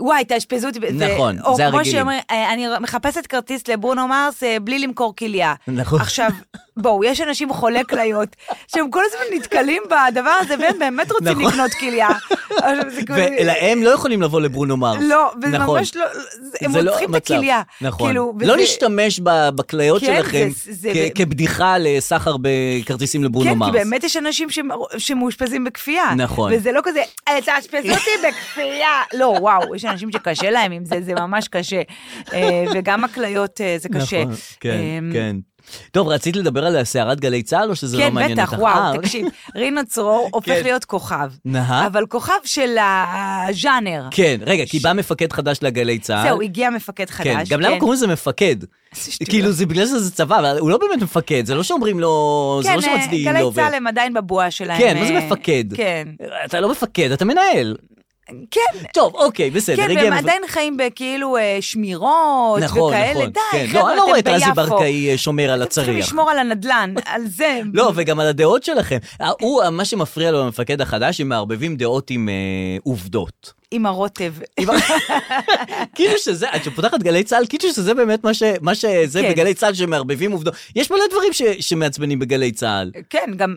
Speaker 4: וואי, תאשפזו אותי. ב-"
Speaker 3: נכון,
Speaker 4: או
Speaker 3: זה
Speaker 4: או כמו
Speaker 3: הרגילים.
Speaker 4: שאומרים, "אה, אני מחפשת כרטיס לברונו מרס אה, בלי למכור כליה.
Speaker 3: נכון.
Speaker 4: עכשיו, בואו, יש אנשים חולי כליות, שהם כל הזמן נתקלים בדבר הזה, והם באמת רוצים
Speaker 3: נכון.
Speaker 4: לקנות כליה. עכשיו, זה כאילו-
Speaker 3: ולהם לא יכולים לבוא לברונו מרס.
Speaker 4: לא, וזה
Speaker 3: נכון.
Speaker 4: ממש לא, זה- הם
Speaker 3: זה לא
Speaker 4: רוצחים את
Speaker 3: המצב.
Speaker 4: הכליה.
Speaker 3: נכון.
Speaker 4: כאילו,
Speaker 3: לא
Speaker 4: וזה-
Speaker 3: להשתמש ב- בכליות
Speaker 4: כן,
Speaker 3: שלכם
Speaker 4: זה- זה-
Speaker 3: כ- כבדיחה לסחר בכרטיסים לברונו
Speaker 4: כן,
Speaker 3: לא מרס.
Speaker 4: כי באמת יש אנשים שמ- שמאושפזים בכפייה.
Speaker 3: נכון.
Speaker 4: וזה לא כזה, "אה, תאשפזו אותי בכפייה. לא, וואו, יש אנשים שקשה להם עם זה, זה ממש קשה. אה, וגם הכליות אה, זה קשה.
Speaker 3: נכון, כן,
Speaker 4: אה,
Speaker 3: כן. טוב, רצית לדבר על סערת גלי צה"ל, או שזה לא
Speaker 4: כן,
Speaker 3: מעניין אותך?
Speaker 4: בטח,
Speaker 3: אה,
Speaker 4: וואו,
Speaker 3: אוקיי.
Speaker 4: תקשיב, רינו צרור הופך
Speaker 3: כן.
Speaker 4: להיות כוכב.
Speaker 3: נהה.
Speaker 4: אבל כוכב של הז'אנר.
Speaker 3: כן, רגע, כי בא מפקד חדש לגלי צה"ל.
Speaker 4: זהו, הגיע מפקד חדש.
Speaker 3: כן, גם למה קוראים לזה מפקד?
Speaker 4: שטויות.
Speaker 3: כאילו, זה בגלל שזה צבא, אבל הוא לא באמת מפקד, זה לא שאומרים לו, זה
Speaker 4: כן,
Speaker 3: לא
Speaker 4: אה,
Speaker 3: שמצדיעים
Speaker 4: גלי
Speaker 3: לו. ו-
Speaker 4: צה"ל הם עדיין בבועה שלהם.
Speaker 3: כן, מה זה
Speaker 4: אה,
Speaker 3: מפקד?
Speaker 4: כן.
Speaker 3: אתה לא מפקד, אתה מנהל.
Speaker 4: כן,
Speaker 3: טוב, אוקיי, בסדר,
Speaker 4: כן,
Speaker 3: הגיע
Speaker 4: והם
Speaker 3: מפקד.
Speaker 4: עדיין חיים בכאילו אה, שמירות
Speaker 3: נכון,
Speaker 4: וכאלה.
Speaker 3: נכון.
Speaker 4: די,
Speaker 3: כן,
Speaker 4: חבר'ה,
Speaker 3: לא, אני לא רואה את
Speaker 4: אתם
Speaker 3: רזי
Speaker 4: ביפו.
Speaker 3: ברקאי אה, שומר על
Speaker 4: אתם צריכים
Speaker 3: הצריח.
Speaker 4: לשמור על הנדלן, על זה.
Speaker 3: לא, וגם על הדעות שלכם. אה, הוא, אה, מה שמפריע לו למפקד החדש, הם מערבבים דעות עם אה, עובדות.
Speaker 4: עם הרוטב.
Speaker 3: כאילו שזה, את שפותחת גלי צה"ל, כאילו שזה באמת מה ש... מה שזה
Speaker 4: כן.
Speaker 3: בגלי צה"ל שמערבבים עובדות. יש מלא דברים ש, שמעצבנים בגלי צה"ל.
Speaker 4: כן, גם-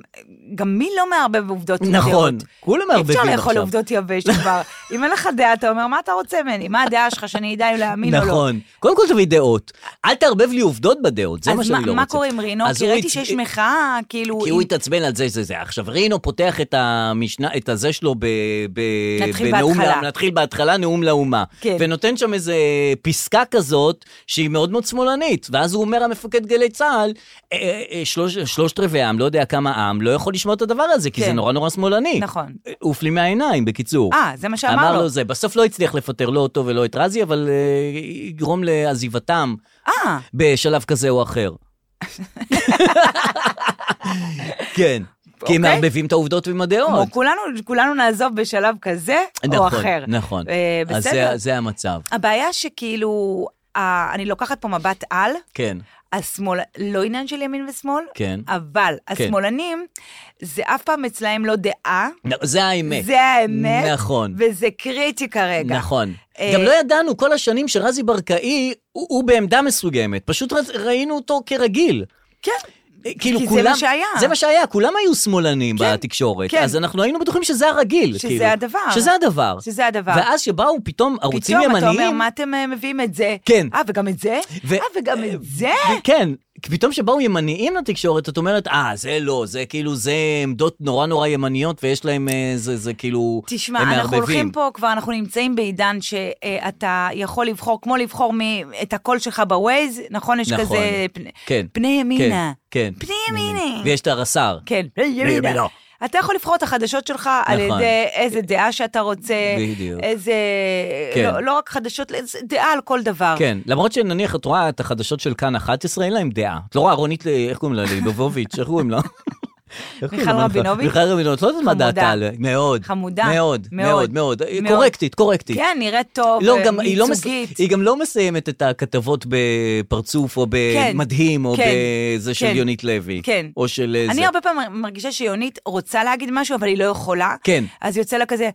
Speaker 4: גם מי לא מערבב עובדות עם
Speaker 3: נכון,
Speaker 4: דעות?
Speaker 3: כולם
Speaker 4: אי
Speaker 3: מערבבים
Speaker 4: אפשר
Speaker 3: עכשיו.
Speaker 4: לאכול עובדות יבש כבר. אם אין לך דעה, אתה אומר, מה אתה רוצה ממני? מה הדעה שלך, שאני אדע אם להאמין או לא?
Speaker 3: נכון. קודם כל תביא דעות. אל תערבב לי עובדות בדעות, זה מה שאני לא רוצה.
Speaker 4: אז מה קורה עם רינו?
Speaker 3: אז
Speaker 4: כי
Speaker 3: הוא
Speaker 4: ראיתי
Speaker 3: הצ-
Speaker 4: שיש מחאה, כאילו...
Speaker 3: כי הוא
Speaker 4: עם-
Speaker 3: התעצבן על זה, זה, זה. עכשיו, רינו פותח את המשנה, את הזה שלו ב... ב
Speaker 4: נתחיל
Speaker 3: בנאום
Speaker 4: בהתחלה.
Speaker 3: לה- נתחיל בהתחלה, נאום לאומה.
Speaker 4: כן.
Speaker 3: ונותן שם איזה פסקה כזאת, שהיא מאוד מאוד שמאלנית. ואז הוא אומר, המפקד גלי צה"ל, "אה, אה, אה, שלוש, שלושת רבעי העם, לא יודע כמה עם, לא יכול לשמוע את הדבר הזה, כי
Speaker 4: כן.
Speaker 3: זה נורא נורא שמאלני.
Speaker 4: נכון.
Speaker 3: אה, עוף לי מהעיניים, בקיצור.
Speaker 4: אה, זה מה שאמר
Speaker 3: אמר
Speaker 4: לו.
Speaker 3: לו זה. בסוף לא הצליח לפטר לא אותו ולא את רזי, אבל אה, יגרום לעזיבתם
Speaker 4: אה,
Speaker 3: בשלב כזה או אחר. כן, כי הם
Speaker 4: אוקיי.
Speaker 3: מערבבים את העובדות עם
Speaker 4: כמו
Speaker 3: הדעות.
Speaker 4: כולנו, כולנו נעזוב בשלב כזה או
Speaker 3: נכון,
Speaker 4: אחר.
Speaker 3: נכון.
Speaker 4: אה,
Speaker 3: אז זה-
Speaker 4: בסדר.
Speaker 3: זה המצב,
Speaker 4: הבעיה שכאילו, אה, אני לוקחת פה מבט על,
Speaker 3: כן.
Speaker 4: השמאל, לא עניין של ימין ושמאל,
Speaker 3: כן.
Speaker 4: אבל השמאלנים, זה אף פעם אצלהם לא דעה,
Speaker 3: נ- זה האמת.
Speaker 4: זה האמת,
Speaker 3: נכון.
Speaker 4: וזה קריטי כרגע.
Speaker 3: נכון.
Speaker 4: אה,
Speaker 3: גם לא ידענו כל השנים שרזי ברקאי הוא הוא בעמדה מסוימת, פשוט רז- ראינו אותו כרגיל.
Speaker 4: כן,
Speaker 3: אה, כאילו
Speaker 4: כי זה
Speaker 3: כולם,
Speaker 4: מה שהיה.
Speaker 3: זה מה שהיה, כולם היו שמאלנים בתקשורת.
Speaker 4: כן.
Speaker 3: אז אנחנו היינו בטוחים שזה הרגיל.
Speaker 4: שזה
Speaker 3: כאילו.
Speaker 4: הדבר.
Speaker 3: שזה הדבר.
Speaker 4: שזה הדבר.
Speaker 3: ואז שבאו פתאום ערוצים
Speaker 4: פתאום
Speaker 3: ימניים.
Speaker 4: אתה אומר, מה אתם אה, מביאים את זה?
Speaker 3: כן.
Speaker 4: אה, וגם את זה?
Speaker 3: ו-
Speaker 4: אה, וגם את זה?
Speaker 3: כן, פתאום שבאו ימניים לתקשורת, את אומרת, אה, זה לא, זה כאילו, זה עמדות נורא נורא ימניות, ויש להם, אה, זה, זה כאילו,
Speaker 4: תשמע,
Speaker 3: הם
Speaker 4: אנחנו
Speaker 3: מערבבים.
Speaker 4: הולכים פה, כבר אנחנו נמצאים בעידן שאתה יכול לבחור, כמו לבחור מ- את הקול שלך בווייז, נכון? יש
Speaker 3: נכון,
Speaker 4: כזה פני-
Speaker 3: כן,
Speaker 4: פני ימינה.
Speaker 3: כן, כן.
Speaker 4: פני ימינה.
Speaker 3: ויש את הרס"ר.
Speaker 4: כן, ימינה.
Speaker 3: ימינה.
Speaker 4: אתה יכול לבחור את החדשות שלך על
Speaker 3: לא? נכון.
Speaker 4: ידי איזה דעה שאתה רוצה,
Speaker 3: בדיוק.
Speaker 4: איזה...
Speaker 3: כן.
Speaker 4: לא- לא רק חדשות, איזה דעה על כל דבר.
Speaker 3: כן, למרות שנניח את אה, רואה את החדשות של כאן 11, אין להם דעה. את לא רואה רונית, ל- איך קוראים לה? ליבוביץ', איך קוראים לה? איך
Speaker 4: מיכל
Speaker 3: קוראים לך?
Speaker 4: רבינוביץ'?
Speaker 3: מיכל רבינוביץ', לא יודעת מה
Speaker 4: חמודה.
Speaker 3: דעתה עליה. מאוד.
Speaker 4: חמודה.
Speaker 3: מאוד, מאוד,
Speaker 4: מאוד.
Speaker 3: מאוד. היא
Speaker 4: מאוד.
Speaker 3: קורקטית, קורקטית.
Speaker 4: כן, נראית טוב,
Speaker 3: לא,
Speaker 4: אה,
Speaker 3: גם, היא, לא מס...
Speaker 4: ייצוגית.
Speaker 3: היא גם לא מסיימת את הכתבות בפרצוף, או במדהים, או
Speaker 4: כן,
Speaker 3: בזה של
Speaker 4: כן,
Speaker 3: יונית לוי.
Speaker 4: כן.
Speaker 3: או של אה, זה.
Speaker 4: אני הרבה פעמים מרגישה שיונית רוצה להגיד משהו, אבל היא לא יכולה.
Speaker 3: כן.
Speaker 4: אז יוצא לה כזה...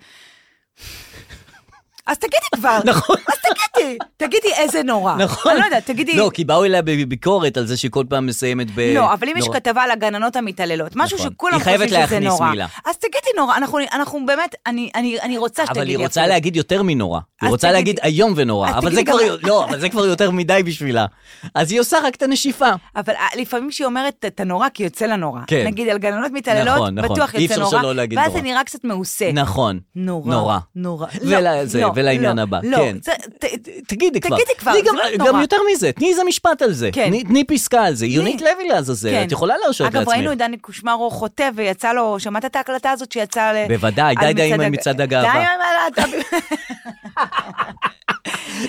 Speaker 4: אז תגידי כבר.
Speaker 3: נכון.
Speaker 4: אז תגידי, תגידי איזה נורא.
Speaker 3: נכון.
Speaker 4: אני לא יודעת, תגידי...
Speaker 3: לא, כי באו אליה בביקורת על זה שהיא כל פעם מסיימת ב...
Speaker 4: לא, אבל אם יש
Speaker 3: אה, נורא.
Speaker 4: כתבה על הגננות המתעללות, משהו
Speaker 3: נכון.
Speaker 4: שכולם
Speaker 3: היא חייבת
Speaker 4: חושבים שזה
Speaker 3: להכניס
Speaker 4: נורא.
Speaker 3: מילה.
Speaker 4: אז תגידי נורא, אנחנו- אנחנו באמת, אני- אני אני רוצה שתגידי.
Speaker 3: אבל היא רוצה
Speaker 4: אפילו.
Speaker 3: להגיד יותר מנורא. היא
Speaker 4: אז
Speaker 3: רוצה
Speaker 4: תגידי-
Speaker 3: להגיד איום ונורא.
Speaker 4: אז
Speaker 3: אבל זה
Speaker 4: תגידי
Speaker 3: כבר...
Speaker 4: גם-
Speaker 3: לא, אבל זה כבר יותר מדי בשבילה. אז היא עושה רק את הנשיפה.
Speaker 4: אבל אה, לפעמים כשהיא אומרת את הנורא, כי יוצא לה נורא.
Speaker 3: כן.
Speaker 4: נגיד על גננות מתעללות,
Speaker 3: נכון, נכון.
Speaker 4: בטוח
Speaker 3: אי
Speaker 4: יוצא
Speaker 3: אפשר
Speaker 4: נורא.
Speaker 3: שלא להגיד
Speaker 4: ואז
Speaker 3: נורא.
Speaker 4: זה נראה קצת מעושה.
Speaker 3: נכון.
Speaker 4: כן. נורא.
Speaker 3: נורא.
Speaker 4: נורא.
Speaker 3: ול-
Speaker 4: לא,
Speaker 3: זה,
Speaker 4: לא,
Speaker 3: ולעניין
Speaker 4: לא,
Speaker 3: הבא,
Speaker 4: לא,
Speaker 3: כן.
Speaker 4: זה- ת-
Speaker 3: תגידי כבר.
Speaker 4: תגידי כבר,
Speaker 3: תני
Speaker 4: זה
Speaker 3: גם,
Speaker 4: לא
Speaker 3: גם
Speaker 4: נורא.
Speaker 3: יותר מזה, תני איזה משפט על זה.
Speaker 4: כן.
Speaker 3: תני, תני פסקה על זה. יונית
Speaker 4: תני.
Speaker 3: לוי לעזאזל,
Speaker 4: כן.
Speaker 3: את יכולה להרשות
Speaker 4: אגב,
Speaker 3: לעצמך.
Speaker 4: ראינו את דני קושמרו חוטא ויצא לו, שמעת את ההקלטה הזאת שיצאה ל...
Speaker 3: בוודאי,
Speaker 4: על
Speaker 3: די די עם
Speaker 4: הג-
Speaker 3: מצעד הגאווה.
Speaker 4: די עם הלהט"ב.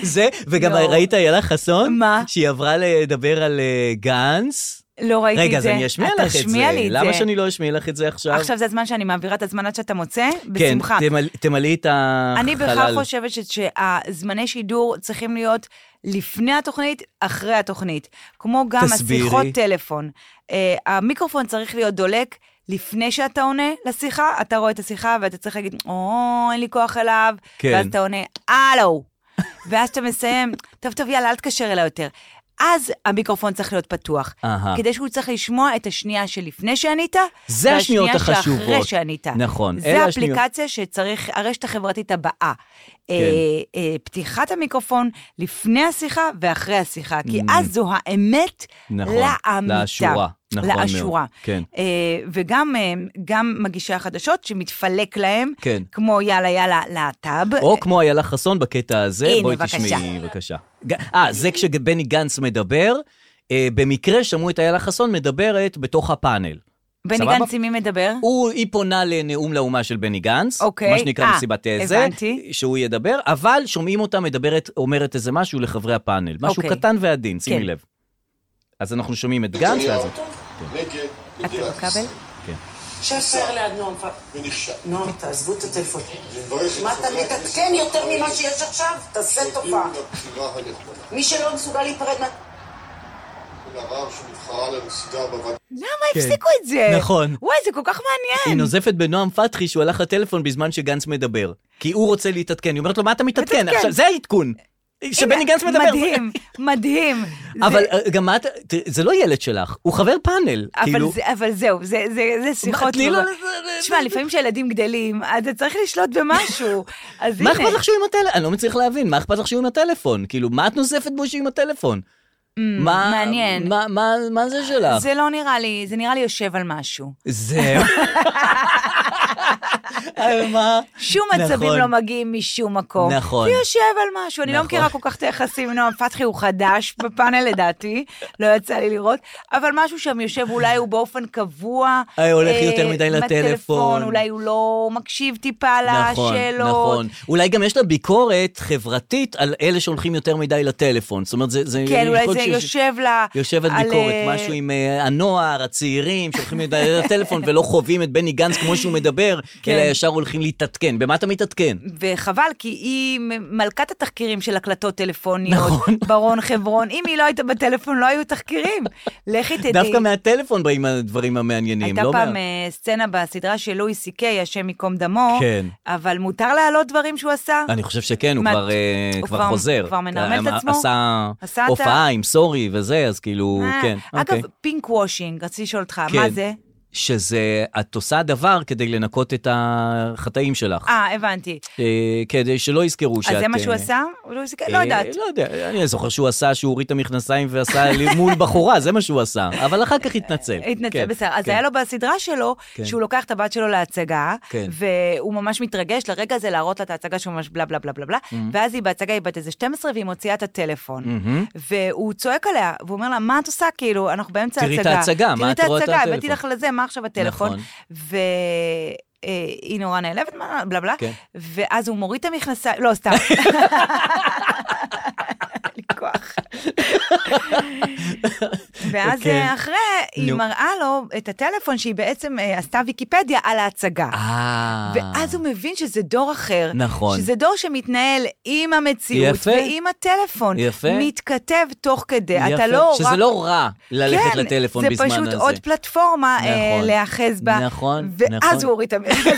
Speaker 3: זה, וגם
Speaker 4: לא.
Speaker 3: ראית איילה חסון?
Speaker 4: מה?
Speaker 3: שהיא עברה לדבר על אה, גנץ.
Speaker 4: לא ראיתי את זה.
Speaker 3: רגע, אז אני אשמיע
Speaker 4: אז
Speaker 3: לך את זה.
Speaker 4: תשמיע לי את
Speaker 3: למה
Speaker 4: זה.
Speaker 3: שאני לא אשמיע לך את זה עכשיו?
Speaker 4: עכשיו זה הזמן שאני מעבירה את הזמן עד שאתה מוצא?
Speaker 3: כן,
Speaker 4: בשמחה.
Speaker 3: תמל- תמלאי את החלל.
Speaker 4: אני בכלל חושבת ש- שהזמני שידור צריכים להיות לפני התוכנית, אחרי התוכנית. כמו גם
Speaker 3: תסבירי.
Speaker 4: השיחות טלפון. אה, המיקרופון צריך להיות דולק. לפני שאתה עונה לשיחה, אתה רואה את השיחה ואתה צריך להגיד, או, אין לי כוח אליו,
Speaker 3: כן.
Speaker 4: ואז אתה עונה, הלו, ואז אתה מסיים, טוב, טוב, יאללה, אל תקשר אליי יותר. אז המיקרופון צריך להיות פתוח,
Speaker 3: אהה.
Speaker 4: כדי שהוא צריך לשמוע את השנייה שלפני שענית,
Speaker 3: זה השניות
Speaker 4: והשנייה שאחרי
Speaker 3: החשובות.
Speaker 4: שענית.
Speaker 3: נכון, אלה
Speaker 4: זה
Speaker 3: השניות.
Speaker 4: אפליקציה שצריך, הרשת החברתית הבאה.
Speaker 3: כן.
Speaker 4: אה, אה, פתיחת המיקרופון לפני השיחה ואחרי השיחה, כי אז זו האמת
Speaker 3: Mm. נכון,
Speaker 4: לאמיתה.
Speaker 3: לאשורה, נכון מאוד,
Speaker 4: לאשורה.
Speaker 3: כן.
Speaker 4: אה, וגם אה, גם מגישי החדשות שמתפלק להם,
Speaker 3: כן.
Speaker 4: כמו יאללה יאללה להט"ב.
Speaker 3: או כמו איילה חסון בקטע הזה,
Speaker 4: הנה,
Speaker 3: בואי
Speaker 4: בבקשה.
Speaker 3: תשמעי, בבקשה. ג- אה, זה כשבני גנץ מדבר, אה, במקרה שמעו את איילה חסון מדברת בתוך הפאנל.
Speaker 4: בני
Speaker 3: סבבה?
Speaker 4: גנץ, עם מי מדבר?
Speaker 3: הוא, היא פונה לנאום לאומה של בני גנץ,
Speaker 4: אוקיי,
Speaker 3: מה שנקרא
Speaker 4: אה,
Speaker 3: מסיבת אה, זה,
Speaker 4: הבנתי.
Speaker 3: שהוא ידבר, אבל שומעים אותה מדברת, אומרת איזה משהו לחברי הפאנל, משהו
Speaker 4: אוקיי.
Speaker 3: קטן ועדין, שימי
Speaker 4: כן.
Speaker 3: לב. אז אנחנו שומעים את גנץ, ואז...
Speaker 4: את בכבל?
Speaker 3: כן.
Speaker 10: שפר ליד נועם פ... נועם, תעזבו את הטלפון. מה אתה מתעדכן יותר ממה שיש עכשיו? תעשה טובה. מי שלא מסוגל להיפרד מה...
Speaker 4: למה הפסיקו את זה?
Speaker 3: כן. נכון.
Speaker 4: וואי, זה כל כך
Speaker 3: היא
Speaker 4: מעניין.
Speaker 3: נוזפת בנועם פתחי שהוא הלך לטלפון בזמן שגנץ מדבר, כי הוא רוצה להתעדכן, היא אומרת לו, מה אתה מתעדכן?
Speaker 4: מתעדכן.
Speaker 3: עכשיו, זה העדכון. שבני
Speaker 4: הנה,
Speaker 3: גנץ מדבר.
Speaker 4: מדהים, מדהים.
Speaker 3: אבל
Speaker 4: זה-
Speaker 3: אה, גם את, תראי, זה לא ילד שלך, הוא חבר פאנל.
Speaker 4: אבל
Speaker 3: כאילו,
Speaker 4: זה- אבל זהו, זה- זה זה
Speaker 3: מה,
Speaker 4: שיחות...
Speaker 3: תני לו...
Speaker 4: כבר- תשמע, לפעמים כשילדים גדלים, אז אתה צריך לשלוט במשהו. אז
Speaker 3: מה
Speaker 4: הנה.
Speaker 3: אכפת לך שהוא עם הטלפון? אני לא מצליח להבין, מה אכפת לך שהוא עם הטלפון? כאילו, מה את נוזפת בו שהוא עם הטלפון? מה-
Speaker 4: Mm, מעניין.
Speaker 3: מה- מה- מה זה שלך?
Speaker 4: זה לא נראה לי, זה נראה לי יושב על משהו.
Speaker 3: זהו. על מה?
Speaker 4: שום
Speaker 3: נכון.
Speaker 4: עצבים לא מגיעים משום מקום.
Speaker 3: נכון.
Speaker 4: זה יושב על משהו, אני לא
Speaker 3: נכון.
Speaker 4: מכירה כל כך את היחסים עם נועם פתחי, הוא חדש בפאנל לדעתי, לא יצא לי לראות, אבל משהו שם יושב, אולי הוא באופן קבוע.
Speaker 3: אה, הולך יותר מדי לטלפון.
Speaker 4: בטלפון, אולי הוא לא מקשיב טיפה
Speaker 3: נכון,
Speaker 4: לשאלות.
Speaker 3: נכון. אולי גם יש לה ביקורת חברתית על אלה שהולכים יותר מדי לטלפון. זאת אומרת, זה... זה-
Speaker 4: כן,
Speaker 3: יכול
Speaker 4: אולי זה
Speaker 3: להיות שיש-
Speaker 4: יושב לה...
Speaker 3: יושבת
Speaker 4: על,
Speaker 3: ביקורת,
Speaker 4: אה,
Speaker 3: משהו עם אה, הנוער, הצעירים, שהולכים לדבר לטלפון ולא חווים את בני גנץ כמו שהוא מדבר,
Speaker 4: כן.
Speaker 3: אלא ישר הולכים להתעדכן. במה אתה מתעדכן?
Speaker 4: וחבל, כי היא מ- מלכת התחקירים של הקלטות טלפוניות.
Speaker 3: נכון.
Speaker 4: ברון חברון, אם היא לא הייתה בטלפון, לא היו תחקירים. לכי תדעי.
Speaker 3: דווקא מהטלפון באים הדברים המעניינים,
Speaker 4: הייתה
Speaker 3: לא
Speaker 4: פעם
Speaker 3: מה...
Speaker 4: אה, סצנה בסדרה של לואי סי קיי, השם ייקום דמו,
Speaker 3: כן.
Speaker 4: אבל מותר להעלות דברים שהוא עשה?
Speaker 3: אני חושב שכן, הוא
Speaker 4: מה-
Speaker 3: כבר, אה,
Speaker 4: הוא
Speaker 3: כבר
Speaker 4: כבר-
Speaker 3: חוזר.
Speaker 4: כבר מנרמל את
Speaker 3: אה,
Speaker 4: עצמו? עשה
Speaker 3: עשה
Speaker 4: את ה-
Speaker 3: הופעה עם סורי וזה, אז כאילו,
Speaker 4: אה,
Speaker 3: כן,
Speaker 4: אגב,
Speaker 3: אוקיי.
Speaker 4: פינק וושינג, רציתי לשאול אותך, מה
Speaker 3: כן.
Speaker 4: זה?
Speaker 3: שזה, את עושה דבר כדי לנקות את החטאים שלך.
Speaker 4: אה, הבנתי.
Speaker 3: אה, כדי שלא יזכרו שאת...
Speaker 4: אז זה מה שהוא
Speaker 3: אה,
Speaker 4: עשה? לואי סי קיי? לא
Speaker 3: אה,
Speaker 4: יודעת.
Speaker 3: לא יודע, אני זוכר שהוא עשה, שהוא הוריד את המכנסיים ועשה לי מול בחורה, זה מה שהוא עשה. אבל אחר כך התנצל.
Speaker 4: התנצל,
Speaker 3: כן,
Speaker 4: בסדר. אז
Speaker 3: כן.
Speaker 4: היה לו בסדרה שלו,
Speaker 3: כן.
Speaker 4: שהוא לוקח את הבת שלו להצגה,
Speaker 3: כן.
Speaker 4: והוא ממש מתרגש לרגע הזה להראות לה את ההצגה שהוא ממש בלה בלה בלה בלה בלה,
Speaker 3: Mm-hmm.
Speaker 4: ואז היא בהצגה, היא בת איזה 12 והיא מוציאה את הטלפון.
Speaker 3: Mm-hmm.
Speaker 4: והוא צועק עליה, והוא אומר לה, מה את עושה? כאילו, אנחנו באמצע
Speaker 3: תראי
Speaker 4: ההצגה.
Speaker 3: את ההצגה, מה את רואה את
Speaker 4: תראי את ההצגה, הבאתי
Speaker 3: הטלפון?"
Speaker 4: לך לזה, מה עכשיו הטלפון?
Speaker 3: נכון.
Speaker 4: ו... אה, היא נורא נעלבת, מה, בלה בלה,
Speaker 3: כן.
Speaker 4: ואז הוא מוריד את המכנסיים, לא, סתם. אין לי כוח. ואז
Speaker 3: כן.
Speaker 4: אה, אחרי, היא
Speaker 3: נו.
Speaker 4: מראה לו את הטלפון שהיא בעצם אה, עשתה ויקיפדיה על ההצגה.
Speaker 3: אה.
Speaker 4: ואז הוא מבין שזה דור אחר.
Speaker 3: נכון.
Speaker 4: שזה דור שמתנהל עם המציאות
Speaker 3: יפה.
Speaker 4: ועם הטלפון.
Speaker 3: יפה.
Speaker 4: מתכתב תוך כדי.
Speaker 3: יפה.
Speaker 4: אתה לא רק...
Speaker 3: שזה לא רע ללכת
Speaker 4: כן,
Speaker 3: לטלפון בזמן הזה.
Speaker 4: זה פשוט עוד פלטפורמה אה,
Speaker 3: נכון.
Speaker 4: להיאחז בה.
Speaker 3: נכון, נכון.
Speaker 4: ואז הוא הוריד את המכנסיים.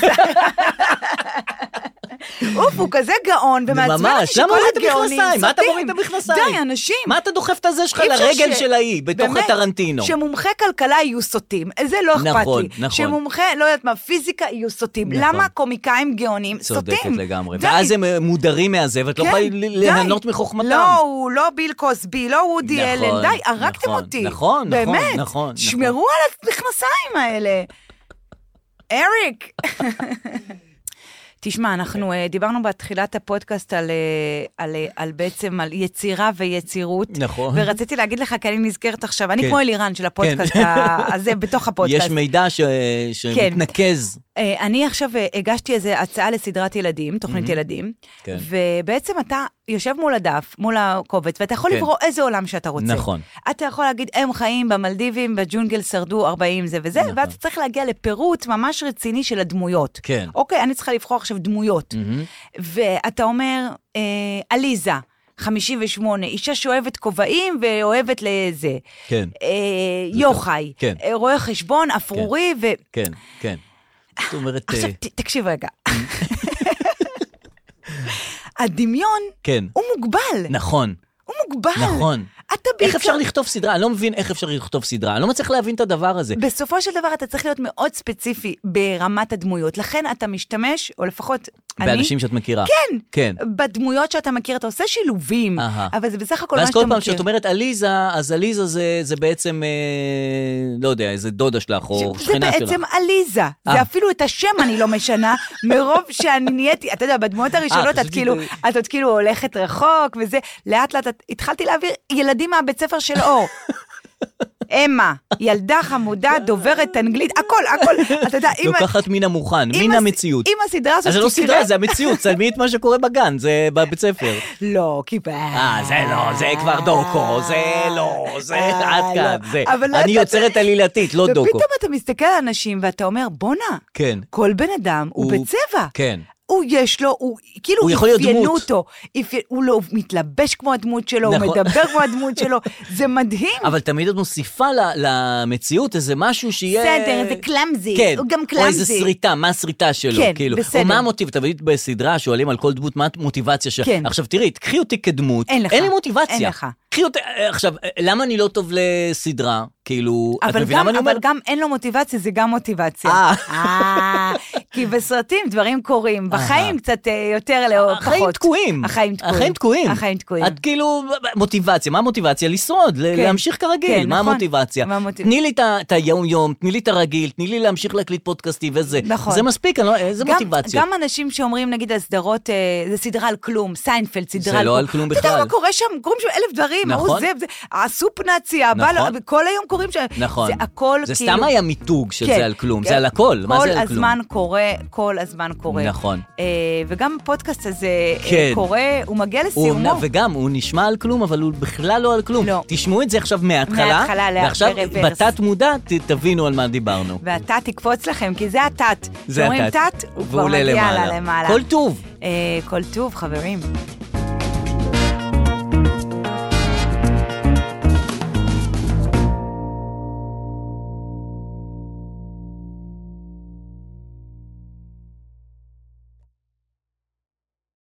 Speaker 4: אוף, הוא כזה גאון ומעצבן
Speaker 3: ממש,
Speaker 4: אותי שכל
Speaker 3: למה הוריד את
Speaker 4: הגאונים
Speaker 3: המכנסיים? מה אתה
Speaker 4: סוטים.
Speaker 3: מוריד את המכנסיים?
Speaker 4: די, אנשים.
Speaker 3: מה אתה דוחף את הזה שלך
Speaker 4: אי אפשר
Speaker 3: לרגל
Speaker 4: ש-
Speaker 3: של ההיא, בתוך
Speaker 4: באמת,
Speaker 3: הטרנטינו?
Speaker 4: שמומחי כלכלה יהיו סוטים, זה לא אכפת
Speaker 3: נכון,
Speaker 4: לי.
Speaker 3: נכון.
Speaker 4: שמומחי, לא יודעת מה, פיזיקה יהיו סוטים.
Speaker 3: נכון.
Speaker 4: למה קומיקאים גאונים סוטים?
Speaker 3: צודקת לגמרי.
Speaker 4: די.
Speaker 3: ואז הם אה, מודרים מהזה, ואת לא
Speaker 4: כן,
Speaker 3: יכולה
Speaker 4: די.
Speaker 3: ל- ליהנות מחוכמתם.
Speaker 4: לא, הוא לא ביל קוסבי, לא וודי
Speaker 3: נכון,
Speaker 4: אלן, די, הרגתם
Speaker 3: נכון,
Speaker 4: אותי.
Speaker 3: נכון, נכון,
Speaker 4: באמת,
Speaker 3: נכון,
Speaker 4: שמרו על המכנסיים האלה. אריק. תשמע, אנחנו אה, דיברנו בתחילת הפודקאסט על, אה, על, אה, על בעצם, על יצירה ויצירות.
Speaker 3: נכון.
Speaker 4: ורציתי להגיד לך, כי אני נזכרת עכשיו, אני
Speaker 3: כן.
Speaker 4: כמו אלירן של הפודקאסט
Speaker 3: כן.
Speaker 4: ה- הזה, בתוך הפודקאסט.
Speaker 3: יש מידע ש-
Speaker 4: כן.
Speaker 3: שמתנקז.
Speaker 4: אה, אני עכשיו אה, הגשתי איזו הצעה לסדרת ילדים, תוכנית ילדים,
Speaker 3: כן.
Speaker 4: ובעצם אתה יושב מול הדף, מול הקובץ, ואתה יכול
Speaker 3: כן.
Speaker 4: לברוא איזה עולם שאתה רוצה.
Speaker 3: נכון.
Speaker 4: אתה יכול להגיד, הם חיים במלדיבים, בג'ונגל שרדו 40 זה וזה,
Speaker 3: נכון.
Speaker 4: ואתה צריך להגיע לפירוט ממש רציני של הדמויות.
Speaker 3: כן.
Speaker 4: אוקיי, אני צריכה לבחור עכשיו דמויות. ואתה אומר, אה, עליזה, 58, אישה שאוהבת כובעים ואוהבת לזה.
Speaker 3: כן.
Speaker 4: אה, יוחאי,
Speaker 3: כן.
Speaker 4: אה, רואה חשבון, אפרורי, ו...
Speaker 3: כן, כן. זאת אומרת, אה,
Speaker 4: עכשיו, ת, תקשיב רגע. הדמיון,
Speaker 3: כן.
Speaker 4: הוא מוגבל.
Speaker 3: נכון.
Speaker 4: הוא מוגבל.
Speaker 3: נכון.
Speaker 4: אתה בעיקר...
Speaker 3: איך אפשר לכתוב סדרה? אני לא מבין איך אפשר לכתוב סדרה. אני לא מצליח להבין את הדבר הזה.
Speaker 4: בסופו של דבר אתה צריך להיות מאוד ספציפי ברמת הדמויות, לכן אתה משתמש, או לפחות אני...
Speaker 3: באנשים שאת מכירה.
Speaker 4: כן.
Speaker 3: כן.
Speaker 4: בדמויות שאתה מכיר, אתה עושה שילובים,
Speaker 3: אהה.
Speaker 4: אבל זה בסך הכל מה
Speaker 3: ואז
Speaker 4: שאתה
Speaker 3: כל
Speaker 4: מכיר.
Speaker 3: פעם שאת אומרת עליזה, אז עליזה זה, זה בעצם, אה, לא יודע, איזה דודה שלך או
Speaker 4: זה
Speaker 3: שכנה שלך.
Speaker 4: בעצם עליזה,
Speaker 3: אה.
Speaker 4: זה אפילו את השם אני לא משנה, מרוב שאני נהייתי, אתה יודע, בדמויות הראשונות את
Speaker 3: אה, חשבתי
Speaker 4: כאילו,
Speaker 3: ב-
Speaker 4: את עוד כאילו הולכת רחוק וזה, לאט לאט את- התחלתי להעביר ילדים מהבית ספר של אור. אמה, ילדה חמודה, דוברת אנגלית, הכל, הכל, אתה יודע, אם...
Speaker 3: לוקחת מן המוכן,
Speaker 4: אם
Speaker 3: מן
Speaker 4: הס-
Speaker 3: המציאות.
Speaker 4: אם הסדרה הזאת
Speaker 3: אז זה לא
Speaker 4: תקרה-
Speaker 3: סדרה, זה המציאות, צלמי את מה שקורה בגן, זה בבית ספר.
Speaker 4: לא, כי...
Speaker 3: אה, זה לא, זה כבר דוקו, זה לא, זה
Speaker 4: אה,
Speaker 3: עד
Speaker 4: לא.
Speaker 3: כאן, זה.
Speaker 4: אבל לא,
Speaker 3: אני
Speaker 4: אתה-
Speaker 3: יוצרת עלילתית, לא דוקו.
Speaker 4: ופתאום אתה מסתכל על אנשים ואתה אומר, בואנה,
Speaker 3: כן.
Speaker 4: כל בן אדם
Speaker 3: הוא-
Speaker 4: הוא בצבע.
Speaker 3: כן.
Speaker 4: הוא יש לו, הוא כאילו
Speaker 3: הוא יכול להיות
Speaker 4: אפיינו
Speaker 3: דמות.
Speaker 4: אותו, אפי... הוא לא הוא מתלבש כמו הדמות שלו,
Speaker 3: נכון.
Speaker 4: הוא מדבר כמו הדמות שלו, זה מדהים.
Speaker 3: אבל תמיד את מוסיפה ל- למציאות איזה משהו שיהיה...
Speaker 4: בסדר, זה קלאמזי,
Speaker 3: כן,
Speaker 4: הוא גם
Speaker 3: או איזה
Speaker 4: קלאמזי.
Speaker 3: שריטה, מה השריטה שלו,
Speaker 4: כן,
Speaker 3: כאילו.
Speaker 4: בסדר.
Speaker 3: או מה המוטיב, תמיד בסדרה שואלים על כל דמות, מה המוטיבציה שלך.
Speaker 4: כן.
Speaker 3: עכשיו תראי, קחי אותי כדמות,
Speaker 4: אין לך,
Speaker 3: אין לי מוטיבציה.
Speaker 4: אין לך.
Speaker 3: קחי אותי, אה, עכשיו, אה, למה אני לא טוב לסדרה? כאילו, את
Speaker 4: אבל,
Speaker 3: מבינה
Speaker 4: גם,
Speaker 3: מה אני אומר?
Speaker 4: אבל גם אין לו מוטיבציה, זה גם מוטיבציה.
Speaker 3: אה.
Speaker 4: אה, כי בסרטים דברים קורים, בחיים קצת אה, יותר לא, פחות.
Speaker 3: החיים תקועים.
Speaker 4: החיים תקועים.
Speaker 3: החיים תקועים.
Speaker 4: החיים תקועים.
Speaker 3: את כאילו, מוטיבציה, מה המוטיבציה? לשרוד, ל-
Speaker 4: כן.
Speaker 3: להמשיך כרגיל,
Speaker 4: כן,
Speaker 3: מה
Speaker 4: נכון.
Speaker 3: המוטיבציה?
Speaker 4: מה המוטיב-
Speaker 3: תני לי את ה- את היום-יום, תני לי את הרגיל, תני לי להמשיך להקליט פודקאסטים וזה.
Speaker 4: נכון.
Speaker 3: זה מספיק, אני לא- איזה
Speaker 4: גם,
Speaker 3: מוטיבציה.
Speaker 4: גם אנשים שאומרים, נגיד, הסדרות, אה, זה סדרה על כלום, סיינפלד, סדרה
Speaker 3: זה
Speaker 4: על כלום.
Speaker 3: לא על כלום
Speaker 4: אתה יודע
Speaker 3: בכלל.
Speaker 4: מה קורה שם? קורים שם אלף דברים, ההוא
Speaker 3: נכון.
Speaker 4: זה, זה, הסופנאציה,
Speaker 3: נכון.
Speaker 4: הבעל, כל היום קורים שם.
Speaker 3: נכון.
Speaker 4: זה הכל
Speaker 3: זה
Speaker 4: כאילו... כן.
Speaker 3: סתם היה מיתוג של זה על כלום, זה על הכל, מה זה על
Speaker 4: כל
Speaker 3: כלום?
Speaker 4: הזמן קורה, כל הזמן קורה.
Speaker 3: נכון.
Speaker 4: אה, וגם הפודקאסט הזה אה,
Speaker 3: כן.
Speaker 4: קורה, הוא מגיע
Speaker 3: הוא
Speaker 4: לסיומו.
Speaker 3: אומנם- וגם, הוא נשמע על כלום, אבל הוא בכלל לא על כלום.
Speaker 4: לא.
Speaker 3: תשמעו את זה עכשיו מההתחלה,
Speaker 4: מההתחלה, לה-
Speaker 3: ועכשיו
Speaker 4: ברוורס.
Speaker 3: בתת מודע ת- תבינו על מה דיברנו.
Speaker 4: והתת תקפוץ לכם, כי זה התת.
Speaker 3: זה
Speaker 4: כשאומרים
Speaker 3: התת.
Speaker 4: תת, הוא כבר מגיע לה למעלה.
Speaker 3: כל טוב.
Speaker 4: אה, כל טוב, חברים.